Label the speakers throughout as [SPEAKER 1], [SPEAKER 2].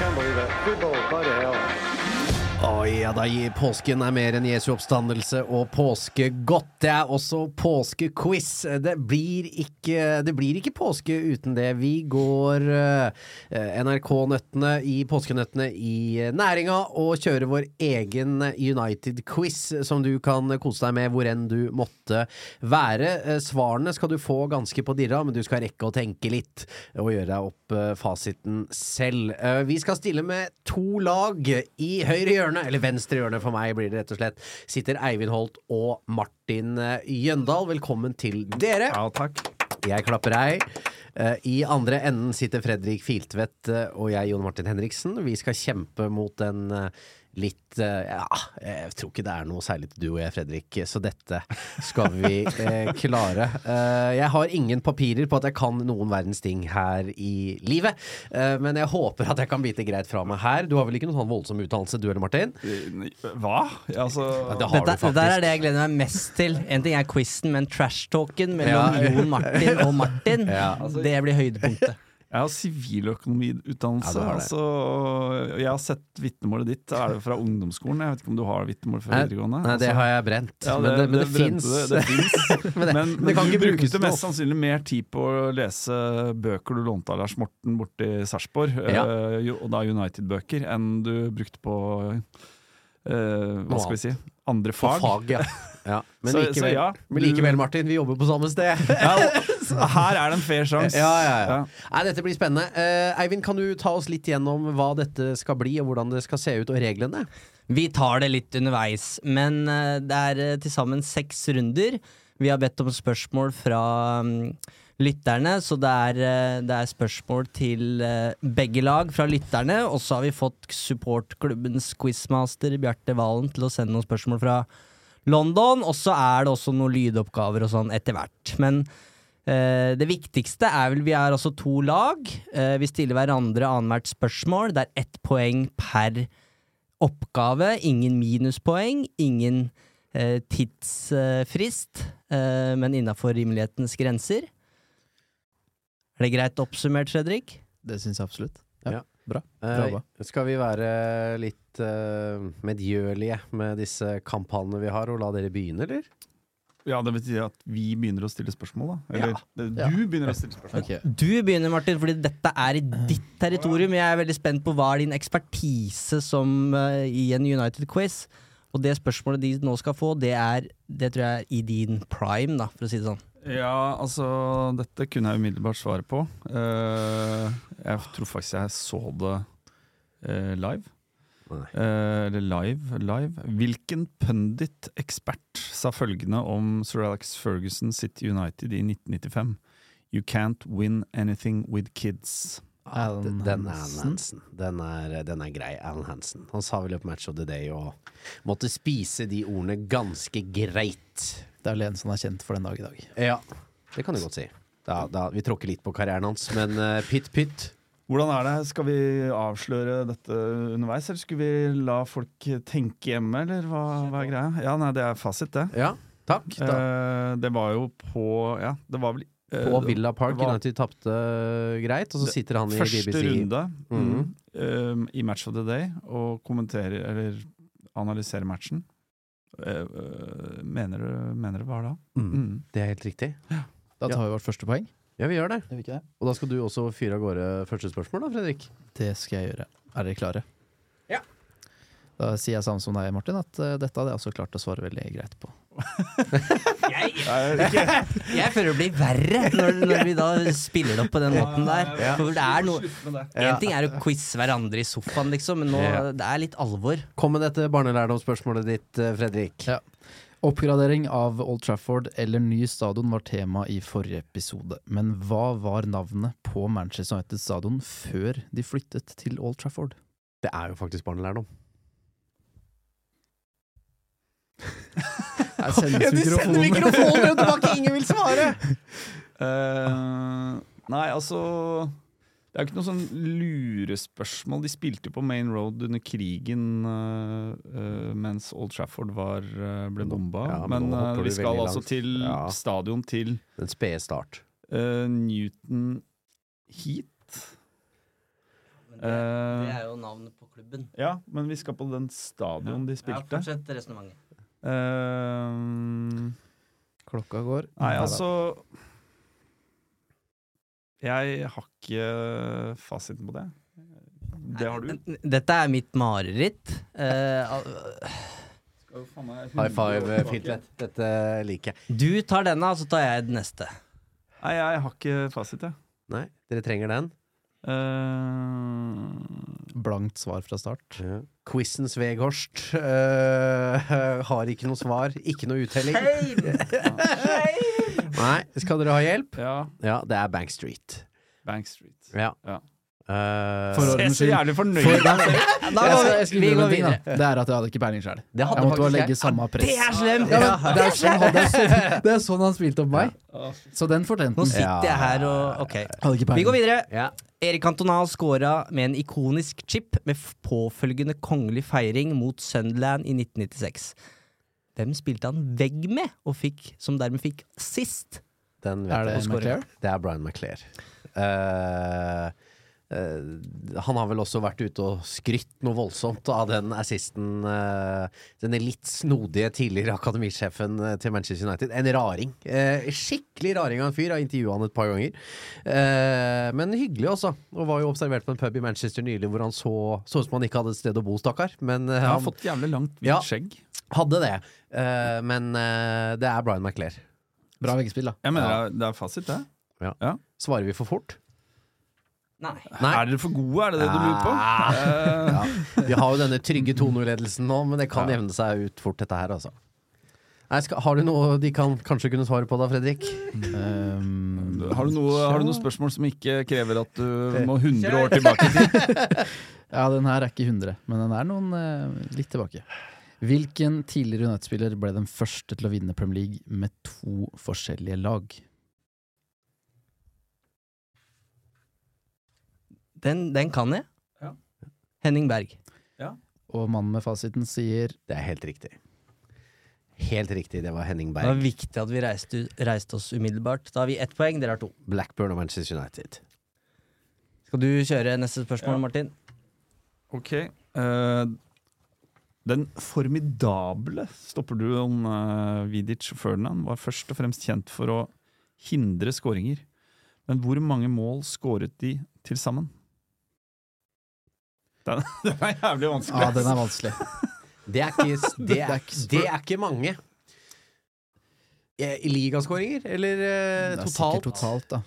[SPEAKER 1] Can't believe it. Good ball. Bloody hell.
[SPEAKER 2] Å ja da, gi- påsken er mer enn Jesu oppstandelse og påskegodt. Det er også påskequiz. Det blir ikke, det blir ikke påske uten det. Vi går eh, NRK-nøttene i påskenøttene i næringa og kjører vår egen United-quiz som du kan kose deg med hvor enn du måtte være. Eh, Svarene skal du få ganske på dirra, men du skal rekke å tenke litt og gjøre deg opp eh, fasiten selv. Eh, Vi skal stille med to lag i høyre hjørne, eller venstre hjørne for meg blir det rett og slett, sitter Eivind Holt og Martin eh, Jøndal. Velkommen til dere.
[SPEAKER 3] Ja, takk.
[SPEAKER 2] Jeg klapper ei. Eh, I andre enden sitter Fredrik Filtvedt eh, og jeg, Jon Martin Henriksen. Vi skal kjempe mot en eh, litt eh, Ja, jeg tror ikke det er noe særlig til du og jeg, Fredrik, så dette skal vi eh, klare. Eh, jeg har ingen papirer på at jeg kan noen verdens ting her i livet, eh, men jeg håper at jeg kan bite greit fra meg her. Du har vel ikke noen sånn voldsom utdannelse, du eller Martin?
[SPEAKER 3] Hva? Altså
[SPEAKER 2] Det har
[SPEAKER 4] Dette,
[SPEAKER 2] du faktisk.
[SPEAKER 4] det der er det jeg gleder meg mest til. En ting er quizen, men trash-talken mellom
[SPEAKER 2] Ja.
[SPEAKER 4] Jon Martin og Martin,
[SPEAKER 2] Ja.
[SPEAKER 4] det blir høydepunktet.
[SPEAKER 3] Jeg har siviløkonomiutdannelse.
[SPEAKER 2] Ja, du har det.
[SPEAKER 3] altså, og jeg har sett vitnemålet ditt. Er det fra ungdomsskolen? Jeg vet ikke om du har vitnemål fra
[SPEAKER 2] Nei,
[SPEAKER 3] videregående?
[SPEAKER 2] Nei, det
[SPEAKER 3] Altså,
[SPEAKER 2] har jeg brent.
[SPEAKER 3] ja,
[SPEAKER 2] men det, men det,
[SPEAKER 3] brente
[SPEAKER 2] fins.
[SPEAKER 3] Det, det fins.
[SPEAKER 2] Men det-
[SPEAKER 3] men men,
[SPEAKER 2] det kan
[SPEAKER 3] du
[SPEAKER 2] ikke brukes
[SPEAKER 3] brukte
[SPEAKER 2] til
[SPEAKER 3] mest
[SPEAKER 2] noe.
[SPEAKER 3] sannsynlig mer tid på å lese bøker du lånte av Lars Morten borti Sarpsborg,
[SPEAKER 2] Ja.
[SPEAKER 3] eh, jo- og da United-bøker, enn du brukte på eh,
[SPEAKER 2] Noe
[SPEAKER 3] Hva skal vi si? Andre
[SPEAKER 2] På
[SPEAKER 3] fag.
[SPEAKER 2] fag, ja. ja. Men,
[SPEAKER 3] Så- så
[SPEAKER 2] likevel,
[SPEAKER 3] ja,
[SPEAKER 2] men
[SPEAKER 3] du-
[SPEAKER 2] likevel, Martin, vi jobber på samme sted.
[SPEAKER 3] Ja, og her er det en fair sjanse.
[SPEAKER 2] Ja, ja, ja. Nei, dette blir spennende. Eh, Eivind, kan du ta oss litt gjennom hva dette skal bli, og hvordan det skal se ut, og reglene?
[SPEAKER 4] Vi tar det litt underveis, men eh, det er eh, til sammen seks runder. Vi har bedt om spørsmål fra mm, lytterne, så det er, eh, det er spørsmål til eh, begge lag fra lytterne. Og så har vi fått supportklubbens quizmaster Bjarte Valen til å sende noen spørsmål fra London. Og så er det også noen lydoppgaver og sånn etter hvert. Men Eh, det viktigste er vel vi er altså to lag. Eh, vi stiller hverandre annethvert spørsmål. Det er ett poeng per oppgave. Ingen minuspoeng, ingen eh, tidsfrist, eh, men innafor rimelighetens grenser. Er det greit oppsummert, Fredrik?
[SPEAKER 5] Det syns jeg absolutt. Ja,
[SPEAKER 2] Ja.
[SPEAKER 5] Bra.
[SPEAKER 2] Eh,
[SPEAKER 5] Bra jobba.
[SPEAKER 2] skal vi være litt eh, medgjørlige med disse kamphanene vi har, og la dere begynne, eller?
[SPEAKER 3] Ja, det betyr at vi begynner å stille spørsmål, da. Eller det- du begynner å stille spørsmål.
[SPEAKER 5] Ok.
[SPEAKER 4] Du begynner, Martin, fordi dette er i ditt territorium. Jeg er veldig spent på hva er din ekspertise som, eh, i en United-quiz. Og det spørsmålet de nå skal få, det er det tror jeg er i din prime, da, for å si det sånn.
[SPEAKER 3] Ja, altså Dette kunne jeg umiddelbart svare på. Eh, jeg tror faktisk jeg så det eh, live.
[SPEAKER 2] Nei.
[SPEAKER 3] Eh, eller live, live. Hvilken pundit-ekspert sa følgende om Sir Alex Ferguson City United i 1995? You can't win anything with kids.
[SPEAKER 2] Den, den
[SPEAKER 5] Alan
[SPEAKER 2] er Alan
[SPEAKER 5] Hansen.
[SPEAKER 2] Hansen. Den er, den er grei. Alan Hansen. Han sa vel i Match of the Day og måtte spise de ordene ganske greit.
[SPEAKER 5] Det er vel en som er kjent for den dag i dag.
[SPEAKER 2] Ja, det kan du godt si. Da, da, vi tråkker litt på karrieren hans, men eh, pytt pytt.
[SPEAKER 3] Hvordan er det? Skal vi avsløre dette underveis, eller skulle vi la folk tenke hjemme, eller hva, hva er greia? Ja, nei, det er fasit, det.
[SPEAKER 2] Ja, takk. Da.
[SPEAKER 3] Eh, det var jo på Ja, det var vel eh,
[SPEAKER 2] På Villa Park.
[SPEAKER 3] var-
[SPEAKER 2] United tapte eh, greit, og så
[SPEAKER 3] Det-
[SPEAKER 2] sitter han i
[SPEAKER 3] Første
[SPEAKER 2] BBC.
[SPEAKER 3] runde
[SPEAKER 2] Mhm.
[SPEAKER 3] mm, eh, i Match of the Day og kommenterer eller analyserer matchen. Eh, eh, mener, du, mener det var da?
[SPEAKER 2] Mm.
[SPEAKER 3] Mm.
[SPEAKER 2] Det er helt riktig.
[SPEAKER 5] Da tar vi vårt første poeng.
[SPEAKER 2] Ja, vi gjør det.
[SPEAKER 5] Gjør vi ikke det?
[SPEAKER 2] Og da skal du også fyre av gårde første spørsmål, da, Fredrik.
[SPEAKER 5] Det skal jeg gjøre. Er dere klare?
[SPEAKER 2] Ja.
[SPEAKER 5] Da sier jeg samme som deg, Martin, at eh, dette hadde jeg også klart å svare veldig greit på.
[SPEAKER 4] Jeg,
[SPEAKER 3] Mm.
[SPEAKER 4] jeg føler det blir verre når, når vi da spiller det opp på den måten der. For det er noe En ting er å quize hverandre i sofaen, liksom, men nå
[SPEAKER 2] Ja.
[SPEAKER 4] det er litt alvor.
[SPEAKER 2] Kom med dette barnelærdomsspørsmålet ditt, eh, Fredrik.
[SPEAKER 5] Ja. Oppgradering av Old Trafford eller ny stadion var tema i forrige episode. Men hva var navnet på Manchester United stadion før de flyttet til Old Trafford?
[SPEAKER 2] Det er jo faktisk barnelærdom.
[SPEAKER 5] Her sendes mikrofonen.
[SPEAKER 2] mikrofonen tilbake, ingen vil svare!
[SPEAKER 3] Eh, nei, altså Det er jo ikke noe sånn lurespørsmål. De spilte jo på Main Road under krigen eh, eh, mens Old Trafford var, eh, ble bomba.
[SPEAKER 2] Ja, men
[SPEAKER 3] men
[SPEAKER 2] nå
[SPEAKER 3] eh,
[SPEAKER 2] hopper
[SPEAKER 3] vi
[SPEAKER 2] du
[SPEAKER 3] skal
[SPEAKER 2] veldig
[SPEAKER 3] altså
[SPEAKER 2] langt.
[SPEAKER 3] til
[SPEAKER 2] Ja.
[SPEAKER 3] stadion til
[SPEAKER 2] Den spede start.
[SPEAKER 3] eh, Newton Heat. Eh,
[SPEAKER 4] jo navnet på klubben.
[SPEAKER 3] ja, men vi skal på den stadion de spilte.
[SPEAKER 4] fortsett resonnementet.
[SPEAKER 3] Eh,
[SPEAKER 5] Klokka går.
[SPEAKER 3] Nei, altså Jeg har ikke fasiten på det. Det har du.
[SPEAKER 4] Dette er mitt mareritt. Eh, al-
[SPEAKER 2] High five, eh, Fintlet. Dette liker jeg.
[SPEAKER 4] du tar denne, så tar jeg den neste.
[SPEAKER 3] Nei, jeg har ikke fasit, jeg.
[SPEAKER 2] Nei, dere trenger den.
[SPEAKER 3] Eh,
[SPEAKER 5] Blankt svar fra start.
[SPEAKER 2] Quizens Veghorst eh, har ikke noe svar, ikke noe uttelling. Nei, skal dere ha hjelp?
[SPEAKER 3] ja,
[SPEAKER 2] Ja, det er Bank Street.
[SPEAKER 3] Bank Street.
[SPEAKER 2] Ja.
[SPEAKER 3] Ja.
[SPEAKER 2] Eh,
[SPEAKER 5] For å-
[SPEAKER 3] Jeg er så jævlig fornøyd.
[SPEAKER 5] For, nei, nei,
[SPEAKER 4] Da
[SPEAKER 5] jeg
[SPEAKER 4] går
[SPEAKER 5] skal,
[SPEAKER 4] vi-
[SPEAKER 5] jeg skal
[SPEAKER 4] vi
[SPEAKER 5] gjøre
[SPEAKER 4] går
[SPEAKER 5] en ting,
[SPEAKER 4] videre.
[SPEAKER 5] da. Det er at jeg hadde ikke peiling sjøl.
[SPEAKER 2] det hadde
[SPEAKER 5] Jeg måtte
[SPEAKER 2] faktisk
[SPEAKER 5] bare
[SPEAKER 2] jeg.
[SPEAKER 5] legge samme
[SPEAKER 4] Det
[SPEAKER 5] press.
[SPEAKER 4] er slemt!
[SPEAKER 5] Ja,
[SPEAKER 4] Ja.
[SPEAKER 5] men det, er sånn, han- det, er sånn, det er sånn han spilte opp meg. Så den fortjente
[SPEAKER 4] Nå
[SPEAKER 5] han.
[SPEAKER 4] sitter jeg her og Ok.
[SPEAKER 5] Hadde ikke
[SPEAKER 4] Vi går
[SPEAKER 5] peiling.
[SPEAKER 4] videre.
[SPEAKER 2] Ja.
[SPEAKER 4] Erik Cantona scora med en ikonisk chip med f- påfølgende kongelig feiring mot Sunderland i 1996. Hvem spilte han vegg med, og fikk, som dermed fikk sist?
[SPEAKER 2] Den vet
[SPEAKER 5] Er det
[SPEAKER 2] jeg.
[SPEAKER 5] McClare?
[SPEAKER 2] Det er Brian McClare. Eh, eh, han har vel også vært ute og skrytt noe voldsomt av den assisten eh, Denne litt snodige tidligere akademisjefen eh, til Manchester United. En raring. Eh, skikkelig raring av en fyr. Jeg har intervjua han et par ganger. Eh, men hyggelig også. Og var jo observert på en pub i Manchester nylig hvor han så så ut som han ikke hadde et sted å bo, stakkar. Men eh,
[SPEAKER 3] Jeg har
[SPEAKER 2] han
[SPEAKER 3] fått jævlig langt hvitt
[SPEAKER 2] Ja.
[SPEAKER 3] skjegg.
[SPEAKER 2] hadde det. Eh, men eh, det er Brian McClare.
[SPEAKER 5] Bra veggspill, da.
[SPEAKER 3] Jeg mener det er- det er fasit, det.
[SPEAKER 2] Svarer vi for fort?
[SPEAKER 4] Nei.
[SPEAKER 2] Nei.
[SPEAKER 3] Er dere for gode, er det det du lurer på? Eh,
[SPEAKER 2] Vi har jo denne trygge 2-0-ledelsen nå, men det kan jevne seg ut fort, dette her, altså. Nei, skal, har du noe de kan kanskje kunne svare på da, Fredrik?
[SPEAKER 5] Um,
[SPEAKER 3] Eh, har, du noe, har du noen spørsmål som ikke krever at du må 100 år tilbake i tid?
[SPEAKER 5] Ja, den her er ikke 100, men den er noen eh, litt tilbake. Hvilken tidligere United-spiller ble den første til å vinne Premier League med to forskjellige lag?
[SPEAKER 4] Den, den kan jeg.
[SPEAKER 3] Ja.
[SPEAKER 4] Henning Berg.
[SPEAKER 5] Og mannen med fasiten sier
[SPEAKER 2] Det er helt riktig. Helt riktig, det var Henning
[SPEAKER 4] Det var
[SPEAKER 2] Berg.
[SPEAKER 4] viktig at vi reiste, reiste oss umiddelbart. Da har vi ett poeng, dere har to.
[SPEAKER 2] Blackburn og Manchester United.
[SPEAKER 4] Skal du kjøre neste spørsmål,
[SPEAKER 3] Ja.
[SPEAKER 4] Martin?
[SPEAKER 3] Ok. eh, den formidable stopperduoen uh, Vidic og Ferdinand var først og fremst kjent for å hindre skåringer. Men hvor mange mål skåret de til sammen? Den, den er jævlig vanskelig.
[SPEAKER 5] Ja, ah, den er vanskelig.
[SPEAKER 2] Det er ikke, s- det
[SPEAKER 5] Det er
[SPEAKER 2] er,
[SPEAKER 5] ikke spør-
[SPEAKER 2] det er ikke mange. Eh, I ligaskåringer, eller eh,
[SPEAKER 5] Det er
[SPEAKER 2] totalt?
[SPEAKER 5] sikkert totalt, da.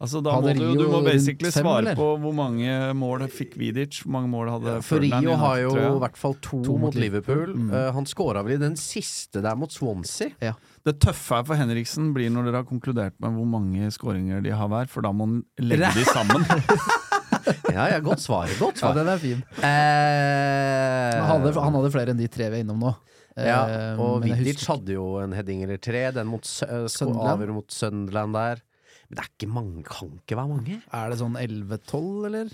[SPEAKER 3] Altså, da må
[SPEAKER 5] Hadde
[SPEAKER 3] du, jo- du
[SPEAKER 5] Rio
[SPEAKER 3] må basically
[SPEAKER 5] rundt fem,
[SPEAKER 3] svare
[SPEAKER 5] eller?
[SPEAKER 3] på hvor mange mål fikk Vidic, hvor mange mål hadde
[SPEAKER 2] For
[SPEAKER 3] Ferdinand.
[SPEAKER 2] Rio
[SPEAKER 3] i
[SPEAKER 2] har jo i
[SPEAKER 3] United-trøya.
[SPEAKER 2] hvert fall to,
[SPEAKER 5] To mot
[SPEAKER 2] mot Liverpool.
[SPEAKER 5] Liverpool. Mm.
[SPEAKER 2] Eh, han scora vel i den siste der mot Swansea.
[SPEAKER 3] Det tøffe her for Henriksen blir når dere har konkludert med hvor mange skåringer de har hver, for da må han legge de sammen.
[SPEAKER 2] Ja, ja, godt svar. Godt
[SPEAKER 5] Ja,
[SPEAKER 2] svar.
[SPEAKER 5] den er fin.
[SPEAKER 2] Eh,
[SPEAKER 5] Han hadde, han hadde flere enn de tre vi er innom nå.
[SPEAKER 2] Ja,
[SPEAKER 5] Eh,
[SPEAKER 2] og
[SPEAKER 5] men jeg
[SPEAKER 2] Vidic
[SPEAKER 5] husker-
[SPEAKER 2] hadde jo en heading eller tre. Den mot
[SPEAKER 5] Sunderland.
[SPEAKER 2] Sunderland. mot Sunderland der. Men det er ikke mange, kan ikke være mange.
[SPEAKER 5] Er det sånn 11-12, eller?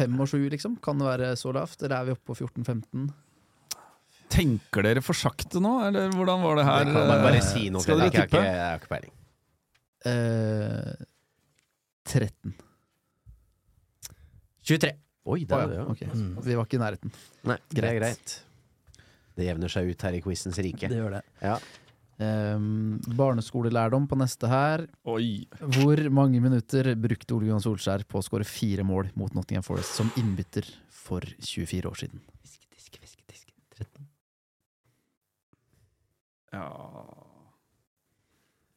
[SPEAKER 5] Fem og sju, liksom? Kan det være så lavt? Eller er vi oppe på 14-15?
[SPEAKER 3] Tenker dere for sakte nå, eller hvordan var det her?
[SPEAKER 2] Kan man bare
[SPEAKER 3] eh,
[SPEAKER 2] si noe
[SPEAKER 3] skal
[SPEAKER 2] til det? Jeg
[SPEAKER 3] dere
[SPEAKER 2] har ikke-
[SPEAKER 3] tippe?
[SPEAKER 2] Jeg har ikke peiling.
[SPEAKER 5] Eh, 13.
[SPEAKER 4] 23.
[SPEAKER 2] Oi, det er det, ja.
[SPEAKER 5] Ok, Vi var ikke i nærheten.
[SPEAKER 2] Nei, det er
[SPEAKER 5] Greit.
[SPEAKER 2] greit. Det jevner seg ut her i quizens rike.
[SPEAKER 4] Det gjør det.
[SPEAKER 2] Ja.
[SPEAKER 5] Ehm, barneskolelærdom på neste her.
[SPEAKER 3] Oi.
[SPEAKER 5] Hvor mange minutter brukte Ole Johan Solskjær på å skåre fire mål mot Nottingham Forest som innbytter for 24 år siden?
[SPEAKER 4] Fiske, fiske, fiske, fiske. 13.
[SPEAKER 3] Ja.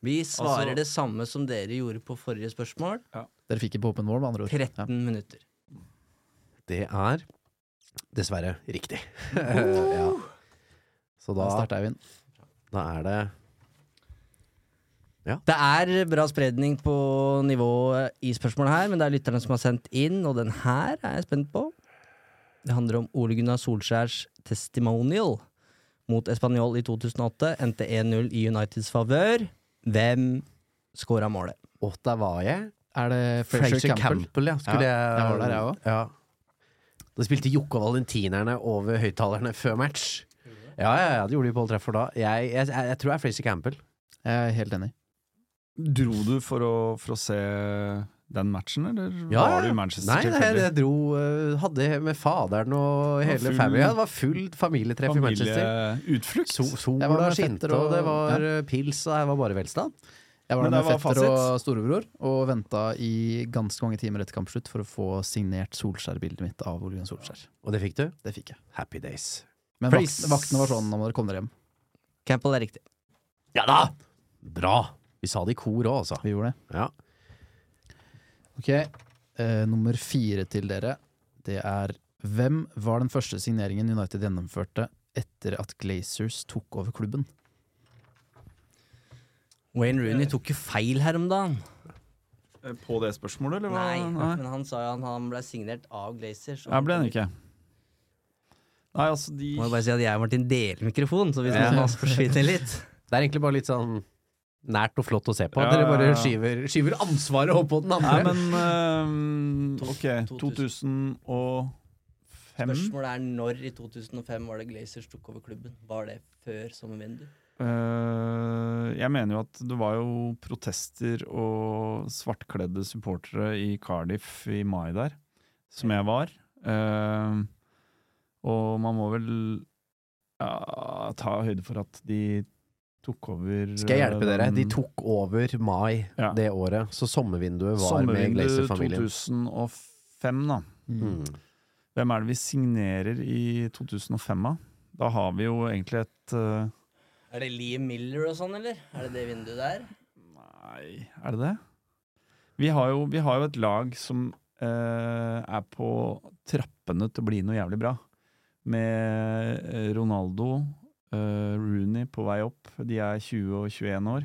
[SPEAKER 4] Vi svarer
[SPEAKER 3] Altså-
[SPEAKER 4] det samme som dere gjorde på forrige spørsmål.
[SPEAKER 5] Dere fikk ikke åpen mål, med andre ord.
[SPEAKER 4] 13
[SPEAKER 5] Ja.
[SPEAKER 4] minutter.
[SPEAKER 2] Det er dessverre riktig. ja. Så
[SPEAKER 5] Da
[SPEAKER 2] da,
[SPEAKER 5] starter Eivind.
[SPEAKER 2] da er det
[SPEAKER 4] Det er bra spredning på nivået i spørsmålet her, men det er lytterne som har sendt inn, og den her er jeg spent på. Det handler om Ole Gunnar Solskjærs testimonial mot Español i 2008. Endte 1-0 i Uniteds favør. Hvem skåra målet?
[SPEAKER 2] Å, der var jeg.
[SPEAKER 5] Er det Frazier Campbell?
[SPEAKER 2] ja. Skulle
[SPEAKER 5] Ja,
[SPEAKER 2] jeg
[SPEAKER 5] jeg var der, jeg også.
[SPEAKER 2] Ja. Da spilte Jokke og valentinerne over høyttalerne før match. Ja, ja, ja, det gjorde de på Old Trafford da. Jeg, jeg, jeg, tror det er Frazier Campbell.
[SPEAKER 5] Jeg er helt enig.
[SPEAKER 3] Dro du for å, for å se den matchen, eller
[SPEAKER 2] Ja,
[SPEAKER 3] var du
[SPEAKER 2] ja.
[SPEAKER 3] i Manchester?
[SPEAKER 2] Nei, nei,
[SPEAKER 3] tilfeldig?
[SPEAKER 2] jeg dro eh, Hadde med faderen og
[SPEAKER 3] Det var
[SPEAKER 2] hele
[SPEAKER 3] full-
[SPEAKER 2] familien. Ja, det var fullt familietreff i Manchester.
[SPEAKER 3] Familieutflukt.
[SPEAKER 2] So,
[SPEAKER 5] Jeg var
[SPEAKER 2] sola
[SPEAKER 5] med
[SPEAKER 2] skinte,
[SPEAKER 5] fetter og-
[SPEAKER 2] og det var eh, pils, og jeg var bare velstand.
[SPEAKER 5] Jeg var
[SPEAKER 3] Men
[SPEAKER 5] der
[SPEAKER 3] det
[SPEAKER 5] med
[SPEAKER 3] var
[SPEAKER 5] fetter
[SPEAKER 3] fasit.
[SPEAKER 5] og storebror og venta i ganske mange timer etter kampslutt for å få signert Solskjær-bildet mitt av Ole Gunnar Solskjær.
[SPEAKER 2] Og det fikk du?
[SPEAKER 5] Det fikk jeg.
[SPEAKER 2] Happy days.
[SPEAKER 5] Men vakt,
[SPEAKER 3] Praise.
[SPEAKER 5] vaktene var sånn, nå må dere komme dere hjem.
[SPEAKER 4] Campbell er riktig.
[SPEAKER 2] Ja da! Bra! Vi sa det i kor òg, altså.
[SPEAKER 5] Vi gjorde det.
[SPEAKER 2] Ja.
[SPEAKER 5] Ok, eh, nummer fire til dere. Det er hvem var den første signeringen United gjennomførte etter at Glazers tok over klubben?
[SPEAKER 4] Wayne Rooney tok jo feil her om dagen.
[SPEAKER 3] Eh, På det spørsmålet, eller? hva?
[SPEAKER 4] Nei, men han sa jo han, han ble signert av Glazers. og-
[SPEAKER 3] Jeg ble den ikke. Nei, altså, de
[SPEAKER 4] Må jo bare si at jeg og Martin deler mikrofon, så hvis
[SPEAKER 2] Ja.
[SPEAKER 4] noen av oss forsvinner litt
[SPEAKER 2] Det er egentlig bare litt sånn nært og flott å se på.
[SPEAKER 3] Ja,
[SPEAKER 2] Dere
[SPEAKER 3] ja,
[SPEAKER 2] bare
[SPEAKER 3] ja.
[SPEAKER 2] skyver, skyver ansvaret opp på den
[SPEAKER 3] Nei,
[SPEAKER 2] andre.
[SPEAKER 3] men eh, Ok, 2005?
[SPEAKER 4] Spørsmålet er når i 2005 var det Glazers tok over klubben? Var det før sommervindu?
[SPEAKER 3] Eh, jeg mener jo at det var jo protester og svartkledde supportere i Cardiff i mai der, som jeg var. Eh, og man må vel ja, ta høyde for at de tok over
[SPEAKER 2] Skal jeg hjelpe
[SPEAKER 3] eh,
[SPEAKER 2] dere? De
[SPEAKER 3] den-
[SPEAKER 2] tok over mai
[SPEAKER 3] Ja.
[SPEAKER 2] det året, så sommervinduet var med
[SPEAKER 3] Sommervindu
[SPEAKER 2] Glazer-familien.
[SPEAKER 3] 2005, da.
[SPEAKER 2] Mm.
[SPEAKER 3] Hvem er det vi signerer i 2005, da? Da har vi jo egentlig et eh,
[SPEAKER 4] Er det Liam Miller og sånn, eller? Er det det vinduet der?
[SPEAKER 3] Nei, er det det? Vi har jo, vi har jo et lag som eh, er på trappene til å bli noe jævlig bra. Med eh, Ronaldo, eh, Rooney på vei opp. De er 20 og 21 år.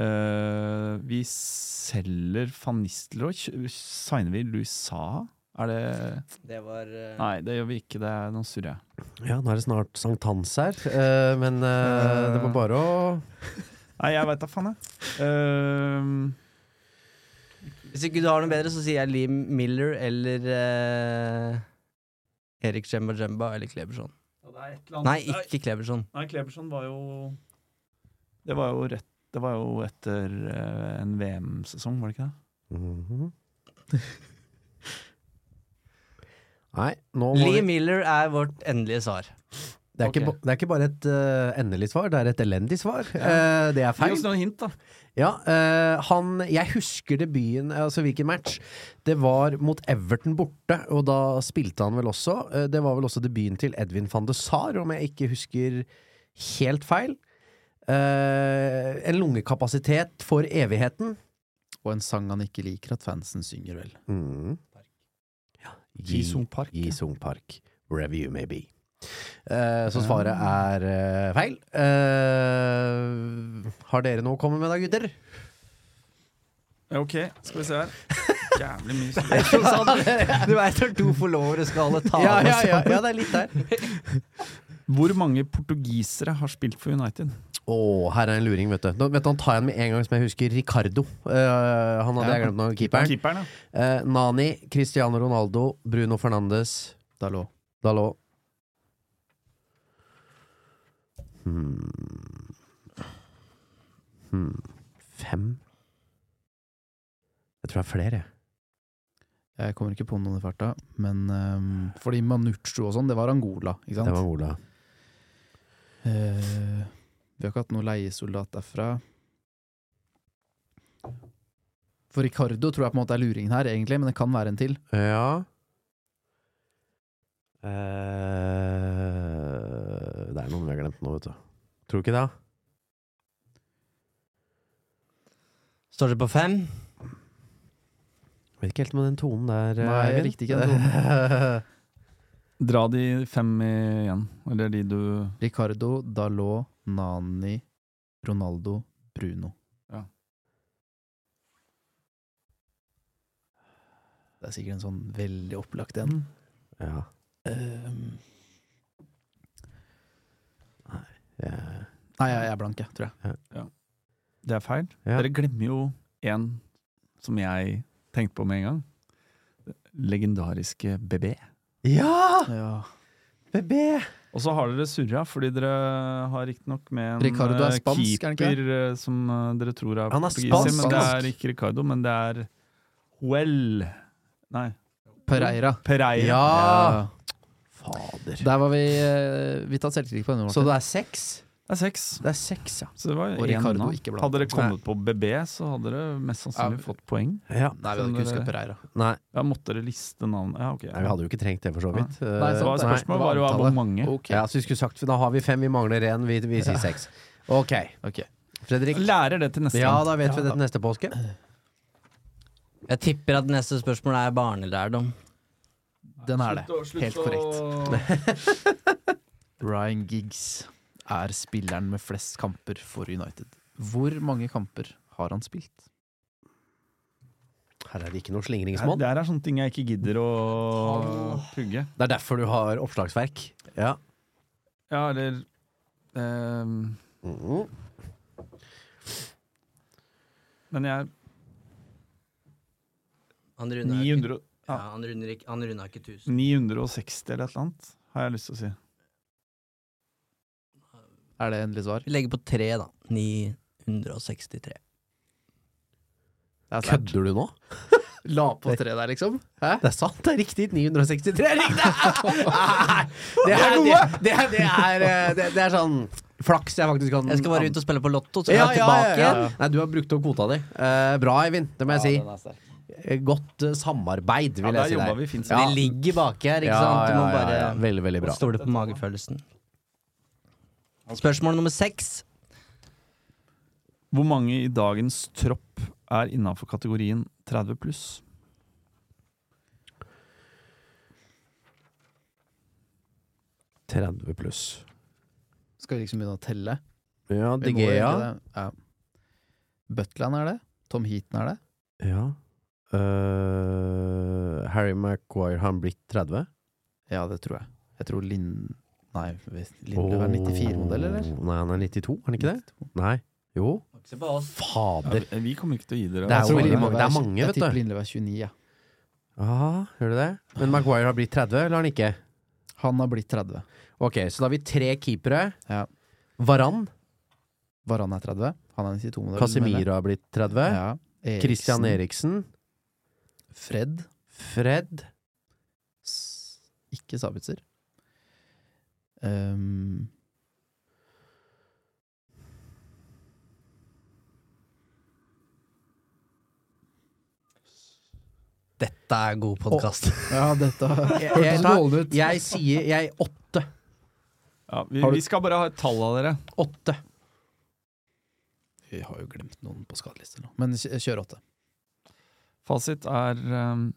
[SPEAKER 3] Eh, vi selger van Nistelrooy. Kjø- Signer vi Louis Saha? Er det
[SPEAKER 4] Det var eh,
[SPEAKER 3] Nei, det gjør vi ikke. Det er noe surr, jeg.
[SPEAKER 2] Ja, nå er det snart sankthans her, eh, men eh, det var bare å
[SPEAKER 3] Nei, jeg veit da faen, jeg. Eh,
[SPEAKER 4] Hvis ikke du har noe bedre, så sier jeg Liam Miller eller eh, Erik Jemba Jemba eller Kleberson. Nei, ikke Kleberson.
[SPEAKER 3] Nei, Kleberson var jo Det var jo rett Det var jo etter eh, en VM-sesong, var det ikke det?
[SPEAKER 2] Mhm. Nei, nå må vi
[SPEAKER 4] Liam Miller er vårt endelige svar.
[SPEAKER 2] Det er, ikke,
[SPEAKER 3] Ok.
[SPEAKER 2] ba- det er ikke bare et eh, endelig svar, det er et elendig svar. Eh, det er
[SPEAKER 3] Gi
[SPEAKER 2] feil.
[SPEAKER 3] oss noen hint, da.
[SPEAKER 2] Ja, eh, han, jeg husker debuten, altså hvilken match. Det var mot Everton borte, og da spilte han vel også. Eh, det var vel også debuten til Edvin van de Sar, om jeg ikke husker helt feil. Eh, en lungekapasitet for evigheten.
[SPEAKER 5] Og en sang han ikke liker at fansen synger vel.
[SPEAKER 2] Mm.
[SPEAKER 3] Ji Sung Park.
[SPEAKER 2] I Sung Park, wherever you may be. Eh, så svaret er eh, feil. Eh, har dere noe å komme med da, gutter?
[SPEAKER 3] Ok, skal vi se her. Jævlig mye
[SPEAKER 4] Du veit når to forlovere skal holde tale
[SPEAKER 2] Ja, ja, ja, ja, det er litt der.
[SPEAKER 3] Hvor mange portugisere har spilt for United?
[SPEAKER 2] Å, her er en luring, vet du. Nå, vet du han tar jeg den med en gang som jeg husker. Ricardo. Eh, han hadde
[SPEAKER 3] Ja,
[SPEAKER 2] jeg glemt nå, keeperen.
[SPEAKER 3] Keeperen, ja.
[SPEAKER 2] Eh, Nani, Cristiano Ronaldo, Bruno Fernandes,
[SPEAKER 5] Da lå
[SPEAKER 2] Dalot. Hmm. Hmm. Fem? Jeg tror det er flere, jeg.
[SPEAKER 5] Jeg kommer ikke på noen i farta, men ehm, fordi Manucho og sånn, det var Angola, ikke sant?
[SPEAKER 2] Det var Ola.
[SPEAKER 5] Eh, vi har ikke hatt noen leiesoldat derfra. For Ricardo tror jeg på en måte er luringen her, egentlig, men det kan være en til.
[SPEAKER 2] Ja eh, Det er noen vi har glemt nå, vet du. Tror du ikke det?
[SPEAKER 4] Står det på fem?
[SPEAKER 2] Vet ikke helt med den tonen der. eh,
[SPEAKER 5] Nei, jeg
[SPEAKER 2] Eivind.
[SPEAKER 5] likte ikke den tonen.
[SPEAKER 3] Dra de fem igjen, eller de du
[SPEAKER 5] Ricardo, Dalot, Nani, Ronaldo, Bruno.
[SPEAKER 3] Ja.
[SPEAKER 5] Det er sikkert en sånn veldig opplagt en.
[SPEAKER 2] ja,
[SPEAKER 5] Ehm,
[SPEAKER 2] jeg-
[SPEAKER 5] nei, jeg jeg er blank, jeg, tror jeg.
[SPEAKER 3] Det er feil.
[SPEAKER 2] Ja.
[SPEAKER 3] Dere glemmer jo en som jeg tenkte på med en gang. Legendariske BB.
[SPEAKER 2] ja!
[SPEAKER 5] Ja.
[SPEAKER 2] BB!
[SPEAKER 3] Og så har dere surra, fordi dere har riktignok med en
[SPEAKER 5] Ricardo er
[SPEAKER 3] eh,
[SPEAKER 5] spansk, er han ikke
[SPEAKER 3] keeper eh, som eh, dere tror er
[SPEAKER 2] Han er
[SPEAKER 3] portugiser,
[SPEAKER 5] spansk.
[SPEAKER 3] men det er ikke Ricardo, men det er Huel Nei,
[SPEAKER 5] Pereira.
[SPEAKER 3] Pereira.
[SPEAKER 2] Ja! Fader.
[SPEAKER 5] Der var vi eh, Vi tar selvkritikk på denne.
[SPEAKER 2] Så
[SPEAKER 5] Morten.
[SPEAKER 2] det er seks?
[SPEAKER 3] Det er seks.
[SPEAKER 2] Det er seks, ja.
[SPEAKER 3] Så det var
[SPEAKER 5] Og
[SPEAKER 3] én
[SPEAKER 5] Ricardo
[SPEAKER 3] unna.
[SPEAKER 5] ikke blant.
[SPEAKER 3] Hadde dere kommet på BB, så hadde dere mest sannsynlig
[SPEAKER 5] Ja.
[SPEAKER 3] fått poeng.
[SPEAKER 2] ja.
[SPEAKER 5] Nei, vi hadde ikke husket Pereira.
[SPEAKER 2] Nei,
[SPEAKER 3] Ja, måtte dere liste navn Ja, ok.
[SPEAKER 2] nei, vi hadde jo ikke trengt det, for så vidt. Eh,
[SPEAKER 5] Nei,
[SPEAKER 3] Det var
[SPEAKER 5] sant, det.
[SPEAKER 3] spørsmålet var jo
[SPEAKER 5] antallet.
[SPEAKER 3] hvor mange.
[SPEAKER 5] Ok.
[SPEAKER 2] Ja, så vi skulle sagt Da har vi fem, vi mangler én, vi, vi sier seks. Ok.
[SPEAKER 5] Ok.
[SPEAKER 2] Fredrik?
[SPEAKER 3] Lærer det til neste
[SPEAKER 2] Ja,
[SPEAKER 3] gang.
[SPEAKER 2] da vet vi det til neste påske.
[SPEAKER 4] Jeg tipper at neste spørsmål er barnelærdom.
[SPEAKER 5] Den er det. Helt korrekt. Ryan Giggs er spilleren med flest kamper for United. Hvor mange kamper har han spilt?
[SPEAKER 2] Her er det ikke noe
[SPEAKER 3] Her,
[SPEAKER 2] slingringsmonn.
[SPEAKER 3] der er sånne ting jeg ikke gidder å pugge.
[SPEAKER 2] Det er derfor du har oppslagsverk. Ja.
[SPEAKER 3] Ja, eller ehm,
[SPEAKER 5] Mm.
[SPEAKER 3] Men jeg
[SPEAKER 4] Han
[SPEAKER 3] er
[SPEAKER 4] runder ikke,
[SPEAKER 3] 900,
[SPEAKER 4] ja, han runder ikke, han runder ikke 1000.
[SPEAKER 3] 960 eller et eller annet, har jeg lyst til å si.
[SPEAKER 5] Er det endelig svar?
[SPEAKER 4] Vi legger på tre, da. 963.
[SPEAKER 5] Det er sterkt.
[SPEAKER 2] Kødder du nå?
[SPEAKER 5] La på tre der, liksom? Hæ?
[SPEAKER 2] Det er sant, det er riktig. 963 er riktig! Nei, Det er gode! Det er, det er, eh, det, det er sånn flaks jeg faktisk kan
[SPEAKER 4] Jeg skal bare ut og spille på Lotto, så er
[SPEAKER 2] ja,
[SPEAKER 4] jeg
[SPEAKER 2] ja,
[SPEAKER 4] tilbake
[SPEAKER 2] ja, ja.
[SPEAKER 4] igjen.
[SPEAKER 2] Nei, du har brukt opp kvota di. Eh, bra, Eivind. Det må jeg
[SPEAKER 5] den er
[SPEAKER 2] si. Eh, Godt eh, samarbeid, vil
[SPEAKER 3] Ja, der
[SPEAKER 2] jeg si.
[SPEAKER 3] jobba vi fint.
[SPEAKER 4] Vi ligger baki her, ikke
[SPEAKER 2] Ja,
[SPEAKER 4] sant? Du
[SPEAKER 2] ja,
[SPEAKER 4] må
[SPEAKER 2] ja,
[SPEAKER 4] bare
[SPEAKER 2] ja. Veldig, veldig bra.
[SPEAKER 4] stole på magefølelsen. Spørsmål nummer seks.
[SPEAKER 3] Hvor mange i dagens tropp er innafor kategorien 30 pluss?
[SPEAKER 2] der. 30 pluss.
[SPEAKER 5] Skal vi liksom begynne å telle?
[SPEAKER 2] Ja,
[SPEAKER 5] Vi må
[SPEAKER 2] Digea.
[SPEAKER 5] egentlig det. Ja. Butland er det. Tom Heaton er det.
[SPEAKER 2] Ja. Eh, Harry Maguire, har han blitt 30?
[SPEAKER 5] Ja, det tror jeg. Jeg tror Lind... Nei, Lindløv er 94-modell, eller?
[SPEAKER 2] Åh, Nei, han er 92, er han ikke det? Nei. Jo. Fader.
[SPEAKER 3] Ja, vi- vi kommer ikke til å gi dere
[SPEAKER 2] Det er jo
[SPEAKER 3] Jeg tror
[SPEAKER 2] veldig
[SPEAKER 3] det.
[SPEAKER 2] mange. Det er mange,
[SPEAKER 5] Jeg
[SPEAKER 2] vet
[SPEAKER 5] tipper
[SPEAKER 2] du.
[SPEAKER 5] Lindløv er 29, ja.
[SPEAKER 2] Ah, gjør du det? Men Maguire har blitt 30, eller har han ikke?
[SPEAKER 5] Han har blitt 30.
[SPEAKER 2] Ok, så da har vi tre keepere.
[SPEAKER 5] Ja.
[SPEAKER 2] Varan.
[SPEAKER 5] Varan er 30. Han er 92-modell.
[SPEAKER 2] Casemiro har blitt 30.
[SPEAKER 5] Ja. Eriksen,
[SPEAKER 2] Christian Eriksen.
[SPEAKER 5] Fred.
[SPEAKER 2] Fred.
[SPEAKER 5] S- Ikke Sabitzer. Ehm,
[SPEAKER 4] Dette er god podkast.
[SPEAKER 5] ja, dette
[SPEAKER 2] Jeg, jeg,
[SPEAKER 5] hørtes dårlig
[SPEAKER 2] tar,
[SPEAKER 5] ut.
[SPEAKER 2] jeg sier jeg åtte.
[SPEAKER 3] Ja, vi,
[SPEAKER 5] Har du-
[SPEAKER 3] vi skal bare ha et tall av dere.
[SPEAKER 2] Åtte.
[SPEAKER 5] Vi har jo glemt noen på skadelister nå. Men kjø- kjør åtte.
[SPEAKER 3] Fasit er ehm,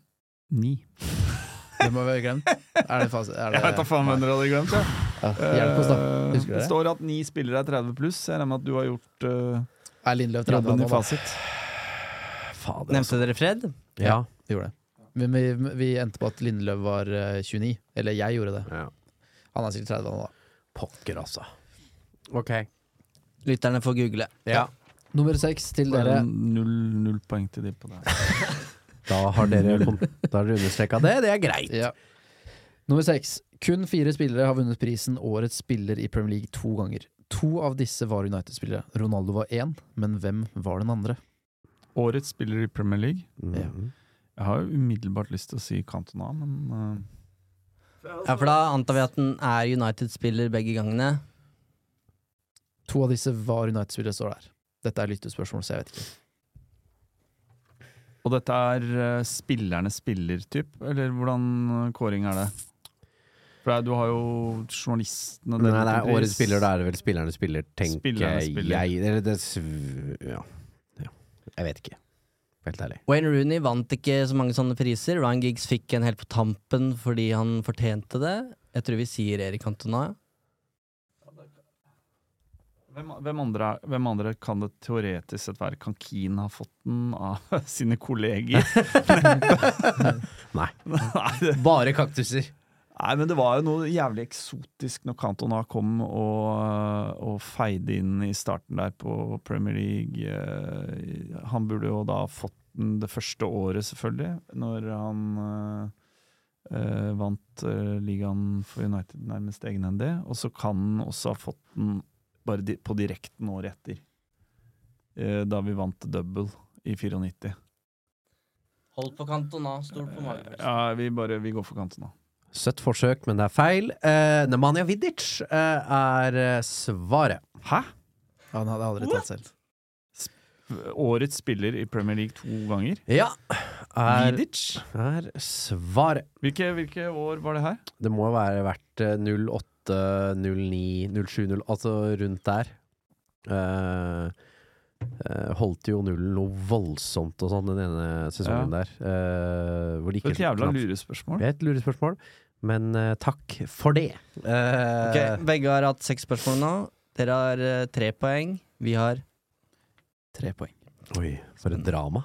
[SPEAKER 3] ni.
[SPEAKER 5] Det må vi ha glemt. Er det fas... Er det,
[SPEAKER 3] Jeg vet da faen hvem dere hadde glemt. Ja.
[SPEAKER 5] Ja, Hjelp oss, da.
[SPEAKER 3] Eh,
[SPEAKER 5] Husker
[SPEAKER 3] det
[SPEAKER 5] dere?
[SPEAKER 3] står at ni spillere er 30 pluss. Jeg regner med at du har gjort eh,
[SPEAKER 5] Er Lindløv 30
[SPEAKER 3] jobben i
[SPEAKER 5] nå, da?
[SPEAKER 3] fasit.
[SPEAKER 2] Fader, altså.
[SPEAKER 4] Nevnte dere Fred?
[SPEAKER 2] Ja.
[SPEAKER 5] Vi gjorde det. Men vi, vi endte på at Lindløv var eh, 29. Eller jeg gjorde det.
[SPEAKER 2] ja.
[SPEAKER 5] Han er sikkert 30 nå, da.
[SPEAKER 2] Pokker, altså. Ok.
[SPEAKER 4] Lytterne får google.
[SPEAKER 2] Ja.
[SPEAKER 5] Nummer seks til
[SPEAKER 3] Bare
[SPEAKER 5] dere.
[SPEAKER 3] Null, null poeng til de på det.
[SPEAKER 2] Da har dere, kom- da har dere understreka det. Det er greit.
[SPEAKER 5] Ja. Nummer seks. Kun fire spillere har vunnet prisen Årets spiller i Premier League to ganger. To av disse var United-spillere. Ronaldo var én, men hvem var den andre?
[SPEAKER 3] Årets spiller i Premier League.
[SPEAKER 2] Ja.
[SPEAKER 3] Jeg har jo umiddelbart lyst til å si Cantona, men eh,
[SPEAKER 4] Ja, for da antar vi at den er United-spiller begge gangene.
[SPEAKER 5] To av disse var United-spillere, står der. Dette er lyttespørsmål, så jeg vet ikke.
[SPEAKER 3] Og dette er eh, spillernes spiller-typ, eller hvordan eh, kåring er det? For det er- du har jo journalistene
[SPEAKER 2] Nei,
[SPEAKER 3] deler
[SPEAKER 2] det
[SPEAKER 3] ut
[SPEAKER 2] er
[SPEAKER 3] en
[SPEAKER 2] årets
[SPEAKER 3] pris.
[SPEAKER 2] spiller, da er det vel spillerne spiller, tenker
[SPEAKER 3] Spillerne spiller.
[SPEAKER 2] jeg. Eller det sv- ja. ja. Jeg vet ikke. Helt ærlig.
[SPEAKER 4] Wayne Rooney vant ikke så mange sånne priser. Ryan Giggs fikk en helt på tampen fordi han fortjente det. Jeg tror vi sier Erik Cantona.
[SPEAKER 3] Hvem, hvem, andre, er- hvem andre kan det teoretisk sett være? Kan Keane ha fått den av sine kolleger?
[SPEAKER 2] Nei.
[SPEAKER 3] Nei, det,
[SPEAKER 2] Bare kaktuser.
[SPEAKER 3] Nei, men det var jo noe jævlig eksotisk når Cantona kom og, og feide inn i starten der på Premier League. Eh, Han burde jo da fått den det første året, selvfølgelig, når han eh, eh, vant eh, ligaen for United nærmest egenhendig. Og så kan han også ha fått den bare di på direkten året etter, eh, da vi vant double i 94.
[SPEAKER 4] Hold på Cantona, stol på magen.
[SPEAKER 3] Ja, vi, bare, vi går for Cantona.
[SPEAKER 2] Søtt forsøk, men det er feil. Eh, Nemanja Vidic eh, er eh, svaret.
[SPEAKER 3] Hæ?
[SPEAKER 5] Han hadde aldri tatt selv.
[SPEAKER 3] Årets spiller i Premier League to ganger?
[SPEAKER 2] Ja. Er,
[SPEAKER 3] Vidic?
[SPEAKER 2] er svaret.
[SPEAKER 3] Hvilke, hvilke år var det her?
[SPEAKER 2] Det må være verdt eh, 08, 09, 07, 0, altså rundt der. Eh, eh, holdt jo nullen noe voldsomt og sånn den ene sesongen der. eh, hvor det
[SPEAKER 3] For
[SPEAKER 2] gikk
[SPEAKER 3] et jævla
[SPEAKER 2] knapt.
[SPEAKER 3] lurespørsmål.
[SPEAKER 2] Det er et lurespørsmål, men eh, takk for det. Eh,
[SPEAKER 4] Ok, begge har hatt seks spørsmål nå. Dere har eh, tre poeng. Vi har
[SPEAKER 5] Tre poeng.
[SPEAKER 2] Oi, for et drama.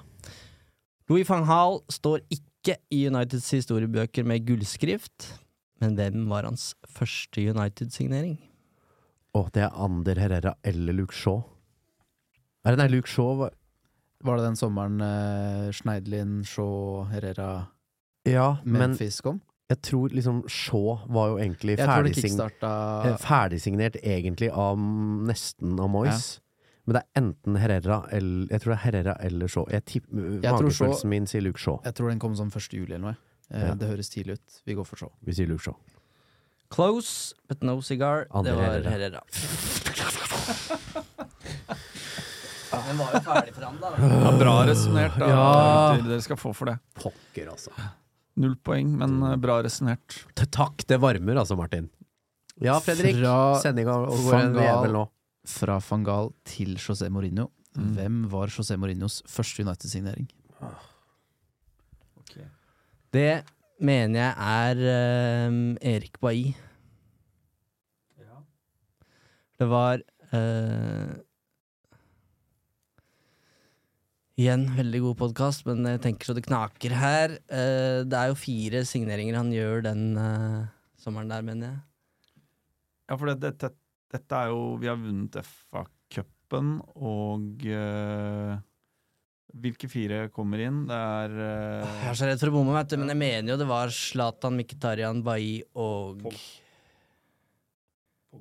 [SPEAKER 4] Louis van Hall står ikke i Uniteds historiebøker med gullskrift. Men hvem var hans første United-signering?
[SPEAKER 2] Å, det er Ander Herrera eller Luke Shaw. Er det nei, Luke Shaw var
[SPEAKER 5] Var det den sommeren eh, Schneidlin, Shaw, Herrera,
[SPEAKER 2] Ja, men
[SPEAKER 5] Memphis kom?
[SPEAKER 2] jeg tror liksom Shaw var jo egentlig
[SPEAKER 5] Jeg tror det
[SPEAKER 2] ferdigsign
[SPEAKER 5] kickstarta
[SPEAKER 2] eh, ferdigsignert egentlig av nesten av Moyes. Men det er enten Herrera eller Jeg tror det er Herrera eller Shaw. Jeg tipp-
[SPEAKER 5] tror Shaw-
[SPEAKER 2] Magefølelsen min sier Luke Shaw.
[SPEAKER 5] Jeg tror den kom sånn 1. juli eller noe. Eh,
[SPEAKER 2] Ja.
[SPEAKER 5] Det høres tidlig ut. Vi går for Shaw.
[SPEAKER 2] Vi sier Luke Shaw.
[SPEAKER 4] Close, but no cigar.
[SPEAKER 2] Andre
[SPEAKER 4] det var
[SPEAKER 2] Herrera.
[SPEAKER 4] Herrera. Den var jo ferdig forhandla, da.
[SPEAKER 3] Ja, bra resonnert, da.
[SPEAKER 2] Ja.
[SPEAKER 3] gutter. Dere skal få for det.
[SPEAKER 2] Pokker, altså.
[SPEAKER 3] Null poeng, men eh, bra resonnert.
[SPEAKER 2] T- Takk, det varmer altså, Martin. Ja, Fredrik.
[SPEAKER 5] Fra
[SPEAKER 2] Sendinga går
[SPEAKER 5] Van
[SPEAKER 2] en vevel
[SPEAKER 5] Gaal.
[SPEAKER 2] nå.
[SPEAKER 5] Fra van Gaal til José Mourinho.
[SPEAKER 3] Mm.
[SPEAKER 5] Hvem var José Mourinhos første United-signering?
[SPEAKER 4] Det mener jeg er eh, Erik Bailly. Det var eh, Igjen veldig god podkast, men jeg tenker så det knaker her. Eh, det er jo fire signeringer han gjør den eh, sommeren der, mener jeg.
[SPEAKER 3] Ja, for det, dette, dette er jo Vi har vunnet FA-cupen, og eh, hvilke fire kommer inn? Det er
[SPEAKER 4] Jeg
[SPEAKER 3] eh,
[SPEAKER 4] er så redd for å bomme, vet du, men jeg mener jo det var Zlatan, Mkhitarian, Bailly og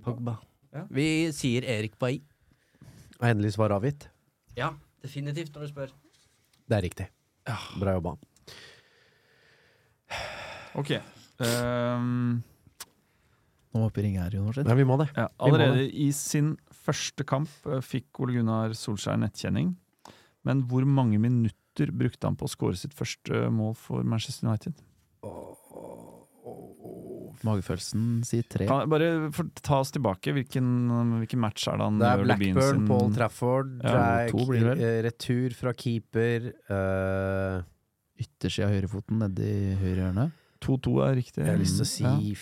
[SPEAKER 4] Pogba.
[SPEAKER 3] Ja.
[SPEAKER 4] Vi sier Erik Bailly.
[SPEAKER 2] Er endelig svar avgitt?
[SPEAKER 4] Ja, definitivt, når du spør.
[SPEAKER 2] Det er riktig.
[SPEAKER 5] Ah.
[SPEAKER 2] Bra jobba.
[SPEAKER 3] Ok. ehm,
[SPEAKER 5] Nå må vi opp i ringa her, Jon Martin.
[SPEAKER 2] Nei, vi må det.
[SPEAKER 3] Ja,
[SPEAKER 2] Vi må
[SPEAKER 3] allerede i sin første kamp eh, fikk Ole Gunnar Solskjær nettkjenning. Men hvor mange minutter brukte han på å skåre sitt første mål for Manchester United?
[SPEAKER 5] Magefølelsen sier tre.
[SPEAKER 3] Kan jeg bare for, ta oss tilbake. Hvilken, um, hvilken match er det han
[SPEAKER 2] Det er
[SPEAKER 3] gjør debuten
[SPEAKER 2] Blackburn,
[SPEAKER 3] sin?
[SPEAKER 2] Paul Trafford,
[SPEAKER 3] Ja,
[SPEAKER 2] det er
[SPEAKER 5] to blir det vel.
[SPEAKER 2] eh, retur fra keeper eh,
[SPEAKER 5] Yttersida av høyrefoten nedi høyre hjørne.
[SPEAKER 3] 2-2 er riktig. Mm,
[SPEAKER 2] Jeg har lyst til
[SPEAKER 5] Mm,
[SPEAKER 2] å si
[SPEAKER 3] Ja.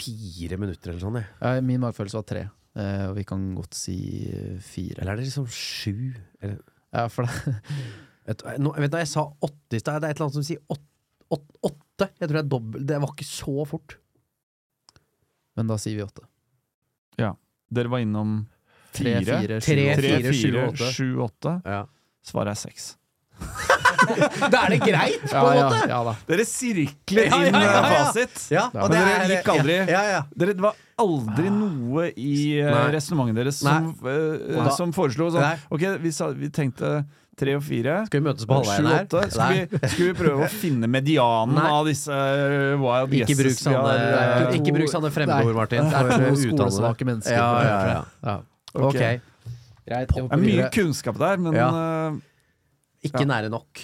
[SPEAKER 2] fire minutter eller sånn, jeg.
[SPEAKER 5] Eh, Min magefølelse var tre, eh, og vi kan godt si eh, fire.
[SPEAKER 2] Eller er det liksom sju? Eller,
[SPEAKER 5] Ja, for det,
[SPEAKER 2] et, nå, vet du, hva, jeg sa åtte i stad. Det er et eller annet som sier åt, åt, åtte. Jeg tror det er dobbelt. Det var ikke så fort.
[SPEAKER 5] men da sier vi åtte.
[SPEAKER 3] Dere var innom
[SPEAKER 5] Tre,
[SPEAKER 2] Tre,
[SPEAKER 3] Fire?
[SPEAKER 5] fire, sju, åtte.
[SPEAKER 2] fire, sju,
[SPEAKER 3] 3-4-7-8.
[SPEAKER 2] åtte. Ja.
[SPEAKER 3] Svaret er 6.
[SPEAKER 2] Da er det greit, på en måte!
[SPEAKER 5] ja da.
[SPEAKER 3] Dere sirkler
[SPEAKER 2] Ja, ja,
[SPEAKER 3] inn eh,
[SPEAKER 2] ja, ja.
[SPEAKER 3] fasit.
[SPEAKER 2] Ja,
[SPEAKER 5] Ja,
[SPEAKER 2] og
[SPEAKER 3] Men
[SPEAKER 2] det
[SPEAKER 3] dere
[SPEAKER 2] er-
[SPEAKER 3] gikk aldri-
[SPEAKER 2] Ja, ja, ja.
[SPEAKER 3] Dere, det var aldri noe i eh,
[SPEAKER 2] Nei.
[SPEAKER 3] resonnementet deres som, eh,
[SPEAKER 2] Og da-
[SPEAKER 3] som foreslo
[SPEAKER 2] Nei.
[SPEAKER 3] sånn Ok, vi, sa, vi tenkte tre og fire.
[SPEAKER 2] Skal vi møtes på halvveien
[SPEAKER 3] Sju,
[SPEAKER 2] her?
[SPEAKER 3] åtte. Skal
[SPEAKER 2] Nei.
[SPEAKER 3] vi, skal vi prøve å finne medianen
[SPEAKER 2] Nei.
[SPEAKER 3] av disse eh, wild
[SPEAKER 2] Ikke bruk
[SPEAKER 3] guesses vi
[SPEAKER 2] sånne,
[SPEAKER 3] har, eh,
[SPEAKER 2] ikke bruk sånne fremmedord, Martin.
[SPEAKER 5] Det er to
[SPEAKER 2] Uttale det.
[SPEAKER 5] skolesvake mennesker.
[SPEAKER 2] Ja, ja, ja.
[SPEAKER 5] Ja.
[SPEAKER 2] Ok.
[SPEAKER 3] Ok.
[SPEAKER 5] Greit, jeg
[SPEAKER 3] Det
[SPEAKER 5] hopper
[SPEAKER 3] er mye
[SPEAKER 5] videre.
[SPEAKER 3] kunnskap der, men eh,
[SPEAKER 2] Ikke nære nok.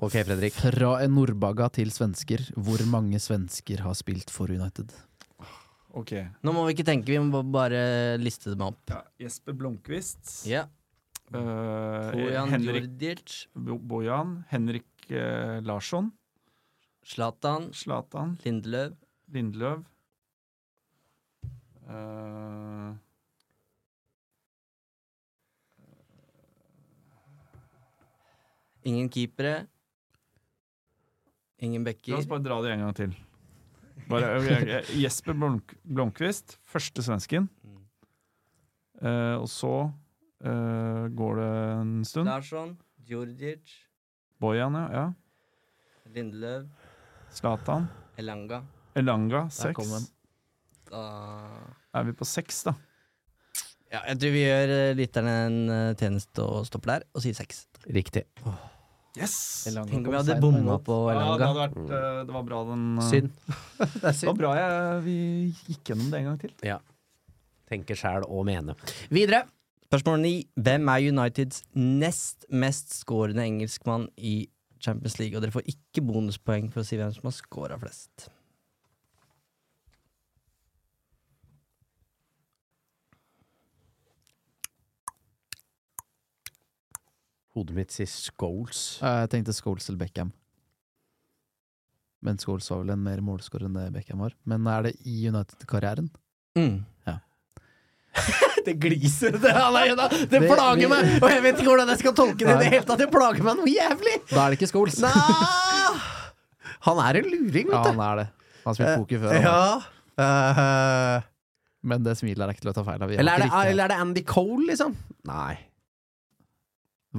[SPEAKER 2] Ok, Fredrik.
[SPEAKER 5] Fra en nordbaga til svensker, hvor mange svensker har spilt for United?
[SPEAKER 3] ok.
[SPEAKER 4] Nå må vi ikke tenke, vi må bare liste dem opp.
[SPEAKER 3] Ja, Jesper Blomkvist.
[SPEAKER 4] Ja.
[SPEAKER 3] eh,
[SPEAKER 4] Bojan
[SPEAKER 3] Henrik
[SPEAKER 4] Djurdjic,
[SPEAKER 3] Bo- Bojan. Henrik eh, Larsson.
[SPEAKER 4] Zlatan,
[SPEAKER 3] Zlatan.
[SPEAKER 4] Lindeløv,
[SPEAKER 3] Lindløv. Eh,
[SPEAKER 4] ingen keepere. Ingen
[SPEAKER 3] La oss
[SPEAKER 4] backer.
[SPEAKER 3] bare dra det en gang til. Bare, jeg- jeg- Jesper Blomk Blomkvist, første svensken. Eh, og så eh, går det en stund.
[SPEAKER 4] Larsson, Djurdjic,
[SPEAKER 3] Bojan, ja. ja.
[SPEAKER 4] Lindeløv,
[SPEAKER 3] Zlatan.
[SPEAKER 4] Elanga.
[SPEAKER 3] Elanga,
[SPEAKER 5] kom den.
[SPEAKER 3] seks.
[SPEAKER 4] Da
[SPEAKER 3] Er vi på seks, da?
[SPEAKER 4] Ja, jeg tror vi gjør eh, lytterne en eh, tjeneste og stopper der og sier seks.
[SPEAKER 2] Riktig.
[SPEAKER 3] Yes!
[SPEAKER 4] Tenk om vi hadde bomma på
[SPEAKER 3] Ja, det,
[SPEAKER 4] Elanga.
[SPEAKER 3] hadde vært, eh, det var bra den eh,
[SPEAKER 2] Synd. Det er
[SPEAKER 3] Det var
[SPEAKER 2] synd.
[SPEAKER 3] bra jeg, vi gikk gjennom det en gang til.
[SPEAKER 2] Tenker sjæl og mene. Videre.
[SPEAKER 4] Spørsmål ni. Hvem er Uniteds nest mest skårende engelskmann i Champions League? Og dere får ikke bonuspoeng for å si hvem som har scora flest.
[SPEAKER 2] Hodet mitt sier Scholes.
[SPEAKER 5] Eh, Jeg tenkte Scholes eller Beckham. Men Scholes var vel en mer målskårer enn det Beckham var. Men er det i United-karrieren?
[SPEAKER 4] Mm.
[SPEAKER 2] Det gliser! Det, alene. det
[SPEAKER 5] Det-
[SPEAKER 2] plager
[SPEAKER 5] det-
[SPEAKER 2] meg! Og jeg vet ikke hvordan jeg skal tolke det i det
[SPEAKER 5] Nei.
[SPEAKER 2] hele tatt! Det plager meg noe jævlig!
[SPEAKER 5] Da er det ikke Scholes!
[SPEAKER 2] Nei. Han er en luring,
[SPEAKER 5] Ja,
[SPEAKER 2] vet
[SPEAKER 5] han
[SPEAKER 2] du.
[SPEAKER 5] er det. Han har spilt poker før, han.
[SPEAKER 2] Ja. Eh,
[SPEAKER 5] men det smilet er ikke til å ta feil av. Vi har
[SPEAKER 2] eller, er
[SPEAKER 5] ikke
[SPEAKER 2] det,
[SPEAKER 5] riktig her.
[SPEAKER 2] eller er det Andy Cole, liksom? Nei.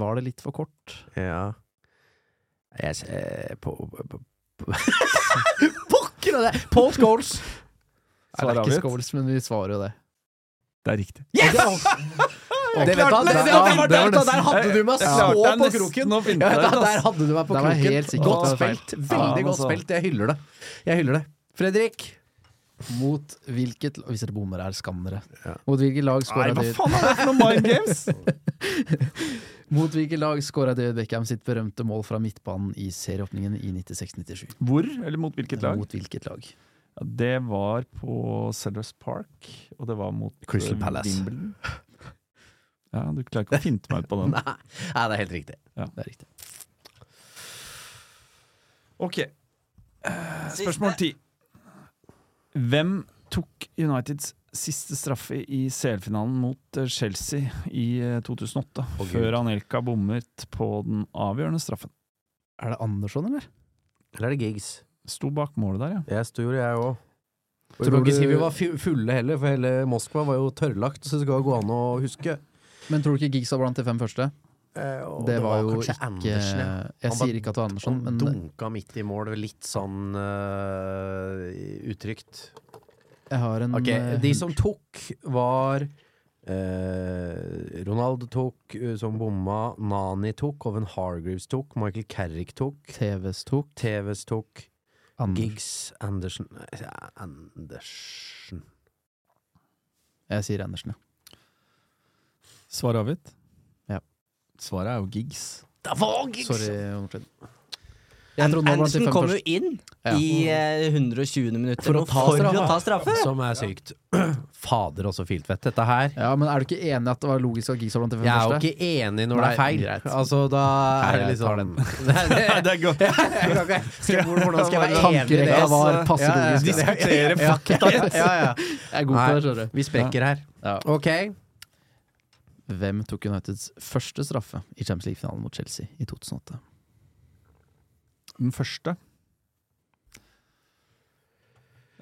[SPEAKER 5] Var det litt for kort?
[SPEAKER 2] Ja Jeg s- eh, på, på, på. Pokker og det! Paul Scholes!
[SPEAKER 5] Nei, det er
[SPEAKER 3] avgitt.
[SPEAKER 5] ikke Scholes, men vi svarer jo det.
[SPEAKER 3] Det er riktig.
[SPEAKER 2] Yes! Det vet du hva,
[SPEAKER 3] klarte
[SPEAKER 2] det-
[SPEAKER 3] det!
[SPEAKER 2] det var
[SPEAKER 3] Det var
[SPEAKER 2] der, da, der hadde du meg
[SPEAKER 3] Jeg
[SPEAKER 2] så
[SPEAKER 3] klarte det
[SPEAKER 2] på
[SPEAKER 3] nesten
[SPEAKER 2] kroken!
[SPEAKER 3] å finne
[SPEAKER 2] Ja,
[SPEAKER 3] det ut,
[SPEAKER 2] da,
[SPEAKER 3] ass.
[SPEAKER 2] der hadde du meg på
[SPEAKER 5] Der var jeg
[SPEAKER 2] kroken.
[SPEAKER 5] helt sikker på
[SPEAKER 2] Godt
[SPEAKER 5] at det var feil.
[SPEAKER 2] spilt. Veldig
[SPEAKER 3] Ja,
[SPEAKER 2] godt
[SPEAKER 3] altså.
[SPEAKER 2] spilt. Jeg hyller det. Jeg hyller det. Fredrik.
[SPEAKER 5] Mot hvilket Hvis dere bommer, er skam dere. Mot hvilket lag
[SPEAKER 3] Nei,
[SPEAKER 5] skåra
[SPEAKER 3] hva
[SPEAKER 5] David
[SPEAKER 3] faen er det for noe Mind Games?
[SPEAKER 5] Mot hvilket lag skåra David Beckham sitt berømte mål fra midtbanen i serieåpningen i 96-97?
[SPEAKER 3] Hvor, eller mot hvilket lag?
[SPEAKER 5] Mot hvilket lag?
[SPEAKER 3] Ja, det var på Sellers Park, og det var mot
[SPEAKER 2] Crystal
[SPEAKER 3] eh,
[SPEAKER 2] Palace.
[SPEAKER 3] Wimbledon. Ja, du klarer ikke å finte meg ut på den.
[SPEAKER 2] Nei, nei, det er helt riktig.
[SPEAKER 5] Det er riktig.
[SPEAKER 3] Ok, eh, spørsmål ti. Hvem tok Uniteds siste straffe i CL-finalen mot eh, Chelsea i eh, 2008,
[SPEAKER 2] Å, Gud.
[SPEAKER 3] før Anelka bommet på den avgjørende straffen?
[SPEAKER 5] Er det Andersson, eller?
[SPEAKER 2] Eller er det gigs?
[SPEAKER 3] Sto bak målet der, ja.
[SPEAKER 2] Jeg sto jo, jeg òg.
[SPEAKER 5] Tror du-
[SPEAKER 2] fu- fulle heller, for hele Moskva var jo tørrlagt, så det skal jo gå an å huske.
[SPEAKER 5] Men tror du ikke Giggs var blant de fem første?
[SPEAKER 2] Eh, og
[SPEAKER 5] det, var, jo
[SPEAKER 2] kanskje
[SPEAKER 5] ikke
[SPEAKER 2] Andersen, ja.
[SPEAKER 5] Jeg
[SPEAKER 2] Han var-
[SPEAKER 5] sier ikke at det var Andersson,
[SPEAKER 2] Han
[SPEAKER 5] men
[SPEAKER 2] dunka midt i mål, litt sånn eh, utrygt.
[SPEAKER 5] jeg har en
[SPEAKER 2] Ok,
[SPEAKER 5] eh,
[SPEAKER 2] de som tok var eh, Ronaldo tok, eh, som bomma. Nani tok, Oven Hargreaves tok, Michael Carrick tok.
[SPEAKER 5] TVs tok. Mm.
[SPEAKER 2] TVs tok.
[SPEAKER 5] Ander-
[SPEAKER 2] Giggs, Andersen Nei, ja, Andersen
[SPEAKER 5] Jeg sier Andersen, ja.
[SPEAKER 3] Svar avgitt?
[SPEAKER 5] Ja.
[SPEAKER 3] Svaret er jo Giggs.
[SPEAKER 2] Det var Giggs!
[SPEAKER 5] Sorry, Andersen. Jeg trodde han var blant de
[SPEAKER 4] Andersen
[SPEAKER 5] fem
[SPEAKER 4] kom jo
[SPEAKER 5] første.
[SPEAKER 4] inn
[SPEAKER 5] Ja.
[SPEAKER 4] i eh, 120. minutt
[SPEAKER 2] For å
[SPEAKER 4] eller noe,
[SPEAKER 2] ta straffa.
[SPEAKER 4] for å ta straffe.
[SPEAKER 2] Som er sykt. Fader, også filtvett, dette her.
[SPEAKER 5] Ja, men er du ikke enig at det var logisk at Giggs var blant de fem
[SPEAKER 2] Jeg er jo
[SPEAKER 5] første?
[SPEAKER 2] ikke enig når det
[SPEAKER 5] Nei,
[SPEAKER 2] er feil.
[SPEAKER 5] greit.
[SPEAKER 2] Altså, da er det
[SPEAKER 5] Nei, jeg tar
[SPEAKER 2] liksom det er godt. Skal, hvor- hvordan skal jeg være enig i det?
[SPEAKER 5] Tankerekka var passe
[SPEAKER 2] Ja, ja,
[SPEAKER 5] logisk.
[SPEAKER 2] ja.
[SPEAKER 3] Diskutere fakta.
[SPEAKER 2] Ja, ja, ja.
[SPEAKER 5] Jeg er god på det, skjønner du.
[SPEAKER 2] Vi sprekker her.
[SPEAKER 5] Ja.
[SPEAKER 2] Ok.
[SPEAKER 5] Hvem tok Uniteds første straffe i Champions League-finalen mot Chelsea i 2008?
[SPEAKER 3] Den første.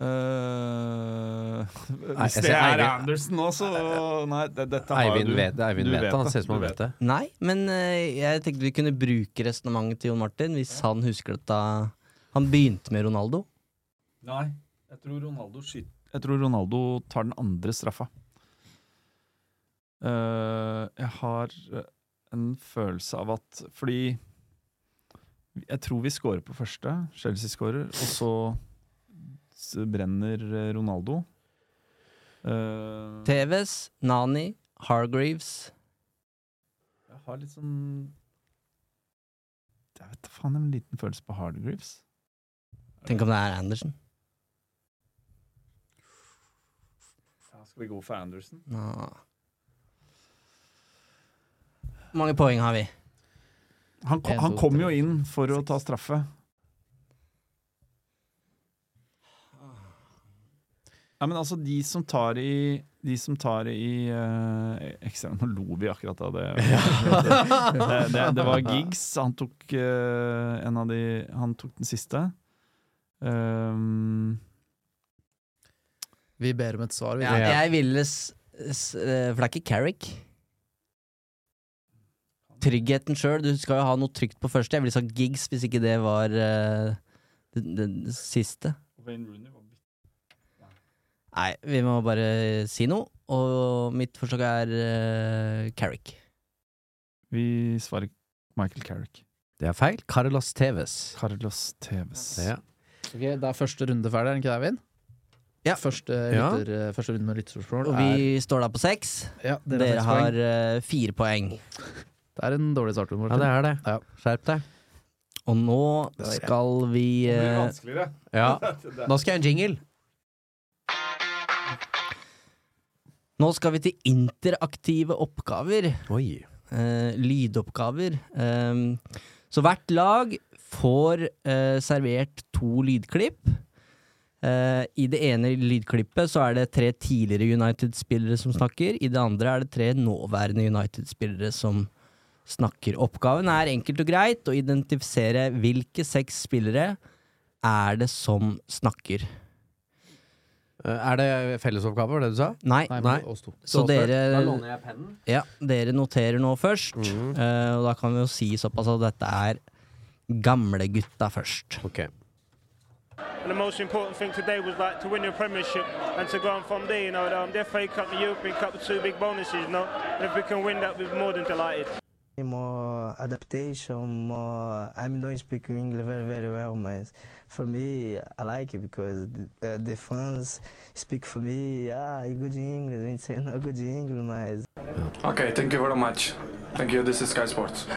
[SPEAKER 3] Eh,
[SPEAKER 2] jeg
[SPEAKER 3] hvis
[SPEAKER 2] ser
[SPEAKER 3] det er
[SPEAKER 2] Eivind-
[SPEAKER 3] Andersen nå, så Nei, det, dette har
[SPEAKER 2] Eivind
[SPEAKER 3] du.
[SPEAKER 2] vet, Eivind
[SPEAKER 3] du
[SPEAKER 2] vet det. Han ser ut som
[SPEAKER 3] Du
[SPEAKER 2] han vet det.
[SPEAKER 4] Nei, men eh, jeg tenkte vi kunne bruke resonnementet til Jon Martin, hvis han husker dette. Han begynte med Ronaldo.
[SPEAKER 3] Nei, jeg tror Ronaldo skyter Jeg tror Ronaldo tar den andre straffa. Eh, jeg har eh, en følelse av at Fordi jeg tror vi scorer på første. Chelsea scorer, og så s- brenner eh, Ronaldo. Eh,
[SPEAKER 4] TVs, Nani, Hargreaves.
[SPEAKER 3] jeg har litt sånn Jeg vet da faen, en liten følelse på Hardgreaves.
[SPEAKER 4] Tenk om det er Andersen.
[SPEAKER 3] skal vi gå for Anderson?
[SPEAKER 4] Nå. Hvor mange poeng har vi?
[SPEAKER 3] Han, ko-
[SPEAKER 5] En,
[SPEAKER 3] han
[SPEAKER 5] to,
[SPEAKER 3] kom
[SPEAKER 5] tre,
[SPEAKER 3] jo inn for å
[SPEAKER 5] seks.
[SPEAKER 3] ta straffe. Nei, men altså, de som tar i De som tar i eh, ekstra, Nå lo vi akkurat av det. det, det, det var Giggs. Han tok eh, en av de Han tok den siste. Um,
[SPEAKER 5] Vi ber om et svar. Vi.
[SPEAKER 4] Ja, jeg ville s s eh, For det er ikke Carrick. Tryggheten sjøl. Du skal jo ha noe trygt på første. Jeg ville sagt gigs hvis ikke det var eh, det, det, det siste. Nei, vi må bare si noe. Og mitt forslag er eh, Carrick.
[SPEAKER 3] vi svarer Michael Carrick.
[SPEAKER 2] Det er feil. Carlos Tevez.
[SPEAKER 3] Carlos Teves.
[SPEAKER 2] Ja.
[SPEAKER 5] Ok, det er første runde ferdig, er det ikke det, Eivind?
[SPEAKER 4] Ja.
[SPEAKER 5] Første,
[SPEAKER 2] Ja.
[SPEAKER 5] lytter, eh, første runde med lyttespørsmål
[SPEAKER 4] Og
[SPEAKER 5] er
[SPEAKER 4] vi står da på seks.
[SPEAKER 5] ja,
[SPEAKER 4] Dere,
[SPEAKER 5] dere har
[SPEAKER 4] har
[SPEAKER 5] seks poeng.
[SPEAKER 4] eh, fire poeng.
[SPEAKER 5] Det er en dårlig start. Martin.
[SPEAKER 2] ja, det er det.
[SPEAKER 5] Ja.
[SPEAKER 2] Skjerp deg.
[SPEAKER 4] Og nå skal vi eh,
[SPEAKER 3] vanskeligere.
[SPEAKER 2] Ja. Nå skal jeg ha en jingle.
[SPEAKER 4] Nå skal vi til interaktive oppgaver.
[SPEAKER 2] Oi.
[SPEAKER 4] eh, lydoppgaver. Ehm, så hvert lag får eh, servert to lydklipp. Eh, I det ene lydklippet så er det tre tidligere United-spillere som snakker. I det andre er det tre nåværende United-spillere som snakker. Oppgaven er enkelt og greit å identifisere hvilke seks spillere er det som snakker.
[SPEAKER 2] Er det fellesoppgave, var det du sa?
[SPEAKER 4] Nei,
[SPEAKER 5] Nei,
[SPEAKER 2] Nei.
[SPEAKER 5] men oss to.
[SPEAKER 4] så dere
[SPEAKER 2] jeg pennen.
[SPEAKER 4] Ja, dere noterer nå først,
[SPEAKER 2] Mm.
[SPEAKER 4] eh, og da kan vi jo si såpass at dette er gamlegutta først.
[SPEAKER 2] Ok.
[SPEAKER 6] And the most important thing today was like to win the Premiership and to go on from there, you know, the, um, the FA Cup, the European Cup, the two big bonuses, you know. And if we can win that, we're more than delighted.
[SPEAKER 7] more adaptation, more. I don't speak English very, very well, but for me, I like it because uh, the fans speak for me. Ah, you good English, and say not good English, but
[SPEAKER 8] Okay, thank you very much. Thank you. This is Sky Sports.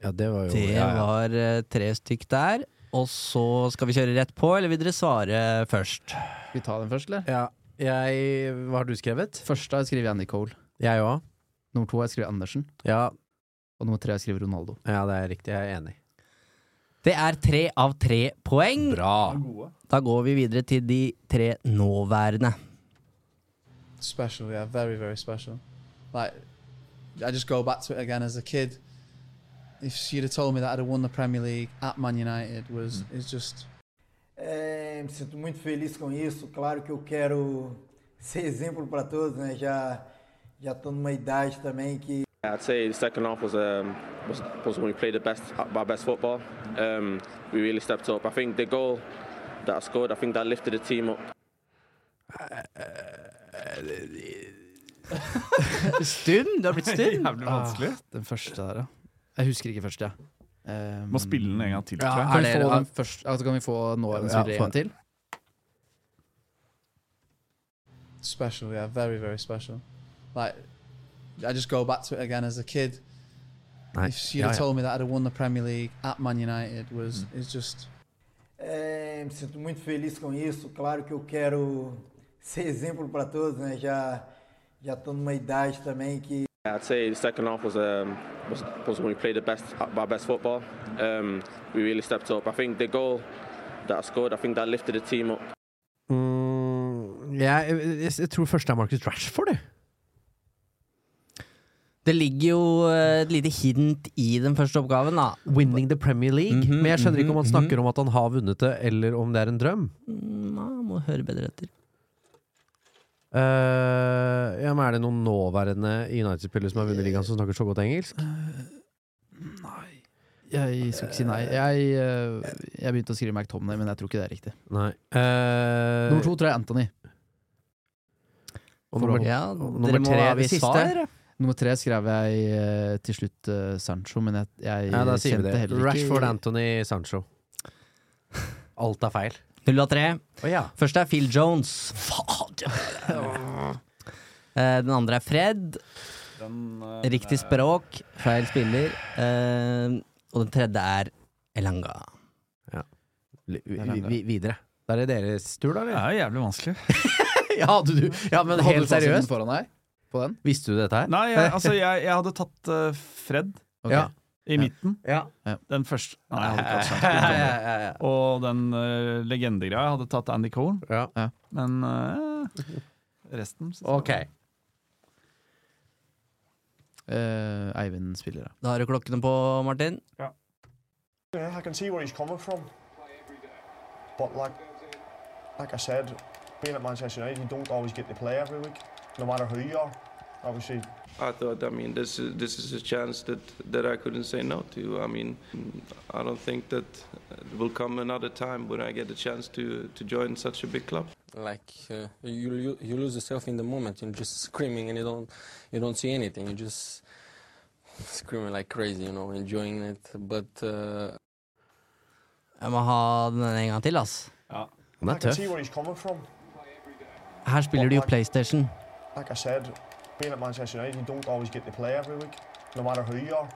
[SPEAKER 2] Ja, det var jo
[SPEAKER 4] Det
[SPEAKER 2] ja, ja.
[SPEAKER 4] var eh, tre stykk der, og så skal vi kjøre rett på, eller vil dere svare først?
[SPEAKER 5] Skal vi ta den først, eller?
[SPEAKER 2] ja. Jeg Hva har du skrevet?
[SPEAKER 5] Første har jeg skrevet Andy Cole.
[SPEAKER 2] Jeg òg.
[SPEAKER 5] Nummer to har jeg skrevet Andersen.
[SPEAKER 2] Ja,
[SPEAKER 5] Og nummer tre har jeg skrevet Ronaldo.
[SPEAKER 2] ja, det er riktig. Jeg er enig.
[SPEAKER 4] Det er tre av tre poeng.
[SPEAKER 2] Bra.
[SPEAKER 4] Da går vi videre til de tre nåværende.
[SPEAKER 9] special, yeah, very, very special. Like, I just go back to it again as a kid. If she'd have told me that I'd have won the Premier League at Man United was
[SPEAKER 5] Mm.
[SPEAKER 9] it's just
[SPEAKER 7] É, me sinto muito feliz com isso. Claro que eu quero ser exemplo para todos, né? Já já estou numa idade também que
[SPEAKER 10] I'd say the second half was um, was, was when we played the best our best football. Um, we really stepped up. I think the goal that I scored, I think that lifted the team up.
[SPEAKER 4] Stum? Du har blitt stum?
[SPEAKER 3] Jævlig vanskelig.
[SPEAKER 5] Den første der, ja. Jeg husker ikke første, Ehm, jeg. Ja.
[SPEAKER 3] Må spille den en gang til, tror jeg.
[SPEAKER 5] Kan, vi
[SPEAKER 4] Er
[SPEAKER 5] få
[SPEAKER 4] dere-
[SPEAKER 5] den først, altså, kan vi få nåværende
[SPEAKER 2] Ja,
[SPEAKER 5] spillere
[SPEAKER 2] for-
[SPEAKER 5] en gang til?
[SPEAKER 9] special, yeah, very, very special. Like, I just go back to it again as a kid.
[SPEAKER 2] Nei.
[SPEAKER 9] If she'd
[SPEAKER 2] Ja,
[SPEAKER 9] have
[SPEAKER 2] ja.
[SPEAKER 9] told me that I'd have won the Premier League at Man United was it's just
[SPEAKER 7] é, me sinto muito feliz com isso. Claro que eu quero ser exemplo para todos, né? Já já estou numa idade também que
[SPEAKER 10] I'd say the second half was um, was, was when we played the best our best football. Um, we really stepped up. I think the goal that I scored, I think that lifted the team up.
[SPEAKER 2] Mm, jeg, jeg, jeg tror første er Marcus Rashford, jeg.
[SPEAKER 4] Det ligger jo eh, et lite hint i den første oppgaven, da.
[SPEAKER 2] Winning the Premier League.
[SPEAKER 4] Mhm,
[SPEAKER 2] Men jeg skjønner ikke om han
[SPEAKER 4] mhm,
[SPEAKER 2] snakker om at han har vunnet det, eller om det er en drøm.
[SPEAKER 4] Mm, ja, må høre bedre etter.
[SPEAKER 2] Eh, ja, men Er det noen nåværende United-spillere som har vunnet ligaen, som snakker så godt engelsk?
[SPEAKER 5] Jeg skal ikke si nei. Jeg, eh, jeg begynte å skrive McTominay, men jeg tror ikke det er riktig.
[SPEAKER 2] Nei. Eh,
[SPEAKER 5] Nummer to tror jeg er Anthony.
[SPEAKER 2] og nummer,
[SPEAKER 4] Ja,
[SPEAKER 2] og
[SPEAKER 4] dere
[SPEAKER 2] nummer
[SPEAKER 4] må
[SPEAKER 2] tre er
[SPEAKER 4] avgi
[SPEAKER 2] det siste.
[SPEAKER 4] svar.
[SPEAKER 5] Nummer tre skrev jeg eh, til slutt eh, Sancho, men jeg, jeg
[SPEAKER 2] Ja, da sier vi
[SPEAKER 5] kjente
[SPEAKER 2] det.
[SPEAKER 5] heller ikke
[SPEAKER 2] Rashford, Anthony, Sancho. Alt er feil.
[SPEAKER 4] Null av tre.
[SPEAKER 2] Å ja.
[SPEAKER 4] Første er Phil Jones. Fader! Eh, Den andre er Fred.
[SPEAKER 3] eh,
[SPEAKER 4] Riktig språk, feil spiller. Eh, Og den tredje er Elanga.
[SPEAKER 2] Vi, vi, videre. Da er det deres tur, da,
[SPEAKER 3] Det
[SPEAKER 2] eller?
[SPEAKER 3] er jo jævlig vanskelig.
[SPEAKER 2] Ja, hadde du, ja men
[SPEAKER 5] Hadde du
[SPEAKER 2] helt
[SPEAKER 5] fasiten
[SPEAKER 2] seriøst.
[SPEAKER 5] foran deg på den?
[SPEAKER 2] Visste du dette her?
[SPEAKER 3] Nei, jeg, altså, jeg, jeg hadde tatt eh, Fred
[SPEAKER 5] Ok.
[SPEAKER 2] Ja.
[SPEAKER 3] i midten.
[SPEAKER 2] Ja.
[SPEAKER 3] Den første. Nei, jeg hadde ikke
[SPEAKER 2] Ja,
[SPEAKER 3] hatt Sancho.
[SPEAKER 2] ja, ja, ja.
[SPEAKER 3] Og den eh, legendegreia. Jeg hadde tatt Andy Cole,
[SPEAKER 2] ja.
[SPEAKER 3] men eh, resten synes jeg
[SPEAKER 2] Ok.
[SPEAKER 5] Eh, Eivind spiller, da.
[SPEAKER 4] Da har du klokkene på, Martin.
[SPEAKER 11] Yeah, I can see where he's coming from. But like, like I said, being at Manchester United, you don't always get to play every week, no matter who you are. Obviously,
[SPEAKER 10] I thought, I mean, this is this is a chance that that I couldn't say no to. I mean, I don't think that will come another time when I get a chance to to join such a big club.
[SPEAKER 12] like uh, you lo- you lose yourself in the moment you're just screaming and you don't you don't see anything you're just screaming like crazy you know enjoying it but uh,
[SPEAKER 4] Jeg må ha den en gang til, ass.
[SPEAKER 2] Han
[SPEAKER 11] I
[SPEAKER 2] er
[SPEAKER 11] can
[SPEAKER 2] tøff.
[SPEAKER 11] see where he's coming from.
[SPEAKER 4] Her spiller du jo PlayStation.
[SPEAKER 11] Like I said, being at Manchester United, you don't always get to play every week, no matter who you are.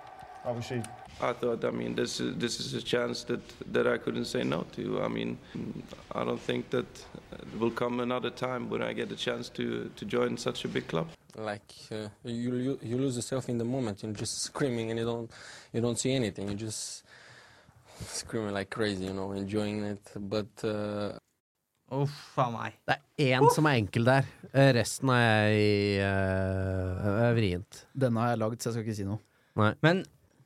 [SPEAKER 11] Obviously,
[SPEAKER 10] I thought, I mean, this is this is a chance that that I couldn't say no to. I mean, I don't think that will come another time when I get a chance to to join such a big club.
[SPEAKER 12] like uh, you lo- you lose yourself in the moment you're just screaming and you don't you don't see anything you're just screaming like crazy you know enjoying it but uh,
[SPEAKER 4] Uff a meg.
[SPEAKER 2] Det er én som er enkel der. Eh, Resten er jeg eh, er vrient.
[SPEAKER 5] Denne har jeg lagd, så jeg skal ikke si noe.
[SPEAKER 4] Men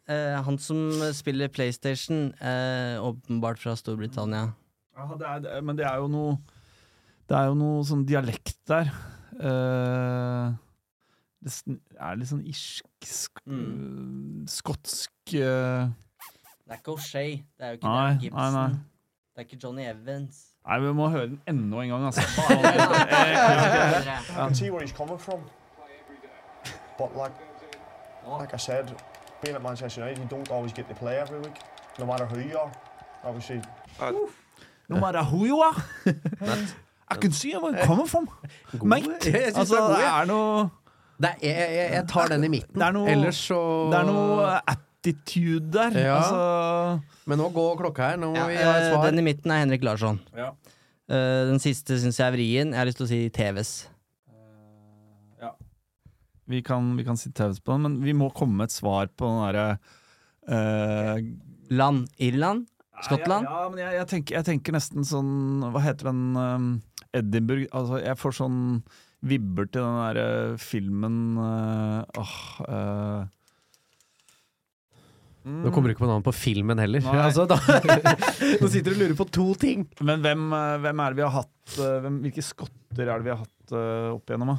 [SPEAKER 4] eh, han som spiller PlayStation, eh, åpenbart fra Storbritannia
[SPEAKER 3] Ja, det er, det, men det er jo noe Det er jo noe sånn dialekt der. Eh, det sn- er litt sånn irsk sk, Skotsk eh,
[SPEAKER 4] Det er ikke O'Shay, det er jo ikke
[SPEAKER 3] Nei,
[SPEAKER 4] Dan
[SPEAKER 3] nei,
[SPEAKER 4] Gibson.
[SPEAKER 3] nei.
[SPEAKER 4] Det er ikke Johnny Evans.
[SPEAKER 3] Nei, vi må høre den enda en gang, altså.
[SPEAKER 11] I can see where he's coming from. But like, like I said, being at Manchester United, you don't always get to play every week, no matter who you are. Obviously,
[SPEAKER 3] No matter who you are, I can see where you're coming from, mate.
[SPEAKER 2] Jeg synes
[SPEAKER 3] Altså,
[SPEAKER 2] det er god,
[SPEAKER 3] det
[SPEAKER 2] ja.
[SPEAKER 3] er noe
[SPEAKER 2] Det er, jeg, jeg, jeg tar den i midten.
[SPEAKER 3] Det er noe-
[SPEAKER 2] Ellers så
[SPEAKER 3] Det er noe attitude der.
[SPEAKER 2] Ja.
[SPEAKER 3] Altså
[SPEAKER 2] Men nå går klokka her. Nå må
[SPEAKER 4] Ja,
[SPEAKER 2] vi ha et
[SPEAKER 4] eh,
[SPEAKER 2] svar.
[SPEAKER 4] den i midten er Henrik Larsson.
[SPEAKER 3] Ja.
[SPEAKER 4] Eh, den siste syns jeg er vrien. Jeg har lyst til å si TVs.
[SPEAKER 3] Vi kan, vi kan si taus på den, men vi må komme med et svar på den derre eh,
[SPEAKER 4] Land Irland? Skottland?
[SPEAKER 3] Ja, ja men jeg, jeg, tenker, jeg tenker nesten sånn Hva heter den ehm, Edinburgh Altså, jeg får sånn vibber til den derre filmen eh, Åh eh. Mm.
[SPEAKER 2] Nå kommer du ikke på navnet på filmen heller.
[SPEAKER 3] Nei.
[SPEAKER 2] Altså, da, nå sitter du og lurer på to ting.
[SPEAKER 3] Men hvem, eh, hvem er det vi har hatt eh, hvem, Hvilke skotter er det vi har hatt eh, opp igjennom? Da?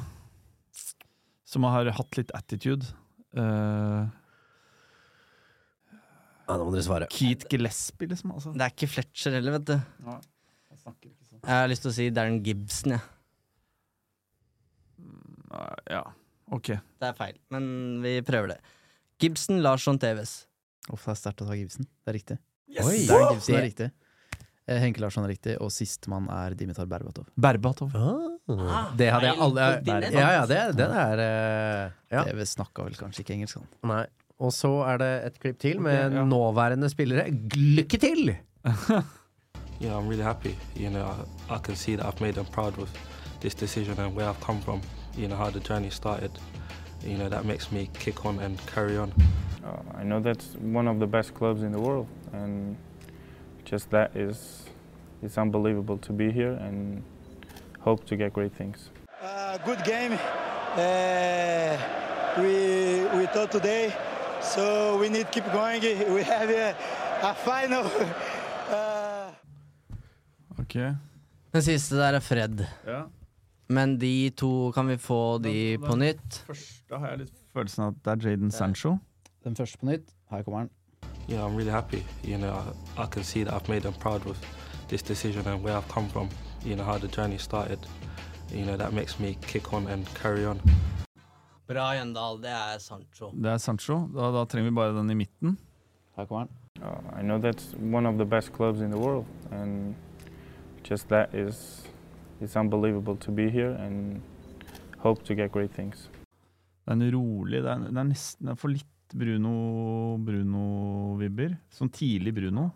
[SPEAKER 3] Som har hatt litt attitude. Eh,
[SPEAKER 2] Ja, nå må dere svare.
[SPEAKER 3] Keith Gillespie, liksom. Altså.
[SPEAKER 4] Det er ikke Fletcher heller, vet du.
[SPEAKER 3] Nei, jeg snakker ikke sånn.
[SPEAKER 4] Jeg har lyst til å si Darren Gibson, jeg.
[SPEAKER 3] Nei, Ja, ok.
[SPEAKER 4] Ja. Det er feil, men vi prøver det. Gibson, Larsson, TVs.
[SPEAKER 5] Uff, det er sterkt å ta Gibson. Det er riktig.
[SPEAKER 3] Yes!
[SPEAKER 5] Oi, det er Gibson er riktig. Eh, Henke Larsson er riktig, og sistemann er Dimitar Berbatov.
[SPEAKER 3] Berbatov.
[SPEAKER 2] Ah, det hadde jeg
[SPEAKER 4] feil
[SPEAKER 2] aldri
[SPEAKER 4] kontinent.
[SPEAKER 2] Ja, ja, det, den er eh, Ja.
[SPEAKER 5] TV snakka vel kanskje ikke engelsk, han.
[SPEAKER 2] Nei. Og så er det et klipp til med
[SPEAKER 3] Ok, ja.
[SPEAKER 2] nåværende spillere. Lykke til!
[SPEAKER 13] Yeah, I'm really happy. You know, I, I can see that I've made them proud with this decision and where I've come from. You know, how the journey started. You know, that makes me kick on and carry on.
[SPEAKER 14] Uh, I know that's one of the best clubs in the world, and just that is it's unbelievable to be here and hope to get great things.
[SPEAKER 15] Uh, good game. Uh, we we thought today. So we need to keep going. We have a, a final. uh,
[SPEAKER 3] Ok.
[SPEAKER 4] Den siste der er Fred.
[SPEAKER 3] Ja.
[SPEAKER 4] Men de to kan vi få de
[SPEAKER 3] Da- da-
[SPEAKER 4] på nytt.
[SPEAKER 3] Da har jeg litt følelsen av at det er Jaden Sancho.
[SPEAKER 5] Den første på nytt. Her kommer den.
[SPEAKER 13] Yeah, I'm really happy. You know, I, I can see that I've made them proud with this decision and where I've come from. You know, how the journey started. You know, that makes me kick on and carry on.
[SPEAKER 4] Bra, Jøndal. Det er Sancho.
[SPEAKER 3] Det er Sancho. Da, da trenger vi bare den i midten.
[SPEAKER 5] Her kommer den.
[SPEAKER 14] Uh, I know that's one of the best clubs in the world, and just that is it's unbelievable to be here and hope to get great things.
[SPEAKER 3] Det er en rolig Det er, det er nesten det er for litt Bruno Bruno-vibber. Sånn tidlig Bruno.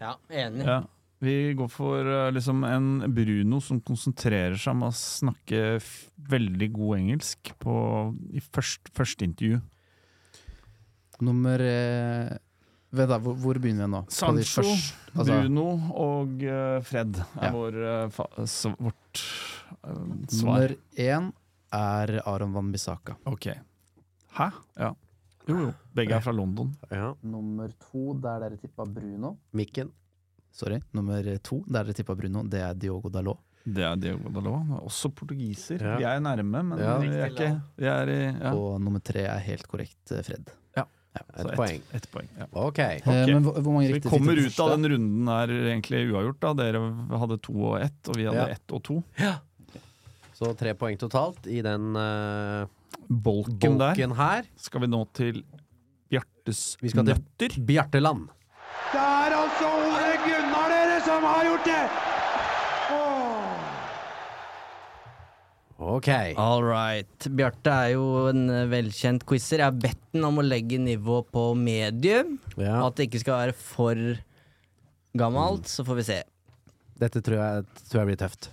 [SPEAKER 4] Ja, enig.
[SPEAKER 3] Ja. Vi går for eh, liksom en Bruno som konsentrerer seg om å snakke f veldig god engelsk på, i først- første intervju.
[SPEAKER 5] Nummer eh, vet da, hvor, hvor begynner vi nå? På de
[SPEAKER 3] Sancho,
[SPEAKER 5] første- altså,
[SPEAKER 3] Bruno og eh, Fred er
[SPEAKER 5] Ja.
[SPEAKER 3] vår, eh, fa s vårt eh, svar.
[SPEAKER 5] Nummer én er Aron Van Bissaka.
[SPEAKER 3] Ok. Hæ? Ja. Jo, jo. Begge er fra London.
[SPEAKER 5] Nummer to, der dere tippa Bruno.
[SPEAKER 2] Mikken.
[SPEAKER 5] Sorry. Nummer to, der dere tippa Bruno, det er Diogo Dalot.
[SPEAKER 3] Det er Diogo Dalot. Han er Også portugiser.
[SPEAKER 5] Ja.
[SPEAKER 3] Vi er nærme, men
[SPEAKER 5] Ja.
[SPEAKER 3] vi er ikke vi er i, ja.
[SPEAKER 5] Og nummer tre er helt korrekt eh, Fred.
[SPEAKER 3] Ja.
[SPEAKER 5] Så
[SPEAKER 3] Så
[SPEAKER 5] ett-
[SPEAKER 3] poeng. Ett poeng ja.
[SPEAKER 2] Ok.
[SPEAKER 5] Eh, men hvor- hvor mange
[SPEAKER 3] Så vi
[SPEAKER 5] riktige
[SPEAKER 3] kommer
[SPEAKER 5] fikk den
[SPEAKER 3] ut av
[SPEAKER 5] første?
[SPEAKER 3] den runden her egentlig uavgjort. da Dere hadde to og ett, og vi
[SPEAKER 2] Ja.
[SPEAKER 3] hadde ett og to.
[SPEAKER 2] Så tre poeng totalt i den eh,
[SPEAKER 3] Bolken,
[SPEAKER 2] bolken her.
[SPEAKER 3] Skal vi nå til Bjartes
[SPEAKER 2] Vi skal til
[SPEAKER 3] nøtter?
[SPEAKER 2] Bjarteland.
[SPEAKER 16] Det er altså Ole Gunnar, dere, som har gjort det! Åh.
[SPEAKER 2] Ok.
[SPEAKER 4] All right. Bjarte er jo en eh, velkjent quizer. Jeg har bedt den om å legge nivået på medium.
[SPEAKER 2] Ja.
[SPEAKER 4] At det ikke skal være for gammelt. Så får vi se.
[SPEAKER 2] Dette tror jeg, tror jeg blir tøft.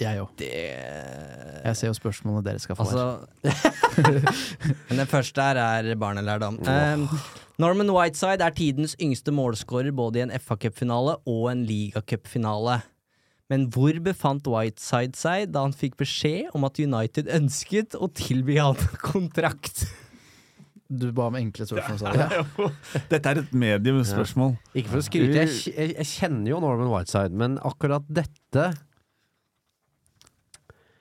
[SPEAKER 5] Jeg òg. Jeg ser jo spørsmålene dere skal få
[SPEAKER 4] Altså Men den første her er barnelærdom. Um, Norman Whiteside er tidens yngste målskårer både i en FA-cupfinale og en ligacupfinale. Men hvor befant Whiteside seg da han fikk beskjed om at United ønsket å tilby han kontrakt?
[SPEAKER 5] her. Du ba om enkle spørsmål, sa du.
[SPEAKER 3] Dette er et mediumspørsmål.
[SPEAKER 2] Ikke for å skryte, jeg, kj- jeg, jeg kjenner jo Norman Whiteside, men akkurat dette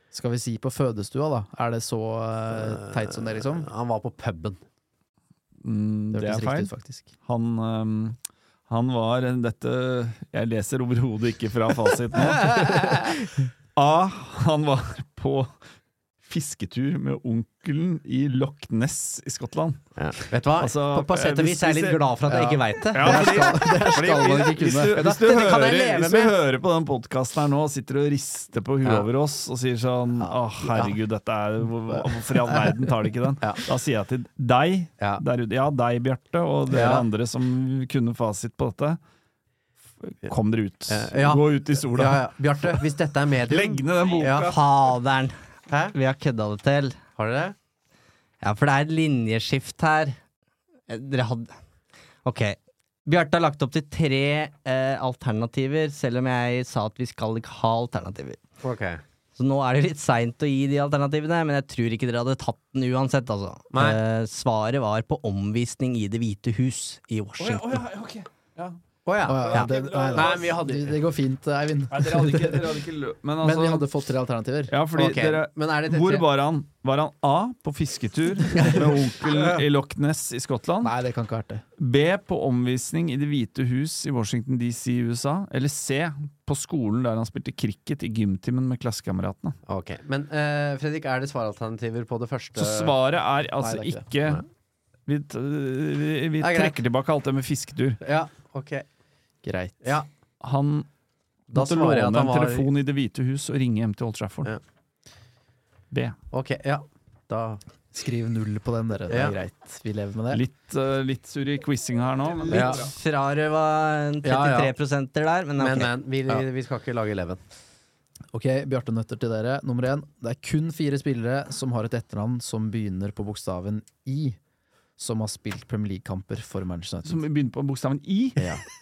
[SPEAKER 5] Skal vi si på fødestua, da? Er det så eh, teit som det, liksom?
[SPEAKER 2] Han var på puben.
[SPEAKER 3] Mm,
[SPEAKER 5] Det
[SPEAKER 3] det
[SPEAKER 5] hørtes
[SPEAKER 3] er
[SPEAKER 5] riktig
[SPEAKER 3] feil.
[SPEAKER 5] ut, faktisk.
[SPEAKER 3] Han, ehm, han var en- Dette Jeg leser overhodet ikke fra fasit nå. A. Han var på fisketur med onkelen i Loch Ness i Skottland. Altså, eh,
[SPEAKER 2] Vet du hva?
[SPEAKER 5] Altså,
[SPEAKER 2] På- på sett og vis er jeg litt glad for at jeg ikke vet det. Det her skal- det her skal man ikke
[SPEAKER 3] Hvis
[SPEAKER 2] kunne.
[SPEAKER 3] du,
[SPEAKER 2] Vet du hva?
[SPEAKER 3] hvis du,
[SPEAKER 2] Dette kan jeg
[SPEAKER 3] hører,
[SPEAKER 2] leve
[SPEAKER 3] hvis du
[SPEAKER 2] med.
[SPEAKER 3] hører på den podkasten her nå og sitter og rister på huet
[SPEAKER 2] Ja.
[SPEAKER 3] over oss og sier sånn Å, herregud, dette er hvor- Hvorfor i all verden tar de ikke den? Da sier jeg til deg der ute, ja, deg, Bjarte, og dere
[SPEAKER 2] Ja.
[SPEAKER 3] andre som kunne fasit på dette. Kom dere ut.
[SPEAKER 2] Ja.
[SPEAKER 3] Gå ut i sola.
[SPEAKER 2] Ja, ja. Bjarte, hvis dette er medium
[SPEAKER 3] Legg ned den boka.
[SPEAKER 2] Ja.
[SPEAKER 4] Faderen! Vi har kødda det til.
[SPEAKER 2] Har dere det?
[SPEAKER 4] Ja, for det er et linjeskift her. Eh, Dere hadde Ok. Bjarte har lagt opp til tre eh, alternativer, selv om jeg sa at vi skal ikke ha alternativer.
[SPEAKER 2] Ok.
[SPEAKER 4] Så nå er det litt seint å gi de alternativene, men jeg tror ikke dere hadde tatt den uansett, altså.
[SPEAKER 2] Nei.
[SPEAKER 4] Eh, svaret var på omvisning i Det hvite hus i Washington.
[SPEAKER 2] Å ja.
[SPEAKER 5] Å ja, det, nei,
[SPEAKER 2] Nei, vi hadde-
[SPEAKER 5] det, det går fint, Eivind.
[SPEAKER 3] dere hadde ikke- dere hadde ikke lø- Men
[SPEAKER 5] men,
[SPEAKER 3] altså-
[SPEAKER 5] vi hadde fått tre alternativer.
[SPEAKER 3] Ja, fordi dere, Hvor var han? Var han A på fisketur med onkelen i Loch Ness i Skottland?
[SPEAKER 5] Nei, det kan ikke ha vært det.
[SPEAKER 3] B på omvisning i Det hvite hus i Washington DC i USA? Eller C på skolen der han spilte cricket i gymtimen med klassekameratene?
[SPEAKER 2] Ok, Men eh, Fredrik, er det svaralternativer på det første
[SPEAKER 3] Så svaret er altså
[SPEAKER 2] Nei, det er ikke
[SPEAKER 3] ikke Vi, t- vi, vi
[SPEAKER 2] Det er greit.
[SPEAKER 3] trekker tilbake alt det med fisketur.
[SPEAKER 2] Ja, ok.
[SPEAKER 5] Greit.
[SPEAKER 2] Ja.
[SPEAKER 3] Han
[SPEAKER 2] Da
[SPEAKER 3] måtte
[SPEAKER 2] svarer
[SPEAKER 3] låne
[SPEAKER 2] jeg at han
[SPEAKER 3] en
[SPEAKER 2] var-
[SPEAKER 3] telefon i Det hvite hus og ringe hjem til Old Trafford. B.
[SPEAKER 2] Ok, ja. Da
[SPEAKER 5] Skriv null på den, dere. Det
[SPEAKER 3] Ja.
[SPEAKER 5] er greit. Vi lever med det.
[SPEAKER 3] Litt, uh, litt sur i quizinga her nå. Men
[SPEAKER 4] Litt frarøva en 33 der, men ok.
[SPEAKER 2] Men, men vi,
[SPEAKER 5] Ja.
[SPEAKER 2] vi skal ikke lage leven.
[SPEAKER 5] Ok, Bjartenøtter til dere. Nummer én. Det er kun fire spillere som har et etternavn som begynner på bokstaven I, som har spilt Premier League-kamper for Manchester United.
[SPEAKER 3] Som begynner på bokstaven I.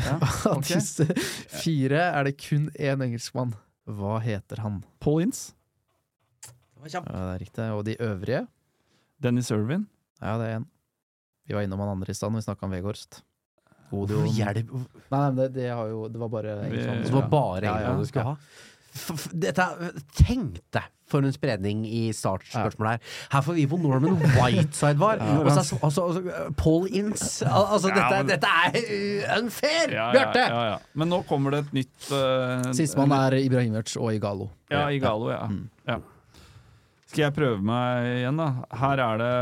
[SPEAKER 5] Ja. Av
[SPEAKER 3] ok.
[SPEAKER 5] disse fire er det kun én engelskmann. Hva heter han?
[SPEAKER 3] Paul Ince.
[SPEAKER 5] Ja, det er riktig. Og de øvrige?
[SPEAKER 3] Dennis Irvin.
[SPEAKER 5] Ja, det er en. Vi var innom han andre i stand, vi snakka om Vegårst.
[SPEAKER 2] Hvor hjelp-
[SPEAKER 5] Nei, men det, det, har jo, det var bare England.
[SPEAKER 2] Det var bare England du skulle ha. F- f- Dette, tenk deg for en spredning i startspørsmålet her. Her får vi på Norman Whiteside var,
[SPEAKER 3] Ja.
[SPEAKER 2] og så er så- altså, altså, Paul Ince Al- Altså,
[SPEAKER 3] Ja,
[SPEAKER 2] dette,
[SPEAKER 3] men-
[SPEAKER 2] dette er uh, unfair,
[SPEAKER 3] Ja, ja,
[SPEAKER 2] Bjarte!
[SPEAKER 3] ja, ja. Men nå kommer det et nytt uh,
[SPEAKER 5] Sistemann er Ibrahimovic og Igalo. Mm.
[SPEAKER 3] Ja, Igalo, ja. ja. Skal jeg prøve meg igjen, da? Her er det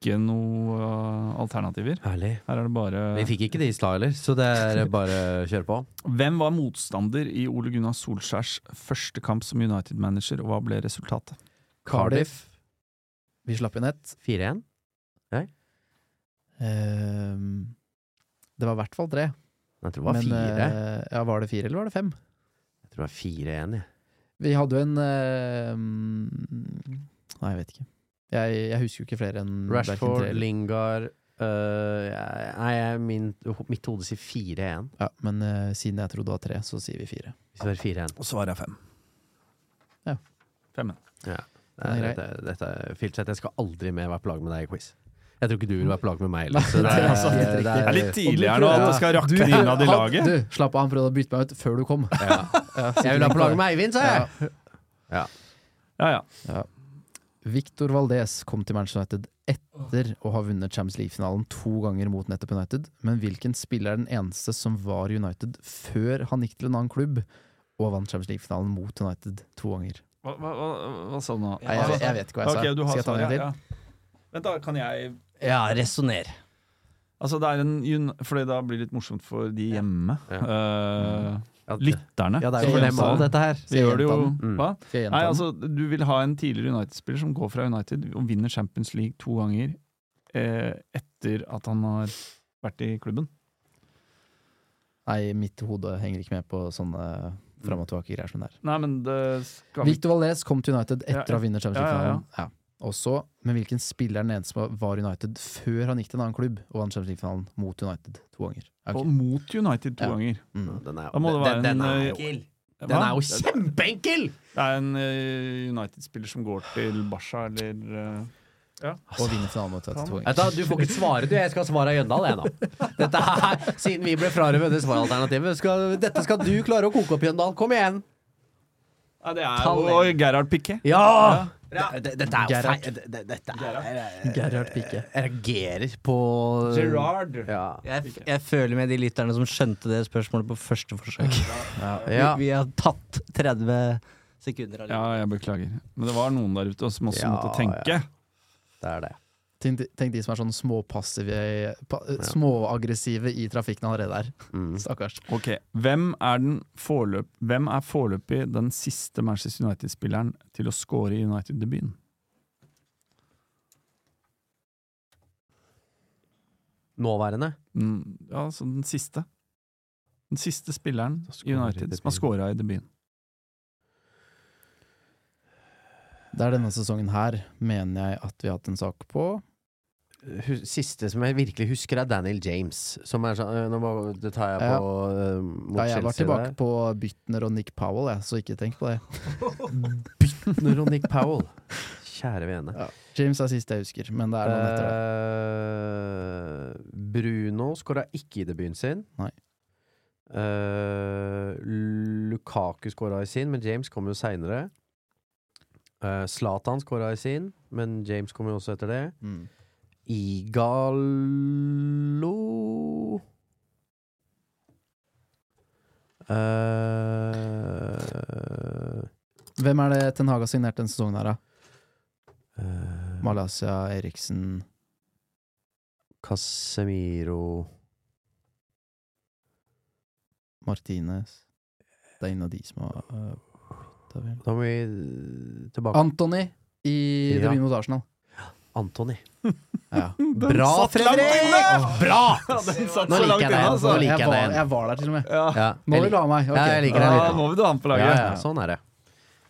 [SPEAKER 3] ikke noe uh, alternativer. Her er det bare
[SPEAKER 2] Vi fikk ikke det i stad heller, så det er bare å kjøre på.
[SPEAKER 3] Hvem var motstander i Ole Gunnar Solskjærs første kamp som United-manager, og hva ble resultatet?
[SPEAKER 5] Cardiff. Vi slapp inn ett.
[SPEAKER 2] 4-1? Nei?
[SPEAKER 5] Ehm, det var i hvert fall tre.
[SPEAKER 2] Jeg tror det var
[SPEAKER 5] Men,
[SPEAKER 2] fire.
[SPEAKER 5] eh, ja, var det fire, eller var det fem?
[SPEAKER 2] Jeg tror det var 4-1, jeg.
[SPEAKER 5] Vi hadde jo en eh, mm, Nei, jeg vet ikke. Jeg, jeg husker jo ikke flere
[SPEAKER 3] mm,
[SPEAKER 5] enn hverken
[SPEAKER 2] Rashford,
[SPEAKER 5] tre eller-
[SPEAKER 2] Lingard øh, jeg- Nei, jeg- min, mitt hode sier 4-1.
[SPEAKER 5] Ja, men eh, siden jeg trodde det var tre, så sier vi fire.
[SPEAKER 2] Hvis det var 4-1.
[SPEAKER 3] Og svaret er fem.
[SPEAKER 5] Ja.
[SPEAKER 3] Femmen.
[SPEAKER 2] Ja.
[SPEAKER 5] Den er grei.
[SPEAKER 2] Dette, dette er Filseth, jeg skal aldri mer være på lag med deg i quiz. Jeg tror ikke du vil være på lag med meg heller. så
[SPEAKER 5] Nei,
[SPEAKER 2] det er-
[SPEAKER 5] altså,
[SPEAKER 2] det er-
[SPEAKER 5] helt
[SPEAKER 2] det
[SPEAKER 5] riktig.
[SPEAKER 2] er-
[SPEAKER 3] Det er litt tidlig her nå, at det skal rakne
[SPEAKER 5] Du-
[SPEAKER 3] innad i
[SPEAKER 5] han-
[SPEAKER 3] laget.
[SPEAKER 5] Du, slapp av, han prøvde å bytte meg ut før du kom.
[SPEAKER 2] Ja. Jeg vil ha på lag med Eivind,
[SPEAKER 5] altså.
[SPEAKER 2] sa jeg! Ja.
[SPEAKER 3] Ja, ja.
[SPEAKER 5] Ja. Victor Valdez kom til Manchester United etter å ha vunnet Champions League-finalen to ganger mot nettopp United, men hvilken spiller er den eneste som var i United før han gikk til en annen klubb og vant Champions League-finalen mot United to ganger?
[SPEAKER 3] Hva, hva, hva, hva sa du nå?
[SPEAKER 5] Nei, jeg vet- jeg vet ikke hva jeg sa.
[SPEAKER 3] Ok, du har
[SPEAKER 5] Skal jeg ta den
[SPEAKER 3] svaret,
[SPEAKER 5] en
[SPEAKER 3] ja, ja. Vent, da kan jeg
[SPEAKER 2] eh,
[SPEAKER 4] Ja, resonner.
[SPEAKER 3] Altså, det er en jun- Fordi da blir det litt morsomt for de hjemme. Eh,
[SPEAKER 5] Mm.
[SPEAKER 2] det-
[SPEAKER 3] lytterne.
[SPEAKER 2] Ja, det er jo
[SPEAKER 3] som
[SPEAKER 2] for dem
[SPEAKER 3] sa
[SPEAKER 2] også, dette her.
[SPEAKER 3] Vi gjør det jo
[SPEAKER 2] Skal jeg gjenta den?
[SPEAKER 3] Hva?
[SPEAKER 2] Mm. Skal jeg gjenta
[SPEAKER 3] Nei,
[SPEAKER 2] den?
[SPEAKER 3] altså, du vil ha en tidligere United-spiller som går fra United og vinner Champions League to ganger eh, etter at han har vært i klubben.
[SPEAKER 5] Nei, mitt hode henger ikke med på sånne fram og tilbake-greier som det er.
[SPEAKER 3] Nei, men det skal vi
[SPEAKER 5] Victor Valdes kom til United
[SPEAKER 3] Ja,
[SPEAKER 5] etter å ha vunnet Champions
[SPEAKER 3] ja, ja, ja.
[SPEAKER 5] League-finalen. Ja, Og så, Men hvilken spiller er den eneste som var United før han gikk til en annen klubb og vant Champions League-finalen mot United to ganger? Ja, ok.
[SPEAKER 3] Og mot United to
[SPEAKER 5] Ja.
[SPEAKER 3] ganger.
[SPEAKER 2] Den er,
[SPEAKER 3] Da må det være
[SPEAKER 2] den, den
[SPEAKER 3] en,
[SPEAKER 2] er
[SPEAKER 3] eh,
[SPEAKER 2] enkel!
[SPEAKER 3] Hva?
[SPEAKER 2] Den er jo kjempeenkel!
[SPEAKER 3] Det er en eh, United-spiller som går til Barca eller eh, ja.
[SPEAKER 5] Og vinner finalen mot United to
[SPEAKER 2] Vet du, hva, du får ikke svare, du. Jeg skal svare Jøndal, jeg nå. Dette her, siden vi ble frarøvet det svaralternativet, skal, dette skal du klare å koke opp, Jøndal. Kom igjen!
[SPEAKER 3] Ja, det er
[SPEAKER 2] Tall-
[SPEAKER 3] jo og Gerhard Piquet.
[SPEAKER 2] Ja! Det- det- Dette er jo
[SPEAKER 3] Gerhard.
[SPEAKER 2] feil. det- det- Dette er
[SPEAKER 5] Gerhard Pique.
[SPEAKER 2] Jeg reagerer på
[SPEAKER 3] Gerard.
[SPEAKER 2] Ja.
[SPEAKER 4] Jeg, f jeg føler med de lytterne som skjønte det spørsmålet på første forsøk.
[SPEAKER 2] Ja.
[SPEAKER 4] Vi, vi har tatt 30 sekunder av
[SPEAKER 3] Ja, jeg beklager. Men det var noen der ute som også
[SPEAKER 2] Ja,
[SPEAKER 3] måtte tenke.
[SPEAKER 2] Det er det.
[SPEAKER 5] Tenk, de- tenk de som er sånn småpassive pa, Småaggressive i trafikken allerede der.
[SPEAKER 2] Mm.
[SPEAKER 3] Mm.
[SPEAKER 5] Stakkars.
[SPEAKER 3] Ok, Hvem er, den forløp, hvem er foreløpig den siste Manchester United-spilleren til å score i United-debuten?
[SPEAKER 2] Nåværende.
[SPEAKER 3] Mm, ja, altså den siste. Den siste spilleren i
[SPEAKER 2] i
[SPEAKER 3] United som har scora i debuten.
[SPEAKER 5] Det er denne sesongen her, mener jeg at vi har hatt en sak på.
[SPEAKER 2] Hu- Siste som jeg virkelig husker, er Daniel James. Som er sånn øh, Nå må- det tar jeg
[SPEAKER 5] Ja.
[SPEAKER 2] på øh, mot
[SPEAKER 5] Ja, jeg var
[SPEAKER 2] Chelsea
[SPEAKER 5] tilbake
[SPEAKER 2] der.
[SPEAKER 5] på Bytner og Nick Powell, jeg, så ikke tenk på det.
[SPEAKER 2] Bytner og Nick Powell. Kjære vene.
[SPEAKER 5] Ja. James er siste jeg husker, men det er noen etter
[SPEAKER 2] Eh,
[SPEAKER 5] det.
[SPEAKER 2] Bruno skåra ikke i debuten sin.
[SPEAKER 5] Nei.
[SPEAKER 2] Eh, Lukaku skåra i sin, men James kom jo seinere. Eh, Zlatan skåra i sin, men James kom jo også etter det.
[SPEAKER 5] Mm.
[SPEAKER 2] Igalo Eh,
[SPEAKER 5] Hvem er det Ten Hag har signert denne sesongen her, da?
[SPEAKER 2] eh,
[SPEAKER 5] Malaysia, Eriksen
[SPEAKER 2] Casemiro
[SPEAKER 5] Martinez Det er en av de som har øh, byttet vel.
[SPEAKER 2] Da må vi eh, tilbake
[SPEAKER 5] Anthony i
[SPEAKER 2] Ja.
[SPEAKER 5] debuten mot Arsenal.
[SPEAKER 2] Antony.
[SPEAKER 5] Ja.
[SPEAKER 2] Bra,
[SPEAKER 3] satt langt
[SPEAKER 2] Fredrik!
[SPEAKER 3] inne!
[SPEAKER 2] Bra!
[SPEAKER 3] Ja, den satt
[SPEAKER 2] Nå
[SPEAKER 3] så
[SPEAKER 2] liker
[SPEAKER 3] langt
[SPEAKER 2] jeg
[SPEAKER 3] inne,
[SPEAKER 2] deg.
[SPEAKER 3] altså.
[SPEAKER 2] Nå liker
[SPEAKER 5] jeg,
[SPEAKER 2] jeg
[SPEAKER 5] var,
[SPEAKER 2] deg.
[SPEAKER 5] jeg var der, til og med.
[SPEAKER 3] Ja.
[SPEAKER 2] Ja.
[SPEAKER 5] Nå vil
[SPEAKER 2] Jeg
[SPEAKER 5] du ha meg.
[SPEAKER 2] lik-
[SPEAKER 5] ok.
[SPEAKER 2] Ja, jeg liker
[SPEAKER 3] Ja,
[SPEAKER 2] deg litt.
[SPEAKER 3] da må vi da ha den på laget.
[SPEAKER 2] Ja, ja, sånn er det.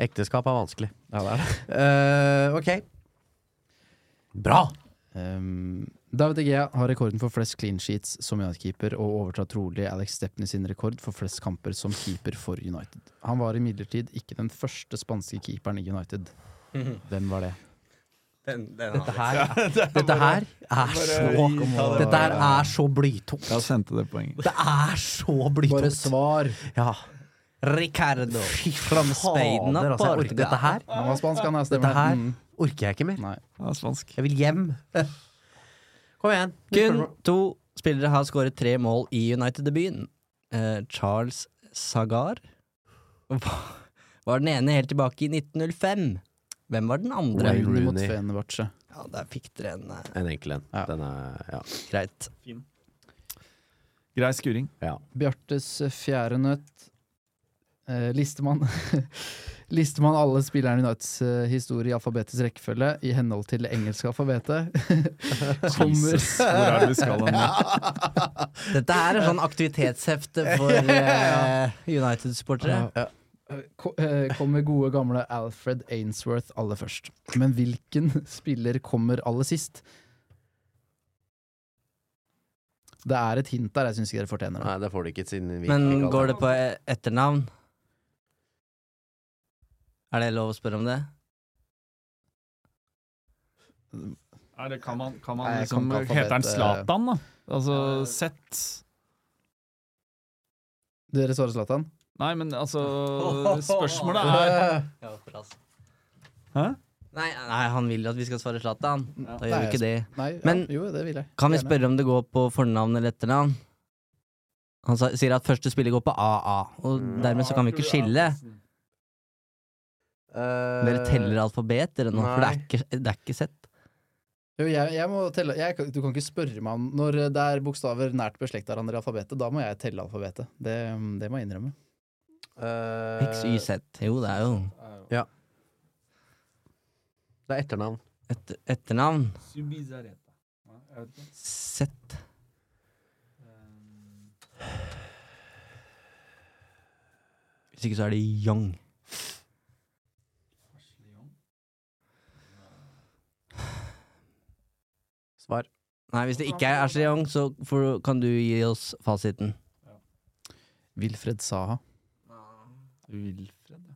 [SPEAKER 2] Ekteskap er vanskelig.
[SPEAKER 5] Ja, det er det.
[SPEAKER 2] Eh, ok. Bra!
[SPEAKER 5] Um, David Egea har rekorden for flest clean sheets som United-keeper, og overtar trolig Alex Stepney sin rekord for flest kamper som keeper for United. Han var imidlertid ikke den første spanske keeperen i United. Hvem var det?
[SPEAKER 4] Dette her,
[SPEAKER 2] Dette her er
[SPEAKER 4] Bare
[SPEAKER 2] så
[SPEAKER 4] gi ta det.
[SPEAKER 2] Dette her er så blytungt.
[SPEAKER 3] Jeg sendte det poenget.
[SPEAKER 2] Det er så blytungt.
[SPEAKER 4] Bare
[SPEAKER 2] svar. Ja.
[SPEAKER 4] Ricardo
[SPEAKER 2] Fy
[SPEAKER 4] from Spain
[SPEAKER 2] fader,
[SPEAKER 4] og
[SPEAKER 2] altså, jeg orker-
[SPEAKER 4] Portugal.
[SPEAKER 2] Dette her
[SPEAKER 5] Han var spansk, han, ja, stemmer
[SPEAKER 2] Dette her
[SPEAKER 5] det. Mm,
[SPEAKER 2] orker jeg ikke mer. Jeg vil hjem. Kom igjen.
[SPEAKER 4] Kun to spillere har skåret tre mål i United-debuten. Eh, Charles Sagar var var den ene helt tilbake i 1905. Hvem var den andre?
[SPEAKER 5] Wayne Rooney mot Rooney. Fenerbahçe.
[SPEAKER 4] Ja, der fikk dere en eh,
[SPEAKER 2] En enkel en. Den er ja.
[SPEAKER 4] greit.
[SPEAKER 3] Grei skuring.
[SPEAKER 5] Bjartes eh, fjerde nøtt. Eh, listemann. listemann alle spillerne i Unites eh, historie i alfabetisk rekkefølge i henhold til det engelske alfabetet. Kommer
[SPEAKER 3] Jesus, hvor er det vi skal hen
[SPEAKER 4] Dette her er sånn aktivitetshefte for eh, United-supportere.
[SPEAKER 5] Ja. Ko- eh, Kommer gode gamle Alfred Ainsworth aller først. Men hvilken spiller kommer aller sist? Det er et hint der jeg syns ikke dere fortjener det.
[SPEAKER 2] Nei, det får de ikke siden vi
[SPEAKER 4] Men
[SPEAKER 2] ikke
[SPEAKER 4] går det på e- etternavn? Er det lov å spørre om det?
[SPEAKER 3] Er det, kan man, kan
[SPEAKER 5] Nei,
[SPEAKER 3] man
[SPEAKER 5] jeg
[SPEAKER 3] liksom,
[SPEAKER 5] kan ikke
[SPEAKER 3] Heter han
[SPEAKER 5] alfabet, eh,
[SPEAKER 3] Zlatan, da? Altså Sett
[SPEAKER 5] Dere svarer Zlatan?
[SPEAKER 3] Nei, men altså Spørsmålet er
[SPEAKER 4] Ja, for altså.
[SPEAKER 3] Hæ?
[SPEAKER 4] Nei, nei, han vil jo at vi skal svare Zlatan. Da gjør
[SPEAKER 5] Nei,
[SPEAKER 4] vi ikke det.
[SPEAKER 5] jeg- Nei, ja,
[SPEAKER 4] Men
[SPEAKER 5] jo, det vil jeg.
[SPEAKER 4] kan vi
[SPEAKER 5] Gjerne.
[SPEAKER 4] spørre om det går på fornavn eller etternavn? Han sa, sier at første spiller går på AA, og
[SPEAKER 5] Mm.
[SPEAKER 4] dermed så kan vi ikke skille. Dere
[SPEAKER 5] Eh,
[SPEAKER 4] teller alfabet, dere nå, for det er ikke, det er ikke sett.
[SPEAKER 5] Jo, jeg, jeg må telle jeg, kan- Du kan ikke spørre meg om Når det er bokstaver nært beslekta hverandre i alfabetet, da må jeg telle alfabetet. Det, det må jeg innrømme.
[SPEAKER 2] Eh,
[SPEAKER 4] X, Y, Z. Jo, det er jo
[SPEAKER 2] Ja. Det er etternavn.
[SPEAKER 4] Et, etternavn.
[SPEAKER 3] Subizareta.
[SPEAKER 4] Z.
[SPEAKER 3] Ehm,
[SPEAKER 4] Hvis ikke så er det Young.
[SPEAKER 2] Svar.
[SPEAKER 4] Nei, hvis det ikke er Ashley Young, så får, kan du gi oss fasiten.
[SPEAKER 5] Wilfred Saha.
[SPEAKER 3] Wilfred,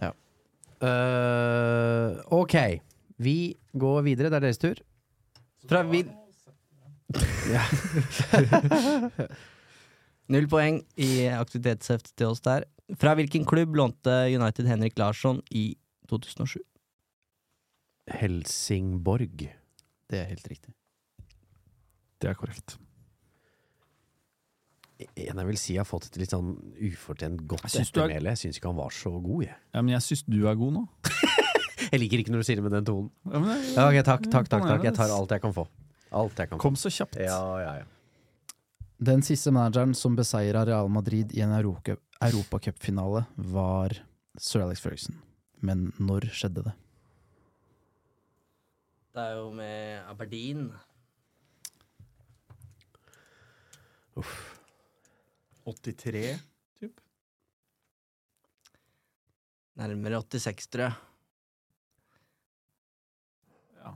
[SPEAKER 5] ja.
[SPEAKER 2] Eh, ok, vi går videre. Det er deres tur.
[SPEAKER 4] Fra vil...
[SPEAKER 2] Ja.
[SPEAKER 4] Null poeng i aktivitetsheftet til oss der. Fra hvilken klubb lånte United Henrik Larsson i 2007?
[SPEAKER 2] Helsingborg.
[SPEAKER 5] Det er helt riktig.
[SPEAKER 3] Det er korrekt.
[SPEAKER 2] En jeg vil si har fått et litt sånn ufortjent godt
[SPEAKER 3] Jeg syns du er-
[SPEAKER 2] ettermæle. Jeg syns ikke han var så god, jeg.
[SPEAKER 3] Ja, men jeg syns du er god nå.
[SPEAKER 2] Jeg liker ikke når du sier det med den tonen. Mm.
[SPEAKER 3] Ja, men det-
[SPEAKER 2] Ja, ok, takk, takk, takk, takk. Jeg tar alt jeg kan få. Alt jeg kan få.
[SPEAKER 3] Kom så kjapt.
[SPEAKER 2] Ja, ja, ja.
[SPEAKER 5] Den siste manageren som beseira Real Madrid i en eurocup- europacupfinale, var sir Alex Ferguson. Men når skjedde det?
[SPEAKER 4] Det er jo med Aberdeen.
[SPEAKER 2] Uff.
[SPEAKER 3] 83?
[SPEAKER 4] Nærmere 86, tror jeg.
[SPEAKER 3] Ja.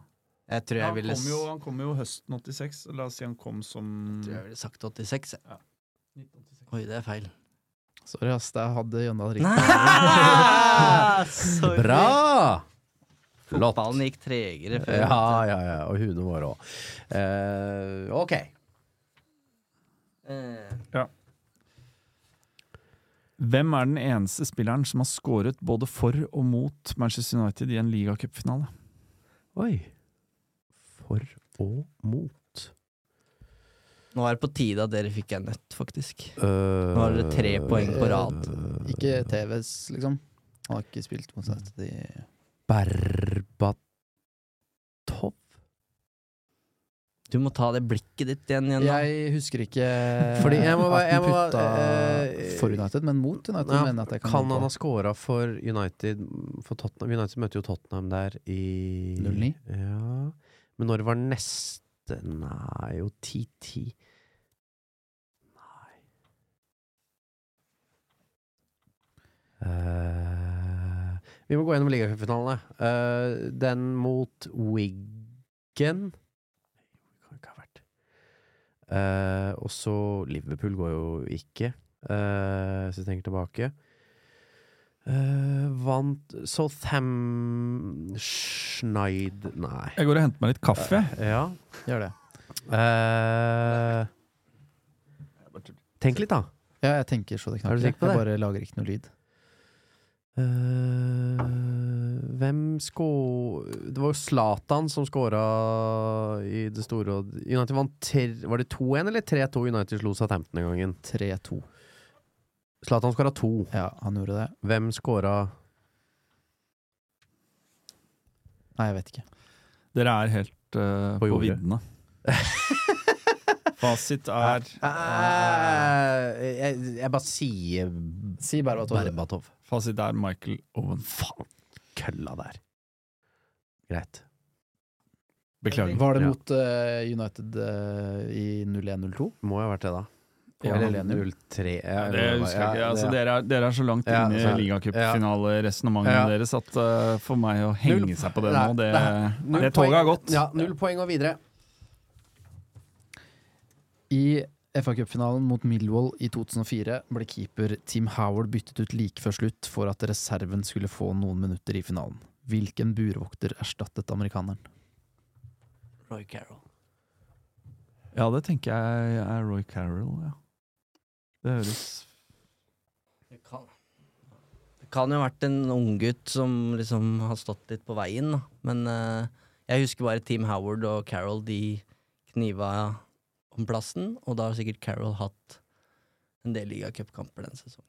[SPEAKER 4] Jeg tror jeg
[SPEAKER 3] Han
[SPEAKER 4] ville
[SPEAKER 3] kom,
[SPEAKER 4] s-
[SPEAKER 3] jo, han kom jo høsten 86. så La oss si han kom som
[SPEAKER 4] tror jeg ville sagt 86. jeg. Oi, det er feil.
[SPEAKER 5] Sorry, ass. Der hadde Jøndal
[SPEAKER 4] Nei! Sorry.
[SPEAKER 2] Bra! Flott.
[SPEAKER 4] Fotballen gikk tregere før.
[SPEAKER 2] Ja, ja, ja. Og hundene våre òg. Eh, ok.
[SPEAKER 4] Eh,
[SPEAKER 3] Hvem er den eneste spilleren som har skåret både for og mot Manchester United i en ligacupfinale?
[SPEAKER 2] Oi. For og mot.
[SPEAKER 4] Nå er det på tide at dere fikk en nøtt, faktisk.
[SPEAKER 2] Eh,
[SPEAKER 4] Nå er det tre poeng på rad.
[SPEAKER 5] Ikke TVs, liksom. Han har ikke spilt mot seg etter de
[SPEAKER 2] Berbatov
[SPEAKER 4] Du må ta det blikket ditt igjen. igjen da.
[SPEAKER 5] Jeg husker ikke
[SPEAKER 2] Fordi jeg må bare-
[SPEAKER 5] at
[SPEAKER 2] jeg
[SPEAKER 5] han
[SPEAKER 2] må bare-
[SPEAKER 5] putta
[SPEAKER 2] eh,
[SPEAKER 5] for United, men mot United.
[SPEAKER 2] Ja,
[SPEAKER 5] mener jeg at jeg kan,
[SPEAKER 2] kan
[SPEAKER 5] gå
[SPEAKER 2] han
[SPEAKER 5] på.
[SPEAKER 2] ha scora for United for Tottenham? United møtte jo Tottenham der i
[SPEAKER 5] 09.
[SPEAKER 2] Ja. Men når det var neste Nei, jo 10-10 Nei Eh, Vi må gå gjennom ligacupfinalene. Eh, den mot Wig... Viken Eh, og så Liverpool går jo ikke, eh, hvis vi tenker tilbake. Eh, vant Southampton Schneid Nei.
[SPEAKER 3] Jeg går og henter meg litt kaffe.
[SPEAKER 2] Eh, ja.
[SPEAKER 5] Gjør det.
[SPEAKER 2] Eh, tenk litt, da.
[SPEAKER 5] Ja, jeg tenker så det
[SPEAKER 2] Er
[SPEAKER 5] knaker.
[SPEAKER 2] du sikker på
[SPEAKER 5] Jeg
[SPEAKER 2] det?
[SPEAKER 5] bare lager ikke noe lyd.
[SPEAKER 2] Eh, hvem skå... Det var jo Zlatan som skåra i det store og United vant ter... Var det 2-1 eller 3-2 United slo Southampton den gangen?
[SPEAKER 5] 3-2.
[SPEAKER 2] Zlatan skåra to.
[SPEAKER 5] Ja, han gjorde det.
[SPEAKER 2] Hvem skåra
[SPEAKER 5] Nei, jeg vet ikke.
[SPEAKER 3] Dere er helt eh, på,
[SPEAKER 2] jordet.
[SPEAKER 3] viddene. Fasit er
[SPEAKER 2] Ah, Eh, jeg, jeg bare sier
[SPEAKER 5] Si Berbatov.
[SPEAKER 2] Berbatov.
[SPEAKER 3] Fasit er Michael Owen.
[SPEAKER 2] Faen, kølla der. Greit.
[SPEAKER 3] Beklager.
[SPEAKER 5] Var det
[SPEAKER 3] Ja.
[SPEAKER 5] mot eh, United eh, i 01-02?
[SPEAKER 2] Må jo ha vært det, da.
[SPEAKER 5] Ja.
[SPEAKER 2] Eller 0-3 ja,
[SPEAKER 3] Det husker jeg ikke. Altså, dere, er, dere er så langt
[SPEAKER 2] Ja,
[SPEAKER 3] inne
[SPEAKER 2] så er
[SPEAKER 3] i
[SPEAKER 2] det-
[SPEAKER 3] ligacupfinaleresonnementet
[SPEAKER 2] Ja.
[SPEAKER 3] deres at eh, for meg å henge
[SPEAKER 2] Null-
[SPEAKER 3] seg på det
[SPEAKER 2] Nei,
[SPEAKER 3] nå, det,
[SPEAKER 2] nei.
[SPEAKER 3] det
[SPEAKER 2] Null poeng.
[SPEAKER 3] toget har gått.
[SPEAKER 2] Ja, null poeng og videre.
[SPEAKER 5] I FA Cup-finalen mot Millwall i 2004 ble keeper Tim Howard byttet ut like før slutt for at reserven skulle få noen minutter i finalen. Hvilken burvokter erstattet amerikaneren?
[SPEAKER 12] Roy Carroll.
[SPEAKER 3] Ja, det tenker jeg er Roy Carroll, ja. Det høres
[SPEAKER 4] Det kan, det kan jo ha vært en unggutt som liksom har stått litt på veien, da. men eh, jeg husker bare Team Howard og Carol de kniva om plassen, og da har sikkert Carol hatt en del ligacupkamper den sesongen.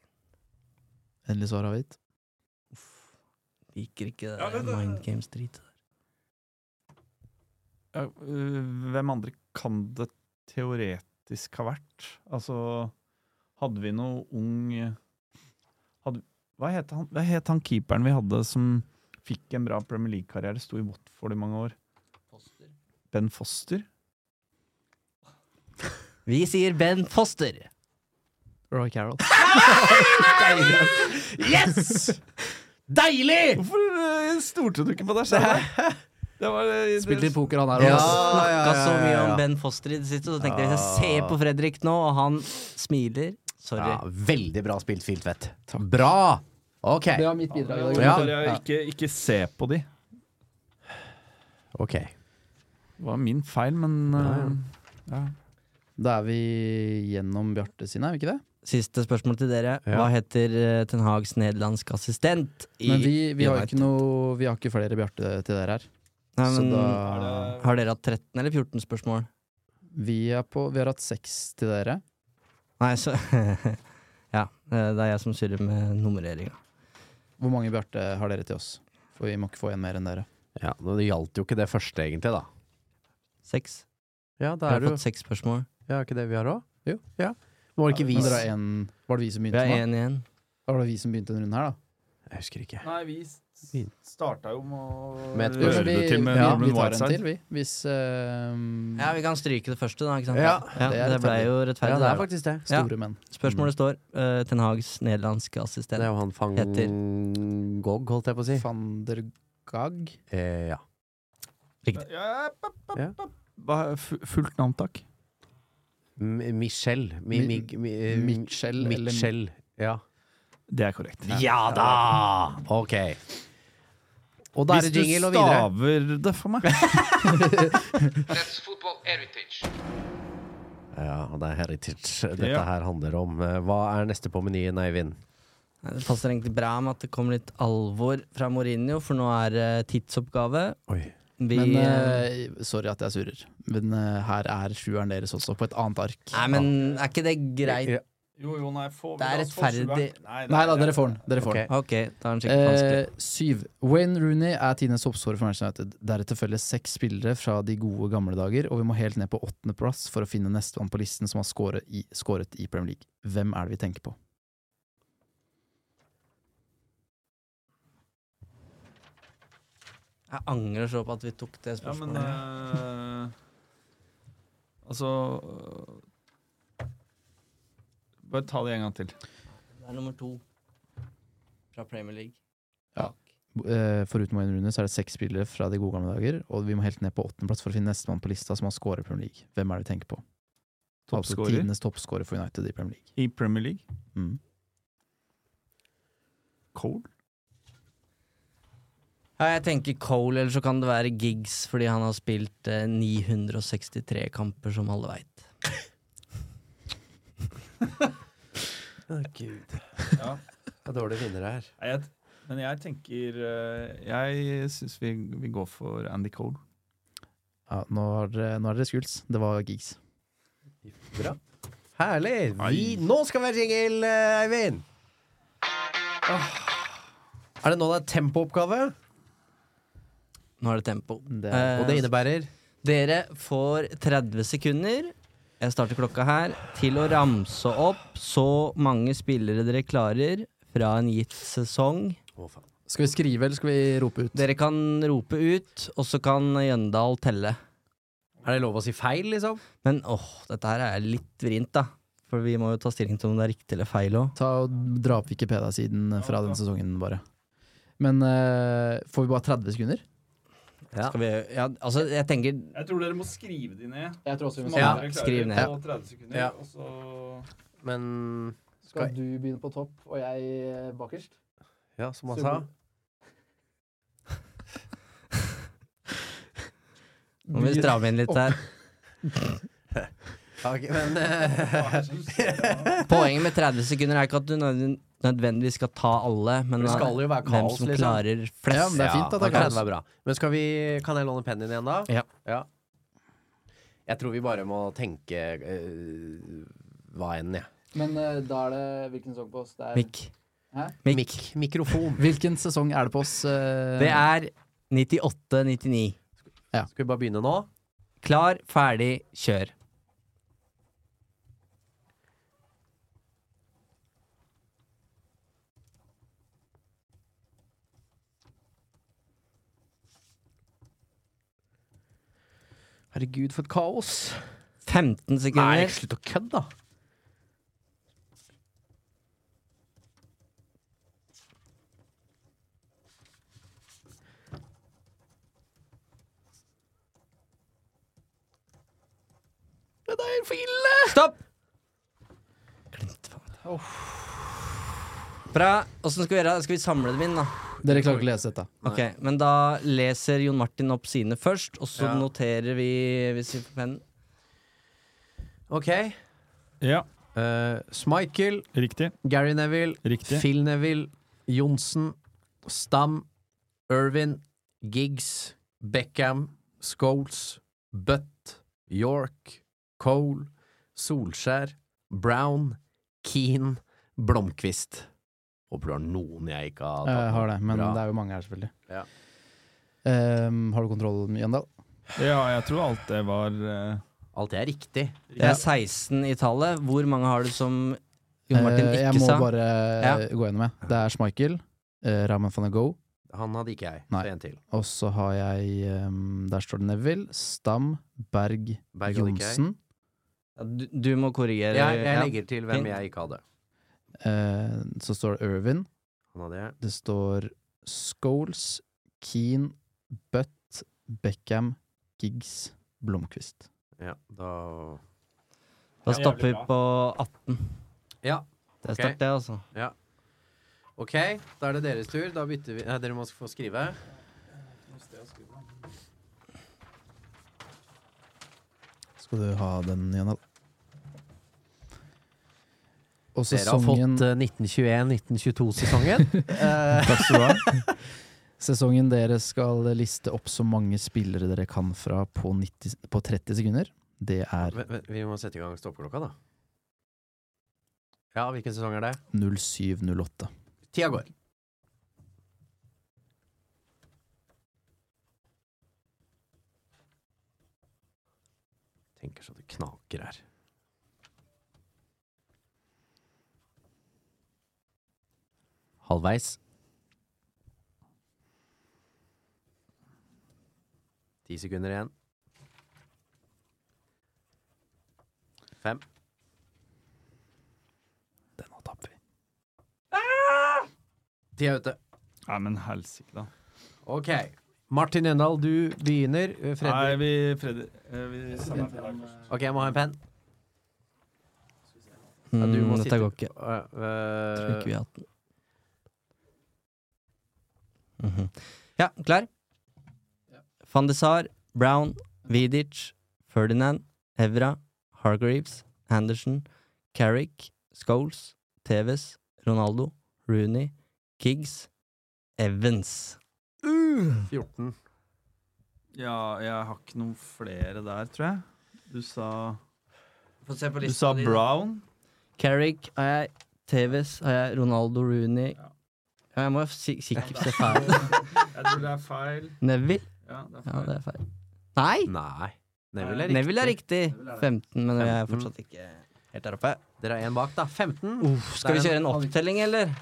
[SPEAKER 5] Endelig svar avgitt.
[SPEAKER 4] Liker ikke det der Mind Games drit.
[SPEAKER 3] ja, øh, Hvem andre kan det teoretisk ha vært? Altså, hadde vi noe ung hadde, hva, het han, hva het han keeperen vi hadde som fikk en bra Premier League-karriere? Sto i Watford i mange år. Ben Foster?
[SPEAKER 4] Vi sier Ben Foster!
[SPEAKER 5] Roy Carroll.
[SPEAKER 2] Yes! Deilig!
[SPEAKER 3] Hvorfor øh, stolte du ikke på deg selv? Det var, eh, det-
[SPEAKER 5] Spilt litt poker, han her
[SPEAKER 4] Jeg har
[SPEAKER 5] òg. ass.
[SPEAKER 4] snakka så mye
[SPEAKER 5] Ah, ja, Ah. ja.
[SPEAKER 4] om Ben Foster i det siste, så tenkte jeg hvis jeg ser på Fredrik nå, og han smiler Sorry.
[SPEAKER 2] Ja, veldig bra spilt, Filtvedt. Bra! Ok.
[SPEAKER 5] Det var mitt bidrag i dag.
[SPEAKER 2] Ja.
[SPEAKER 3] Bare Ikke, ikke se på de.
[SPEAKER 2] Ok.
[SPEAKER 3] Det var min feil, men øh, ja.
[SPEAKER 5] Da er vi gjennom Bjarte sine, er vi ikke det?
[SPEAKER 4] Siste spørsmål til dere.
[SPEAKER 5] Ja.
[SPEAKER 4] Hva heter eh, Ten Hags nederlandske assistent? i
[SPEAKER 5] Men vi, vi, har,
[SPEAKER 4] United?
[SPEAKER 5] ikke noe, vi har ikke flere Bjarte til dere her.
[SPEAKER 4] Nei,
[SPEAKER 5] Så
[SPEAKER 4] men,
[SPEAKER 5] da
[SPEAKER 4] Har dere hatt 13 eller 14 spørsmål?
[SPEAKER 5] vi, er på, vi har hatt seks til dere.
[SPEAKER 4] Nei, så Ja, eh, det er jeg som surrer med nummereringa.
[SPEAKER 5] Hvor mange Bjarte har dere til oss? For vi må ikke få en mer enn dere.
[SPEAKER 2] Ja, nå, Det gjaldt jo ikke det første, egentlig, da.
[SPEAKER 4] Seks.
[SPEAKER 2] Ja,
[SPEAKER 4] Jeg
[SPEAKER 2] da
[SPEAKER 4] har
[SPEAKER 2] er du
[SPEAKER 4] fått seks spørsmål.
[SPEAKER 2] Ja, er ikke det vi har òg?
[SPEAKER 5] Jo.
[SPEAKER 2] Ja. Var det ikke vi
[SPEAKER 5] Men dere har en- Var det vi som
[SPEAKER 4] Vi
[SPEAKER 5] begynte
[SPEAKER 4] er
[SPEAKER 5] nå?
[SPEAKER 4] én igjen.
[SPEAKER 5] Da var det vi som begynte den runden her, da.
[SPEAKER 2] Jeg husker ikke.
[SPEAKER 3] Nei, vi starta jo med å
[SPEAKER 2] Med et
[SPEAKER 5] Jo,
[SPEAKER 2] øl.
[SPEAKER 5] men vi,
[SPEAKER 3] det til med
[SPEAKER 5] ja,
[SPEAKER 3] Norman
[SPEAKER 5] vi tar en
[SPEAKER 3] Whiteside.
[SPEAKER 5] til, vi. Hvis eh,
[SPEAKER 4] Ja, vi kan stryke det første, da. Ikke sant?
[SPEAKER 2] Ja,
[SPEAKER 5] det
[SPEAKER 4] det,
[SPEAKER 5] er
[SPEAKER 4] ble
[SPEAKER 5] rettferdig.
[SPEAKER 4] jo rettferdig.
[SPEAKER 2] Ja, det er
[SPEAKER 4] der, da.
[SPEAKER 2] faktisk det.
[SPEAKER 4] Ja.
[SPEAKER 5] store menn.
[SPEAKER 4] Spørsmålet står eh, Ten Hags nederlandske
[SPEAKER 2] Det
[SPEAKER 4] assistent.
[SPEAKER 2] er jo han Fang Gogg, holdt jeg på å si.
[SPEAKER 5] Van der Gag.
[SPEAKER 2] Eh, ja.
[SPEAKER 3] Ja, pap, pap,
[SPEAKER 2] Ja.
[SPEAKER 3] pap. Hva er fu- Fullt navn, takk.
[SPEAKER 2] M Michelle. Mi
[SPEAKER 5] Mi-
[SPEAKER 2] mig mi eh,
[SPEAKER 5] Mitchell, eller-
[SPEAKER 2] Mitchell. Ja.
[SPEAKER 3] Det er korrekt.
[SPEAKER 2] ja da! Ok. Og da er
[SPEAKER 3] Hvis
[SPEAKER 2] det
[SPEAKER 3] du
[SPEAKER 2] jingle og videre.
[SPEAKER 3] staver det for meg
[SPEAKER 17] That's football heritage.
[SPEAKER 2] Ja, det er heritage dette
[SPEAKER 3] Ja.
[SPEAKER 2] her handler om. Eh, Hva er neste på menyen, Eivind?
[SPEAKER 4] Nei, Det passer egentlig bra med at det kommer litt alvor fra Mourinho, for nå er det tidsoppgave.
[SPEAKER 2] Oi.
[SPEAKER 4] Vi,
[SPEAKER 5] Men
[SPEAKER 4] eh,
[SPEAKER 5] eh, sorry at jeg surrer, men eh, her er sjueren deres også, på et annet ark.
[SPEAKER 4] Nei, men er ikke det greit?
[SPEAKER 2] Ja.
[SPEAKER 3] Jo, jo, nei, få
[SPEAKER 4] Det er rettferdig.
[SPEAKER 5] Nei da, dere får den. Dere får den.
[SPEAKER 4] Ok, da er den sikkert vanskelig.
[SPEAKER 5] Eh, syv. Wayne Rooney er tidenes oppscorer for Manchester United. Deretter følger seks spillere fra de gode gamle dager, og vi må helt ned på åttendeplass for å finne nestemann på listen som har scoret i, scoret i Premier League. Hvem er det vi tenker på?
[SPEAKER 4] Jeg angrer så på at vi tok
[SPEAKER 3] Ja,
[SPEAKER 4] det
[SPEAKER 3] men
[SPEAKER 4] spørsmålet.
[SPEAKER 3] eh, Altså eh, Bare ta det en gang til.
[SPEAKER 4] det er nummer to fra Premier League.
[SPEAKER 5] Ja. eh, foruten Wayne Rooney så er det seks spillere fra de gode gamle dager, og vi må helt ned på åttendeplass for å finne nestemann på lista som har scoret i Premier League. Hvem er det vi tenker på? Altså
[SPEAKER 3] Toppscorer?
[SPEAKER 5] tidenes toppscorer for United i Premier League.
[SPEAKER 3] I Premier League?
[SPEAKER 5] Mm.
[SPEAKER 3] Cole?
[SPEAKER 4] Ja, jeg tenker Cole, eller så kan det være Giggs, fordi han har spilt eh, 963 kamper, som alle veit.
[SPEAKER 2] Å, Ah, gud.
[SPEAKER 3] Ja.
[SPEAKER 2] Det er dårlige vinnere her.
[SPEAKER 3] Nei, Jeg, men jeg tenker eh, Jeg syns vi, vi går for Andy Cole.
[SPEAKER 5] Ja, nå har dere- nå er dere skuls. Det var Giggs.
[SPEAKER 2] Bra. Herlig. Vi, nå skal vi ha jingle, eh, Eivind! Ah. Er det nå det er tempooppgave?
[SPEAKER 4] Nå er det tempo.
[SPEAKER 2] Det
[SPEAKER 5] Eh,
[SPEAKER 2] er- og det innebærer?
[SPEAKER 4] Dere får 30 sekunder, jeg starter klokka her, til å ramse opp så mange spillere dere klarer fra en gitt sesong.
[SPEAKER 5] Skal vi skrive, eller skal vi rope ut?
[SPEAKER 4] Dere kan rope ut, og så kan Jøndal telle.
[SPEAKER 2] Er det lov å si feil, liksom?
[SPEAKER 4] Men åh, dette her er litt vrient, da. For vi må jo ta stilling til om det er riktig eller feil òg.
[SPEAKER 5] Ta og Dra opp Wikipedia-siden fra den sesongen, bare. Men eh, får vi bare 30 sekunder?
[SPEAKER 4] Ja. Skal vi, ja, altså, jeg tenker
[SPEAKER 3] Jeg tror dere må skrive de ned.
[SPEAKER 5] Jeg tror også vi må
[SPEAKER 3] Så alle
[SPEAKER 5] skrive ned.
[SPEAKER 3] dere klarer det på
[SPEAKER 5] Skriv ned.
[SPEAKER 3] 30 sekunder,
[SPEAKER 5] Ja.
[SPEAKER 3] og så
[SPEAKER 2] Men
[SPEAKER 5] Skal du begynne på topp, og jeg eh, bakerst?
[SPEAKER 2] Ja, som han sa.
[SPEAKER 5] Super.
[SPEAKER 4] Nå må vi stramme inn litt her.
[SPEAKER 2] Ja, ok, men eh,
[SPEAKER 4] Poenget med 30 sekunder er ikke at du nødvendig- nødvendigvis skal ta alle, men
[SPEAKER 2] Det skal jo være
[SPEAKER 4] hvem
[SPEAKER 2] kaos,
[SPEAKER 4] som
[SPEAKER 2] liksom.
[SPEAKER 4] klarer flest.
[SPEAKER 2] Ja, men det er fint at det er kaos. Bra. Men skal vi, kan jeg låne pennen din igjen, da?
[SPEAKER 4] Ja.
[SPEAKER 2] Jeg tror vi bare må tenke eh, hva enn, jeg.
[SPEAKER 5] Men eh, da er det hvilken sesong på oss? Det er
[SPEAKER 4] Mikk.
[SPEAKER 5] Hæ?
[SPEAKER 2] Mik- Mikrofon.
[SPEAKER 5] Hvilken sesong er det på oss? eh?
[SPEAKER 4] Det er 98-99.
[SPEAKER 2] Skal vi bare begynne nå?
[SPEAKER 4] Klar, ferdig, kjør.
[SPEAKER 2] Herregud, for et kaos.
[SPEAKER 4] 15 sekunder.
[SPEAKER 2] Nei, slutt å kødde, da.
[SPEAKER 4] Det er for ille! Stopp! Glemte faen. Bra. Åssen skal vi gjøre det? Skal vi samle dem inn, da?
[SPEAKER 5] Dere klarer ikke å lese dette.
[SPEAKER 4] Ok, Men da leser Jon Martin opp sine først, og så
[SPEAKER 2] Ja.
[SPEAKER 4] noterer vi hvis vi får pennen.
[SPEAKER 2] Ok.
[SPEAKER 3] Ja.
[SPEAKER 2] Smichael.
[SPEAKER 3] Riktig.
[SPEAKER 2] Gary Neville.
[SPEAKER 3] Riktig.
[SPEAKER 2] Phil Neville. Johnsen. Stam. Irvin. Giggs. Beckham. Scholes. Butt. York. Cole. Solskjær. Brown. Keane. Blomkvist. Håper du har noen jeg ikke har
[SPEAKER 5] Jeg Eh, har det, men
[SPEAKER 2] Bra.
[SPEAKER 5] det er jo mange her, selvfølgelig.
[SPEAKER 2] Ja.
[SPEAKER 5] Ehm, har du kontroll, Jøndal?
[SPEAKER 3] Ja, jeg tror alt det var eh,
[SPEAKER 2] Alt det er riktig.
[SPEAKER 4] Det er 16 i tallet. Hvor mange har du som Jon Martin
[SPEAKER 5] Eh,
[SPEAKER 4] ikke
[SPEAKER 5] jeg må
[SPEAKER 4] sa?
[SPEAKER 5] bare eh,
[SPEAKER 4] Ja.
[SPEAKER 5] gå gjennom, jeg. Det er Schmeichel, uh, Raman van Go,
[SPEAKER 2] Han hadde ikke jeg.
[SPEAKER 5] Nei.
[SPEAKER 2] Så en til.
[SPEAKER 5] og så har jeg ehm, Der står det Neville, Stam, Berg,
[SPEAKER 2] Berg hadde ikke jeg.
[SPEAKER 5] Johnsen.
[SPEAKER 4] Ja, Du, du må korrigere.
[SPEAKER 2] Jeg, jeg
[SPEAKER 4] ja.
[SPEAKER 2] legger til hvem jeg ikke hadde.
[SPEAKER 5] Eh, så står det Irvin.
[SPEAKER 2] Han hadde jeg.
[SPEAKER 5] Det står Scholes, Keane, Butt, Beckham, Giggs, Blomkvist.
[SPEAKER 2] Ja, da
[SPEAKER 4] Da
[SPEAKER 2] Ja,
[SPEAKER 4] stopper vi
[SPEAKER 2] jævlig bra.
[SPEAKER 4] på 18.
[SPEAKER 2] Ja.
[SPEAKER 4] Det er
[SPEAKER 2] ok.
[SPEAKER 4] sterkt, det, altså.
[SPEAKER 2] Ja. Ok, da er det deres tur. Da bytter vi Nei, dere må få skrive.
[SPEAKER 5] Skal du ha den, Jøndal? Og
[SPEAKER 2] Dere har fått eh,
[SPEAKER 5] sesongen
[SPEAKER 2] 1921-1922-sesongen.
[SPEAKER 5] Takk skal du ha. Sesongen dere skal liste opp så mange spillere dere kan fra på, 90, på 30 sekunder, det er
[SPEAKER 2] Vi må sette i gang stoppeklokka, da. Ja, hvilken sesong er det?
[SPEAKER 5] 0708.
[SPEAKER 2] Tida går. Tenker så det knaker her. Halvveis. Ti sekunder igjen. Fem. Ah! Tida er ute.
[SPEAKER 3] Nei, men helsike, da.
[SPEAKER 2] Ok. Martin Endal, du begynner. Eh,
[SPEAKER 3] Nei,
[SPEAKER 2] Fredrik
[SPEAKER 3] vi Freddy eh, vi samler til deg først.
[SPEAKER 2] Ok, jeg må ha en penn.
[SPEAKER 4] Mm,
[SPEAKER 2] Ja, du må
[SPEAKER 4] dette
[SPEAKER 2] sitte-
[SPEAKER 4] går ikke.
[SPEAKER 2] Å, ja, eh,
[SPEAKER 4] Tror ikke vi har hatt den. Mhm. Ja, klar? Van de Sar, Brown, Vidic, Ferdinand, Evra, Hargreaves, Anderson, Carrick, Scholes, Tevez, Ronaldo, Rooney, Giggs, Evans.
[SPEAKER 2] 14.
[SPEAKER 3] Ja, jeg har ikke noen flere der, tror jeg. Du sa
[SPEAKER 4] Få se på
[SPEAKER 3] Du
[SPEAKER 4] lista
[SPEAKER 3] sa
[SPEAKER 4] di, da.
[SPEAKER 3] Brown.
[SPEAKER 4] Carrick har jeg, Tevez har jeg, Ronaldo, Rooney Ja, jeg må jo si- sikkert se feil.
[SPEAKER 3] Jeg tror det er feil.
[SPEAKER 4] Neville?
[SPEAKER 3] Ja, det er
[SPEAKER 4] Ja,
[SPEAKER 3] feil.
[SPEAKER 4] det er feil. Nei!
[SPEAKER 2] Nei.
[SPEAKER 4] Neville er riktig. 15, men vi er fortsatt ikke helt der oppe.
[SPEAKER 2] Dere er én bak, da. 15.
[SPEAKER 4] Skal vi
[SPEAKER 2] Det er
[SPEAKER 4] kjøre en opptelling, eller?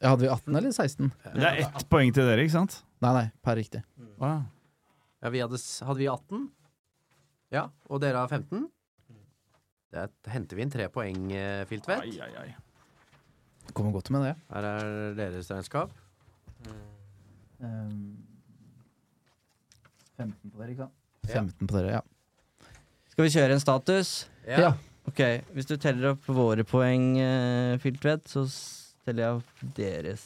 [SPEAKER 5] Ja, hadde vi 18 eller 16?
[SPEAKER 3] Det er ett poeng til dere, ikke sant?
[SPEAKER 5] Nei, nei, per riktig.
[SPEAKER 2] Ja, vi hadde, s- hadde vi 18? Ja, og dere har 15?
[SPEAKER 4] Mm.
[SPEAKER 2] Der henter vi inn tre poeng, eh, Filtvedt.
[SPEAKER 5] Kommer godt med det.
[SPEAKER 2] Her er deres regnskap.
[SPEAKER 5] 15 på dere, ikke sant? 15 på dere, ja.
[SPEAKER 4] Skal vi kjøre en status?
[SPEAKER 5] Ja. Ja.
[SPEAKER 4] Ok, Hvis du teller opp våre poeng, uh, Filtvedt, så s- teller jeg opp deres.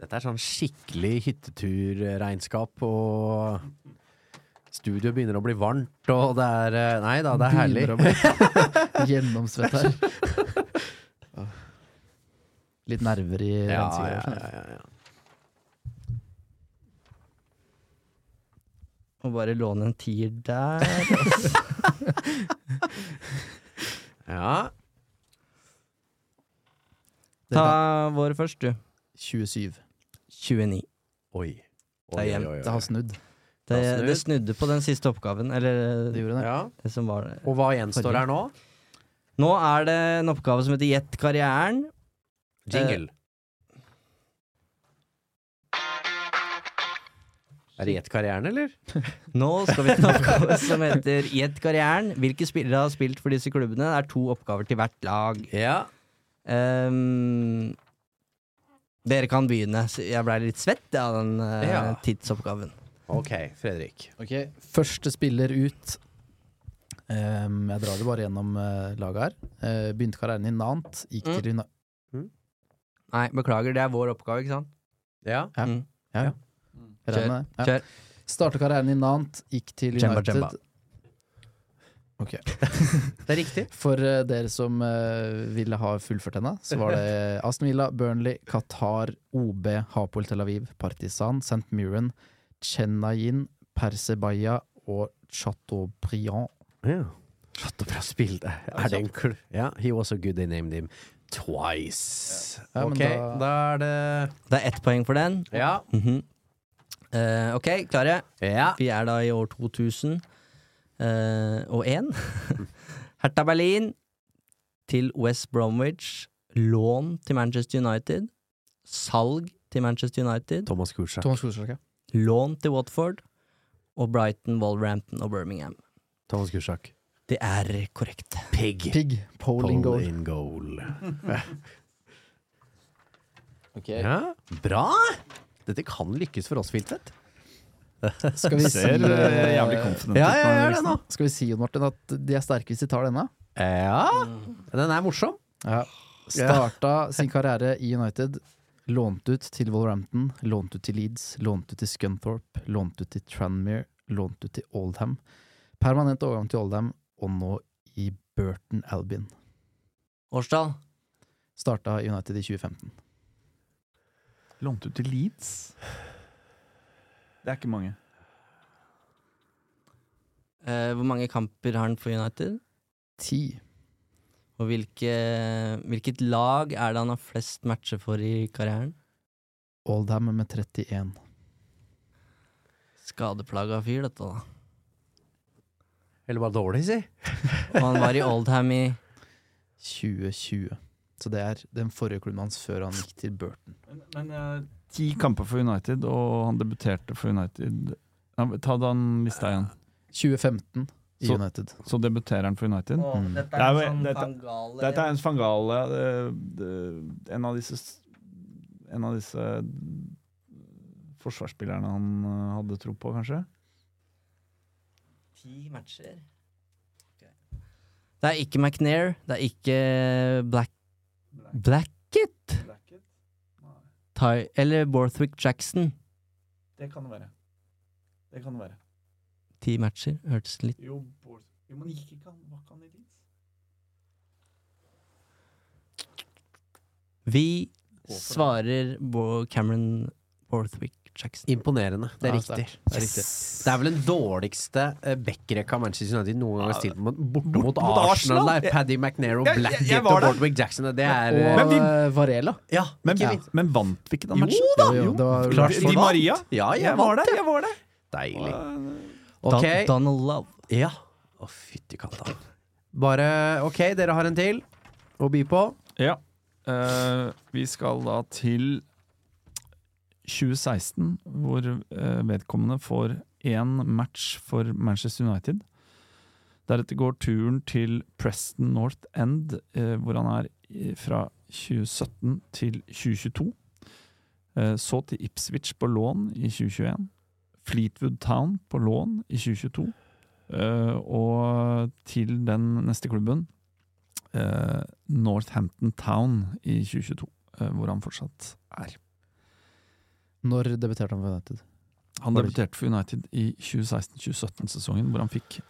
[SPEAKER 2] Dette er sånn skikkelig hytteturregnskap, og studio begynner å bli varmt, og det er eh, Nei da, det er herlig.
[SPEAKER 5] Begynner å bli Gjennomsvett her. Ah. Litt nerver i
[SPEAKER 2] Ja,
[SPEAKER 5] rensinga.
[SPEAKER 2] ja,
[SPEAKER 5] skjønner jeg.
[SPEAKER 2] ja, ja, ja.
[SPEAKER 4] Og bare låne en tier der. altså.
[SPEAKER 2] Ja.
[SPEAKER 4] Ta vår først, du.
[SPEAKER 5] 27.
[SPEAKER 4] 29.
[SPEAKER 2] Oi.
[SPEAKER 4] Det er jevnt.
[SPEAKER 5] Det har snudd.
[SPEAKER 4] Det,
[SPEAKER 2] Det har snudd.
[SPEAKER 4] det snudde på den siste oppgaven. Eller
[SPEAKER 5] Det gjorde det.
[SPEAKER 2] Ja.
[SPEAKER 4] det som var
[SPEAKER 2] Og hva gjenstår her nå?
[SPEAKER 4] Nå er det en oppgave som heter Gjett karrieren.
[SPEAKER 2] Jingle.
[SPEAKER 5] Eh.
[SPEAKER 2] Er det gjett karrieren, eller?
[SPEAKER 4] Nå skal vi til en oppgave som heter Gjett karrieren. Hvilke spillere har spilt for disse klubbene? Det er to oppgaver til hvert lag.
[SPEAKER 2] Ja.
[SPEAKER 4] Ehm, dere kan begynne. Så Jeg blei litt svett av den eh,
[SPEAKER 5] Ja.
[SPEAKER 4] tidsoppgaven.
[SPEAKER 2] Ok, Fredrik.
[SPEAKER 5] Ok, Første spiller ut Ehm, Jeg drar det bare gjennom eh, laget her. Eh, begynte karrieren i Nant, gikk
[SPEAKER 3] Mm.
[SPEAKER 5] til Uni-
[SPEAKER 4] Nei, beklager, det er vår oppgave, ikke sant?
[SPEAKER 2] Ja.
[SPEAKER 5] Ja.
[SPEAKER 4] Mm.
[SPEAKER 5] ja. ja.
[SPEAKER 3] Mm.
[SPEAKER 5] Jeg regner med det. Ja.
[SPEAKER 4] Kjør.
[SPEAKER 5] Startet karrieren i Nant, gikk til
[SPEAKER 4] Jemba,
[SPEAKER 5] United.
[SPEAKER 4] jemba.
[SPEAKER 5] Ok.
[SPEAKER 4] Det er riktig.
[SPEAKER 5] For eh, dere som eh, ville ha fullført henne, så var det Aston Villa, Burnley, Qatar, OB, Hapoel Tel Aviv, Partisan, St. Mirren, Chenayin, Persebaya og Chateaubriand.
[SPEAKER 2] Ja. Chateaubriand spilte. Er det en klubb? Ja, he was so good they named him twice.
[SPEAKER 5] Ja, men
[SPEAKER 2] ok,
[SPEAKER 5] da-
[SPEAKER 2] da... er det
[SPEAKER 4] Det er ett poeng for den.
[SPEAKER 2] Ja.
[SPEAKER 4] Mhm. Eh, ok, klare?
[SPEAKER 2] Ja.
[SPEAKER 4] Vi er da i år 2000 eh, og én. Hertha Berlin til West Bromwich. Lån til Manchester United. Salg til Manchester United.
[SPEAKER 2] Thomas Kurzak.
[SPEAKER 5] Thomas Kulsjak, ja.
[SPEAKER 4] Lån til Watford. Og Brighton, Wolverhampton og Birmingham.
[SPEAKER 2] Thomas Kurzak.
[SPEAKER 4] Det er korrekt.
[SPEAKER 2] Pig.
[SPEAKER 5] Pig. Polling
[SPEAKER 2] Goal
[SPEAKER 5] goal.
[SPEAKER 2] in goal.
[SPEAKER 5] Ok.
[SPEAKER 2] Ja, bra! Dette kan lykkes for oss, Filtvedt.
[SPEAKER 5] Skal vi si
[SPEAKER 3] Ser eh, jævlig confident ut.
[SPEAKER 2] Ja, ja, ja,
[SPEAKER 3] men
[SPEAKER 2] det nå.
[SPEAKER 5] Skal vi si, Jon Martin, at de er sterke hvis de tar denne?
[SPEAKER 2] Ja, den er morsom.
[SPEAKER 5] Ja. Starta sin karriere i United. Lånt ut til Wolverhampton, lånt ut til Leeds, lånt ut til Scunthorpe, lånt ut til Tranmere, lånt ut til Oldham. Permanent overgang til Oldham, og nå i Burton Albion.
[SPEAKER 4] Årsdal.
[SPEAKER 5] Starta i United i 2015.
[SPEAKER 3] Lånte ut til Leeds? Det er ikke mange.
[SPEAKER 4] Eh, hvor mange kamper har han for United?
[SPEAKER 5] Ti.
[SPEAKER 4] Og hvilke, hvilket lag er det han har flest matcher for i karrieren?
[SPEAKER 5] Oldham med 31.
[SPEAKER 4] Skadeplaga fyr, dette, da.
[SPEAKER 2] Eller bare dårlig, si.
[SPEAKER 4] Og han var i Oldham i
[SPEAKER 5] 2020. Så det er den forrige klubben hans før han gikk til Burton.
[SPEAKER 3] Men, men eh, ti kamper for United, og han debuterte for United Ja, Ta den lista igjen.
[SPEAKER 5] 2015, i
[SPEAKER 3] Så-
[SPEAKER 5] United.
[SPEAKER 3] Så debuterer han for United.
[SPEAKER 5] Åh, Mm.
[SPEAKER 4] dette er
[SPEAKER 3] Det
[SPEAKER 4] en sånn
[SPEAKER 3] dette-
[SPEAKER 4] Fangale-
[SPEAKER 3] Dette er en fangale eh, det- En av disse s- En av disse forsvarsspillerne han eh, hadde tro på, kanskje?
[SPEAKER 4] Ti matcher. Det er ikke McNair, det er ikke Black... Blackett? Ty eller Borthwick Jackson.
[SPEAKER 3] Det kan det være. Det kan det være.
[SPEAKER 4] Ti matcher, hørtes litt
[SPEAKER 3] Jo, men gikk ikke han, var ikke han i Leeds?
[SPEAKER 4] Vi svarer på Cameron Borthwick Jackson.
[SPEAKER 2] Imponerende. Det er
[SPEAKER 4] Ja,
[SPEAKER 2] riktig.
[SPEAKER 4] sterkt.
[SPEAKER 2] Det er, riktig. det er vel den dårligste eh, backrekka Manchester United noen gang har stilt mot, borte mot, Arsenal.
[SPEAKER 3] Arsenal.
[SPEAKER 2] der. Paddy McNair og
[SPEAKER 3] Jeg- jeg- jeg
[SPEAKER 2] Blackgate
[SPEAKER 3] var
[SPEAKER 2] og
[SPEAKER 3] der.
[SPEAKER 2] Bordwick Jackson. Det er
[SPEAKER 5] Og
[SPEAKER 2] eh,
[SPEAKER 5] eh, Varela.
[SPEAKER 2] Ja,
[SPEAKER 3] Men,
[SPEAKER 2] ikke minst.
[SPEAKER 3] men vant vi ikke den
[SPEAKER 2] Jo
[SPEAKER 3] matchen?
[SPEAKER 2] da!
[SPEAKER 5] Jo, det var-
[SPEAKER 3] Klart
[SPEAKER 2] Di
[SPEAKER 3] vi vant.
[SPEAKER 2] Maria?
[SPEAKER 3] Ja, jeg
[SPEAKER 2] Jeg
[SPEAKER 3] var
[SPEAKER 2] vant,
[SPEAKER 3] der, jeg var der.
[SPEAKER 2] Deilig.
[SPEAKER 4] Don-
[SPEAKER 2] Ok.
[SPEAKER 4] Donald Love.
[SPEAKER 2] Ja. Å, fytti katta. Bare OK, dere har en til å by på.
[SPEAKER 3] Ja. Eh, vi skal da til 2016, hvor eh, vedkommende får én match for Manchester United. Deretter går turen til Preston North End, eh, hvor han er i- fra 2017 til 2022. Eh, så til Ipswich på lån i 2021. Fleetwood Town på lån i 2022. eh, og til den neste klubben, eh, Northampton Town i 2022, eh, hvor han fortsatt er.
[SPEAKER 5] Når debuterte han for United?
[SPEAKER 3] Han
[SPEAKER 5] Var det
[SPEAKER 3] debuterte for United i 2016-2017-sesongen, hvor han fikk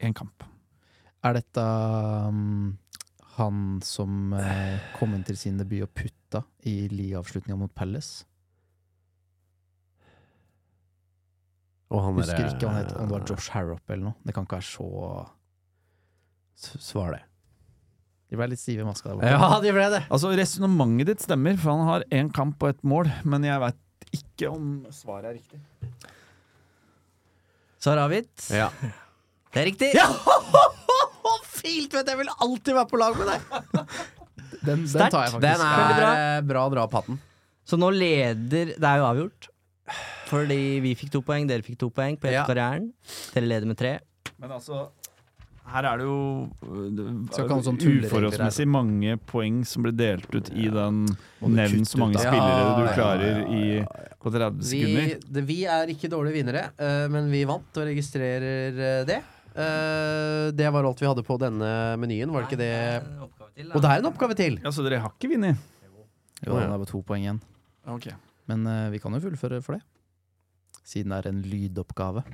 [SPEAKER 3] én kamp.
[SPEAKER 5] Er dette um, han som eh, kom inn til sin debut og putta i Lie-avslutninga mot Palace?
[SPEAKER 2] Og han
[SPEAKER 5] Husker
[SPEAKER 2] derre- eh,
[SPEAKER 5] ikke hva han het, om det var Josh Harrop eller noe. Det kan ikke være så
[SPEAKER 2] S- Svar det.
[SPEAKER 5] De ble litt stive i maska der borte.
[SPEAKER 2] Ja, de ble det.
[SPEAKER 3] Altså, Resonnementet ditt stemmer, for han har én kamp og ett mål, men jeg veit ikke om svaret er riktig.
[SPEAKER 4] Svar avgitt?
[SPEAKER 2] Ja.
[SPEAKER 4] Det er riktig!
[SPEAKER 2] Ja! Filt, vet du, jeg vil alltid være på lag med deg!
[SPEAKER 5] Den,
[SPEAKER 4] Sterkt.
[SPEAKER 5] den tar jeg faktisk.
[SPEAKER 2] Den
[SPEAKER 4] Veldig
[SPEAKER 2] er
[SPEAKER 4] bra.
[SPEAKER 2] eh, bra å dra på hatten.
[SPEAKER 4] Så nå leder Det er jo avgjort. Fordi vi fikk to poeng, dere fikk to poeng på
[SPEAKER 3] Ja.
[SPEAKER 4] hele karrieren. Dere leder med tre.
[SPEAKER 3] Men altså her er det jo
[SPEAKER 5] Skal
[SPEAKER 3] øh,
[SPEAKER 5] ikke ha noen sånn tulleregler her.
[SPEAKER 3] uforholdsmessig mange poeng som ble delt ut i den
[SPEAKER 5] Må du
[SPEAKER 3] Nevn
[SPEAKER 5] kutte
[SPEAKER 3] så mange
[SPEAKER 5] ut, da.
[SPEAKER 3] spillere du
[SPEAKER 5] Ja, ja,
[SPEAKER 3] klarer i på 30
[SPEAKER 2] Vi,
[SPEAKER 3] sekunder.
[SPEAKER 2] det, vi er ikke dårlige vinnere, eh, men vi vant og registrerer eh, det. Eh, det var alt vi hadde på denne menyen, var det ikke det? Og det er en oppgave til!
[SPEAKER 3] Ja, så Altså, dere har ikke vunnet?
[SPEAKER 5] Jo, den er på to poeng igjen.
[SPEAKER 3] Ok.
[SPEAKER 5] Men eh, vi kan jo fullføre for det. Siden det er en lydoppgave.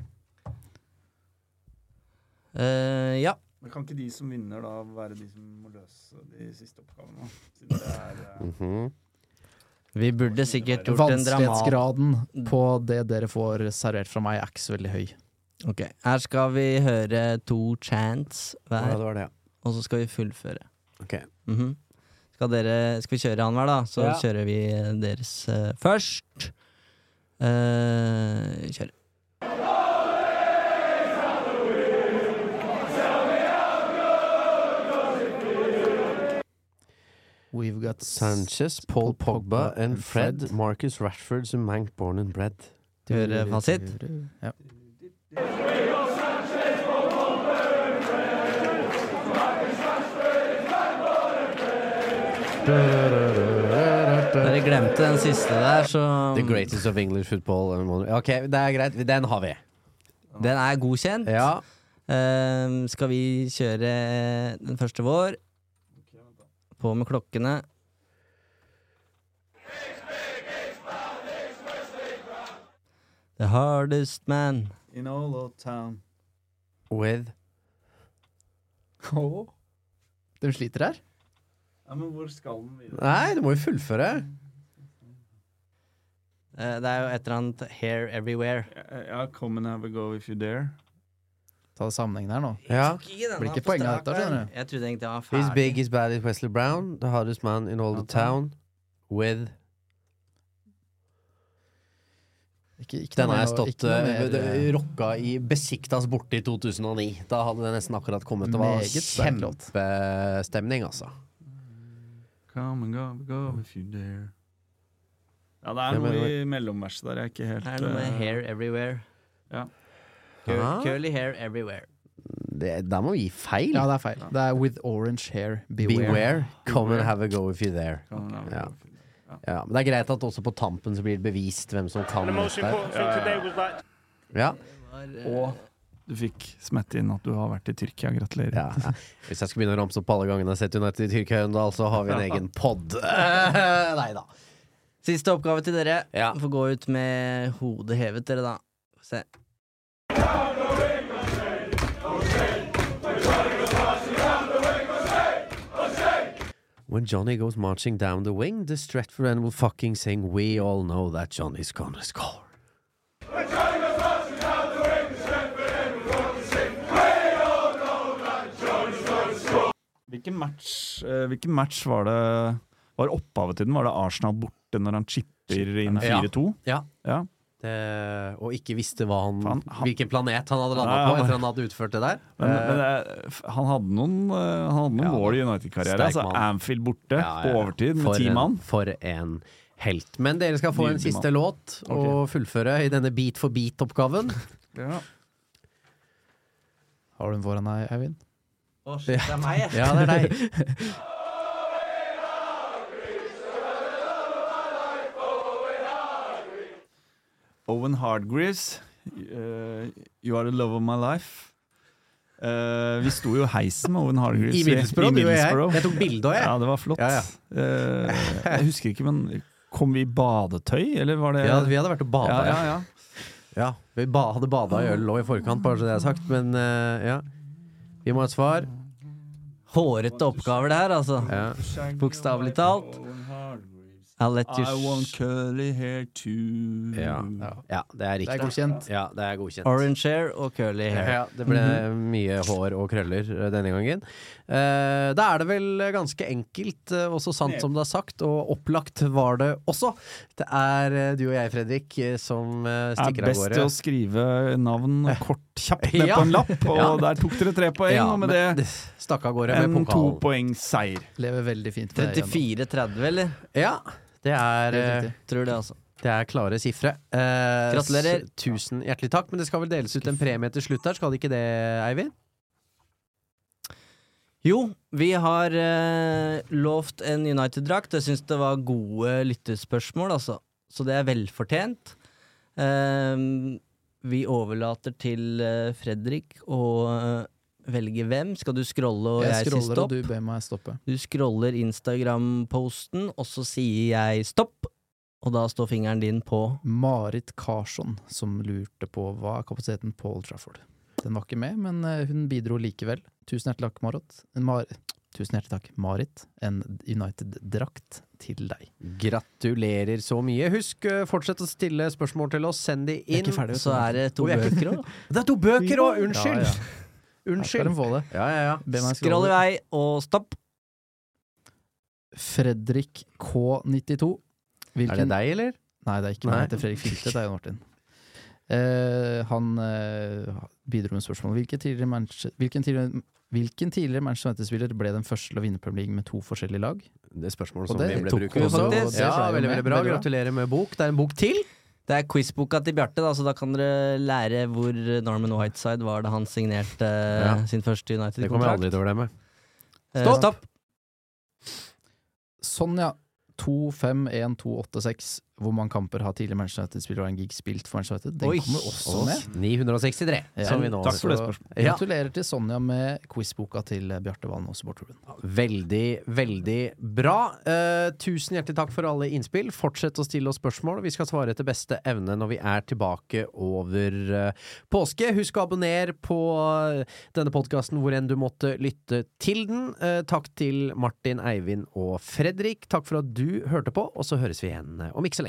[SPEAKER 4] Eh, ja.
[SPEAKER 3] Men kan ikke de som vinner, da være de som må løse de siste oppgavene? Siden det er eh,
[SPEAKER 2] Mhm.
[SPEAKER 4] Vi burde sikkert gjort en dramat.
[SPEAKER 5] Vanskelighetsgraden på det dere får servert fra meg, er ikke så veldig høy.
[SPEAKER 4] Ok, Her skal vi høre to chants hver,
[SPEAKER 2] Ja, det var det, ja.
[SPEAKER 4] og så skal vi fullføre.
[SPEAKER 2] Ok.
[SPEAKER 4] Mhm. skal, dere, skal vi kjøre han hver, da? Så
[SPEAKER 2] Ja.
[SPEAKER 4] kjører vi deres eh, først. Eh, kjør.
[SPEAKER 5] We've got
[SPEAKER 2] Sanchez, Paul Pogba and Fred, Marcus Rashford som Mank born and bred.
[SPEAKER 4] Du hører fasit?
[SPEAKER 5] Ja.
[SPEAKER 4] Dere glemte den siste der, så
[SPEAKER 2] The greatest of English football. and modern- Ok, det er greit. Den har vi.
[SPEAKER 4] Den er godkjent.
[SPEAKER 2] Ja.
[SPEAKER 4] Ehm, skal vi kjøre eh, den første vår? På med klokkene. The hardest man.
[SPEAKER 3] In all of town.
[SPEAKER 2] With
[SPEAKER 5] De sliter her.
[SPEAKER 3] Ja, men hvor skal den videre?
[SPEAKER 2] Nei, du må jo fullføre.
[SPEAKER 4] Eh, det er jo et eller annet Hair Everywhere.
[SPEAKER 3] Ja, come and have a go if you dare.
[SPEAKER 5] Ta det sammenhengen her nå.
[SPEAKER 2] Ja.
[SPEAKER 5] Blir ikke poenget av dette, skjønner du.
[SPEAKER 4] Jeg trodde egentlig det var ferdig.
[SPEAKER 2] He's big, he's bad, he's Wesley Brown. The hardest man in all the town. With
[SPEAKER 5] Ikke, ikke
[SPEAKER 2] Den
[SPEAKER 5] noe
[SPEAKER 2] har
[SPEAKER 5] mer-
[SPEAKER 2] jeg stått
[SPEAKER 5] ikke noe
[SPEAKER 2] eh,
[SPEAKER 5] mer, eh,
[SPEAKER 2] det- rocka i Besiktas borte i 2009. Da hadde det nesten akkurat kommet. Det var
[SPEAKER 5] Meget sterk låt.
[SPEAKER 2] kjempestemning, altså.
[SPEAKER 3] Come and go, go if you dare. Ja, det
[SPEAKER 2] Ja,
[SPEAKER 3] er
[SPEAKER 2] men
[SPEAKER 3] noe
[SPEAKER 2] det
[SPEAKER 3] i mellomverset der jeg ikke helt
[SPEAKER 4] Det er noe med
[SPEAKER 3] eh,
[SPEAKER 4] Hair Everywhere.
[SPEAKER 3] Ja.
[SPEAKER 4] Cur
[SPEAKER 2] Ah.
[SPEAKER 4] Curly hair everywhere.
[SPEAKER 2] det, Der må vi gi feil.
[SPEAKER 5] Ja, det er feil. Det er with orange hair, beware.
[SPEAKER 2] Beware, come and have a go if you're there. Ja. Ja, men det er greit at også på tampen så blir det bevist hvem som kan
[SPEAKER 6] And the most
[SPEAKER 2] mest
[SPEAKER 6] important thing
[SPEAKER 2] der.
[SPEAKER 6] today was like
[SPEAKER 2] Ja.
[SPEAKER 3] Og du fikk smette inn at du har vært i Tyrkia. Gratulerer.
[SPEAKER 2] Hvis jeg skal begynne å ramse opp alle gangene jeg har sett United i altså. Tyrkia, Jøndal, så har vi en egen pod. Nei da.
[SPEAKER 4] Siste oppgave til dere. Får gå ut med hodet hevet, dere, da. Få Se.
[SPEAKER 2] When Johnny goes marching down the wing, the Stratford end will fucking sing We all know that Johnny's gonna score.
[SPEAKER 3] Hvilken match, eh, hvilken match var det Var opphavet til den? Var det Arsenal borte når han chipper inn 4-2?
[SPEAKER 2] Ja.
[SPEAKER 3] Ja.
[SPEAKER 2] Det, og ikke visste hva han,
[SPEAKER 3] Faen, han-
[SPEAKER 2] hvilken planet han hadde landa
[SPEAKER 3] Ja,
[SPEAKER 2] på
[SPEAKER 3] ja,
[SPEAKER 2] etter
[SPEAKER 3] men-
[SPEAKER 2] han hadde utført det der.
[SPEAKER 3] Men,
[SPEAKER 2] Eh,
[SPEAKER 3] men det, er- han hadde noen, eh, han hadde noen mål i United-karriere.
[SPEAKER 2] Sterk
[SPEAKER 3] Altså
[SPEAKER 2] mann.
[SPEAKER 3] Anfield borte,
[SPEAKER 2] Eh, Ja, ja,
[SPEAKER 3] på
[SPEAKER 2] ja.
[SPEAKER 3] overtid,
[SPEAKER 2] For
[SPEAKER 3] med ti
[SPEAKER 2] en-
[SPEAKER 3] mann.
[SPEAKER 2] For en helt. Men dere skal få en
[SPEAKER 3] Nydelig
[SPEAKER 2] siste
[SPEAKER 3] mann.
[SPEAKER 2] låt å fullføre i denne Beat for beat-oppgaven.
[SPEAKER 5] Har du den foran deg, Eivind?
[SPEAKER 4] Å, shit, det er meg, jeg.
[SPEAKER 2] Ja, det er deg.
[SPEAKER 3] Owen Hardgreaves, eh, You Are The Love Of My Life. Eh, vi sto jo i heisen med Oven Hargreaves.
[SPEAKER 2] I Middlesbrough, du og jeg. Jeg tok bilde også, jeg.
[SPEAKER 3] Ja, det var flott. Eh, jeg husker ikke, men kom vi i badetøy, eller var det
[SPEAKER 2] Ja, vi hadde vært og bada,
[SPEAKER 3] Ja, ja, ja.
[SPEAKER 2] Ja, vi ba, hadde bada i øl og i forkant, bare så det er sagt, men eh, ja. Vi må ha et svar.
[SPEAKER 4] Hårete oppgaver, det her, altså. Bokstavelig talt. I'll let you
[SPEAKER 3] I want curly hair too.
[SPEAKER 2] Ja, ja Mm. det er riktig.
[SPEAKER 4] Det er godkjent.
[SPEAKER 2] Ja, det er godkjent.
[SPEAKER 4] Orange hair og curly hair.
[SPEAKER 2] Ja, Mhm. det ble mye hår og krøller eh, denne gangen. Eh, da er det vel eh, ganske enkelt, eh, og så sant som det er sagt, og opplagt var det også. Det er eh, du og jeg, Fredrik, eh, som eh,
[SPEAKER 3] er
[SPEAKER 2] stikker av
[SPEAKER 3] best
[SPEAKER 2] gårde.
[SPEAKER 3] til å skrive navn kort, kjapt ned
[SPEAKER 2] Ja.
[SPEAKER 3] på en lapp, og
[SPEAKER 2] Ja.
[SPEAKER 3] der tok dere tre poeng,
[SPEAKER 2] Ja,
[SPEAKER 3] og med
[SPEAKER 2] men
[SPEAKER 3] det
[SPEAKER 2] stakk av gårde med
[SPEAKER 3] en
[SPEAKER 2] pokalen.
[SPEAKER 3] topoengsseier.
[SPEAKER 5] Lever veldig fint med deg, Jan.
[SPEAKER 4] 34-30, eller?
[SPEAKER 2] Ja, det er
[SPEAKER 4] Helt
[SPEAKER 2] eh,
[SPEAKER 4] riktig. Tror det, altså.
[SPEAKER 2] Det er klare sifre. Eh,
[SPEAKER 4] Gratulerer.
[SPEAKER 2] s- Tusen hjertelig takk. Men det skal vel deles ut en premie til slutt her, skal det ikke det, Eivind?
[SPEAKER 4] Jo, vi har eh, lovt en United-drakt. Jeg syns det var gode lyttespørsmål, altså. Så det er velfortjent. Ehm, vi overlater til eh, Fredrik å eh, velge hvem. Skal du scrolle og jeg,
[SPEAKER 5] Jeg
[SPEAKER 4] sier
[SPEAKER 5] scroller, og
[SPEAKER 4] stopp?
[SPEAKER 5] du ber meg stoppe.
[SPEAKER 4] Du scroller Instagram-posten, og så sier jeg stopp. Og da står fingeren din på
[SPEAKER 5] Marit Karsson som lurte på hva er kapasiteten på Old Trafford. Den var ikke med, men eh, hun bidro likevel. Tusen hjertelig takk, Marit. Mar Tusen hjertelig takk, Marit. En United-drakt til deg.
[SPEAKER 2] Gratulerer så mye. Husk, eh, fortsett å stille spørsmål til oss. Send de
[SPEAKER 5] Vi er sånn
[SPEAKER 2] inn.
[SPEAKER 5] ikke ferdig, vet du.
[SPEAKER 4] Så er det to
[SPEAKER 2] Og vi er ikke-
[SPEAKER 4] bøker òg.
[SPEAKER 2] Det er to bøker òg! Unnskyld!
[SPEAKER 5] Ja, ja.
[SPEAKER 2] Unnskyld.
[SPEAKER 5] Her skal de få det.
[SPEAKER 2] Ja, ja, ja.
[SPEAKER 5] Be meg
[SPEAKER 4] Scroll i
[SPEAKER 5] scrolle.
[SPEAKER 4] vei og stopp.
[SPEAKER 5] Fredrik K92. Hvilken-
[SPEAKER 2] Er det deg, eller?
[SPEAKER 5] Nei, det er ikke meg.
[SPEAKER 2] Nei.
[SPEAKER 5] Det er Fredrik Filtvedt, det er Jon Martin. Eh, han eh, bidro med spørsmålet hvilken tidligere, Manche- hvilken tidligere, hvilken tidligere Manchester United-spiller ble den første til å vinne Premier League med to forskjellige lag?
[SPEAKER 2] Det spørsmålet
[SPEAKER 5] Og
[SPEAKER 2] som
[SPEAKER 5] det
[SPEAKER 2] vi ble
[SPEAKER 5] tok
[SPEAKER 2] brukt
[SPEAKER 5] vi
[SPEAKER 2] også.
[SPEAKER 5] faktisk. Og det
[SPEAKER 2] Ja,
[SPEAKER 5] ble jo
[SPEAKER 2] veldig,
[SPEAKER 5] med.
[SPEAKER 2] veldig bra.
[SPEAKER 5] Veldig bra.
[SPEAKER 2] Gratulerer med bok. Det er en bok til.
[SPEAKER 4] Det er quizboka til Bjarte, da, så da kan dere lære hvor Norman Whiteside var da han signerte eh, sin første
[SPEAKER 2] Det kommer jeg
[SPEAKER 4] United-kontrakt.
[SPEAKER 2] aldri til å glemme.
[SPEAKER 4] Eh,
[SPEAKER 5] Stopp!
[SPEAKER 4] stopp!
[SPEAKER 5] Sånn, ja. 2-5-1-2-8-6. Hvor mange kamper har tidligere Manchester United-spiller og en gig spilt for Manchester United? Den
[SPEAKER 2] Oi.
[SPEAKER 5] kommer også
[SPEAKER 2] Oss.
[SPEAKER 5] med.
[SPEAKER 2] 963,
[SPEAKER 5] Ja.
[SPEAKER 2] som vi nå
[SPEAKER 3] Takk for det
[SPEAKER 5] Så
[SPEAKER 3] spørsmålet.
[SPEAKER 2] Ja.
[SPEAKER 5] Gratulerer til Sonja med quizboka til eh, Bjarte Valen og supporterklubben.
[SPEAKER 2] Veldig, veldig bra. Eh, tusen hjertelig takk for alle innspill. Fortsett å stille oss spørsmål. Vi skal svare etter beste evne når vi er tilbake over eh, påske. Husk å abonnere på eh, denne podkasten hvor enn du måtte lytte til den. Eh, takk til Martin, Eivind og Fredrik. Takk for at du hørte på, og så høres vi igjen eh, om ikke så lenge.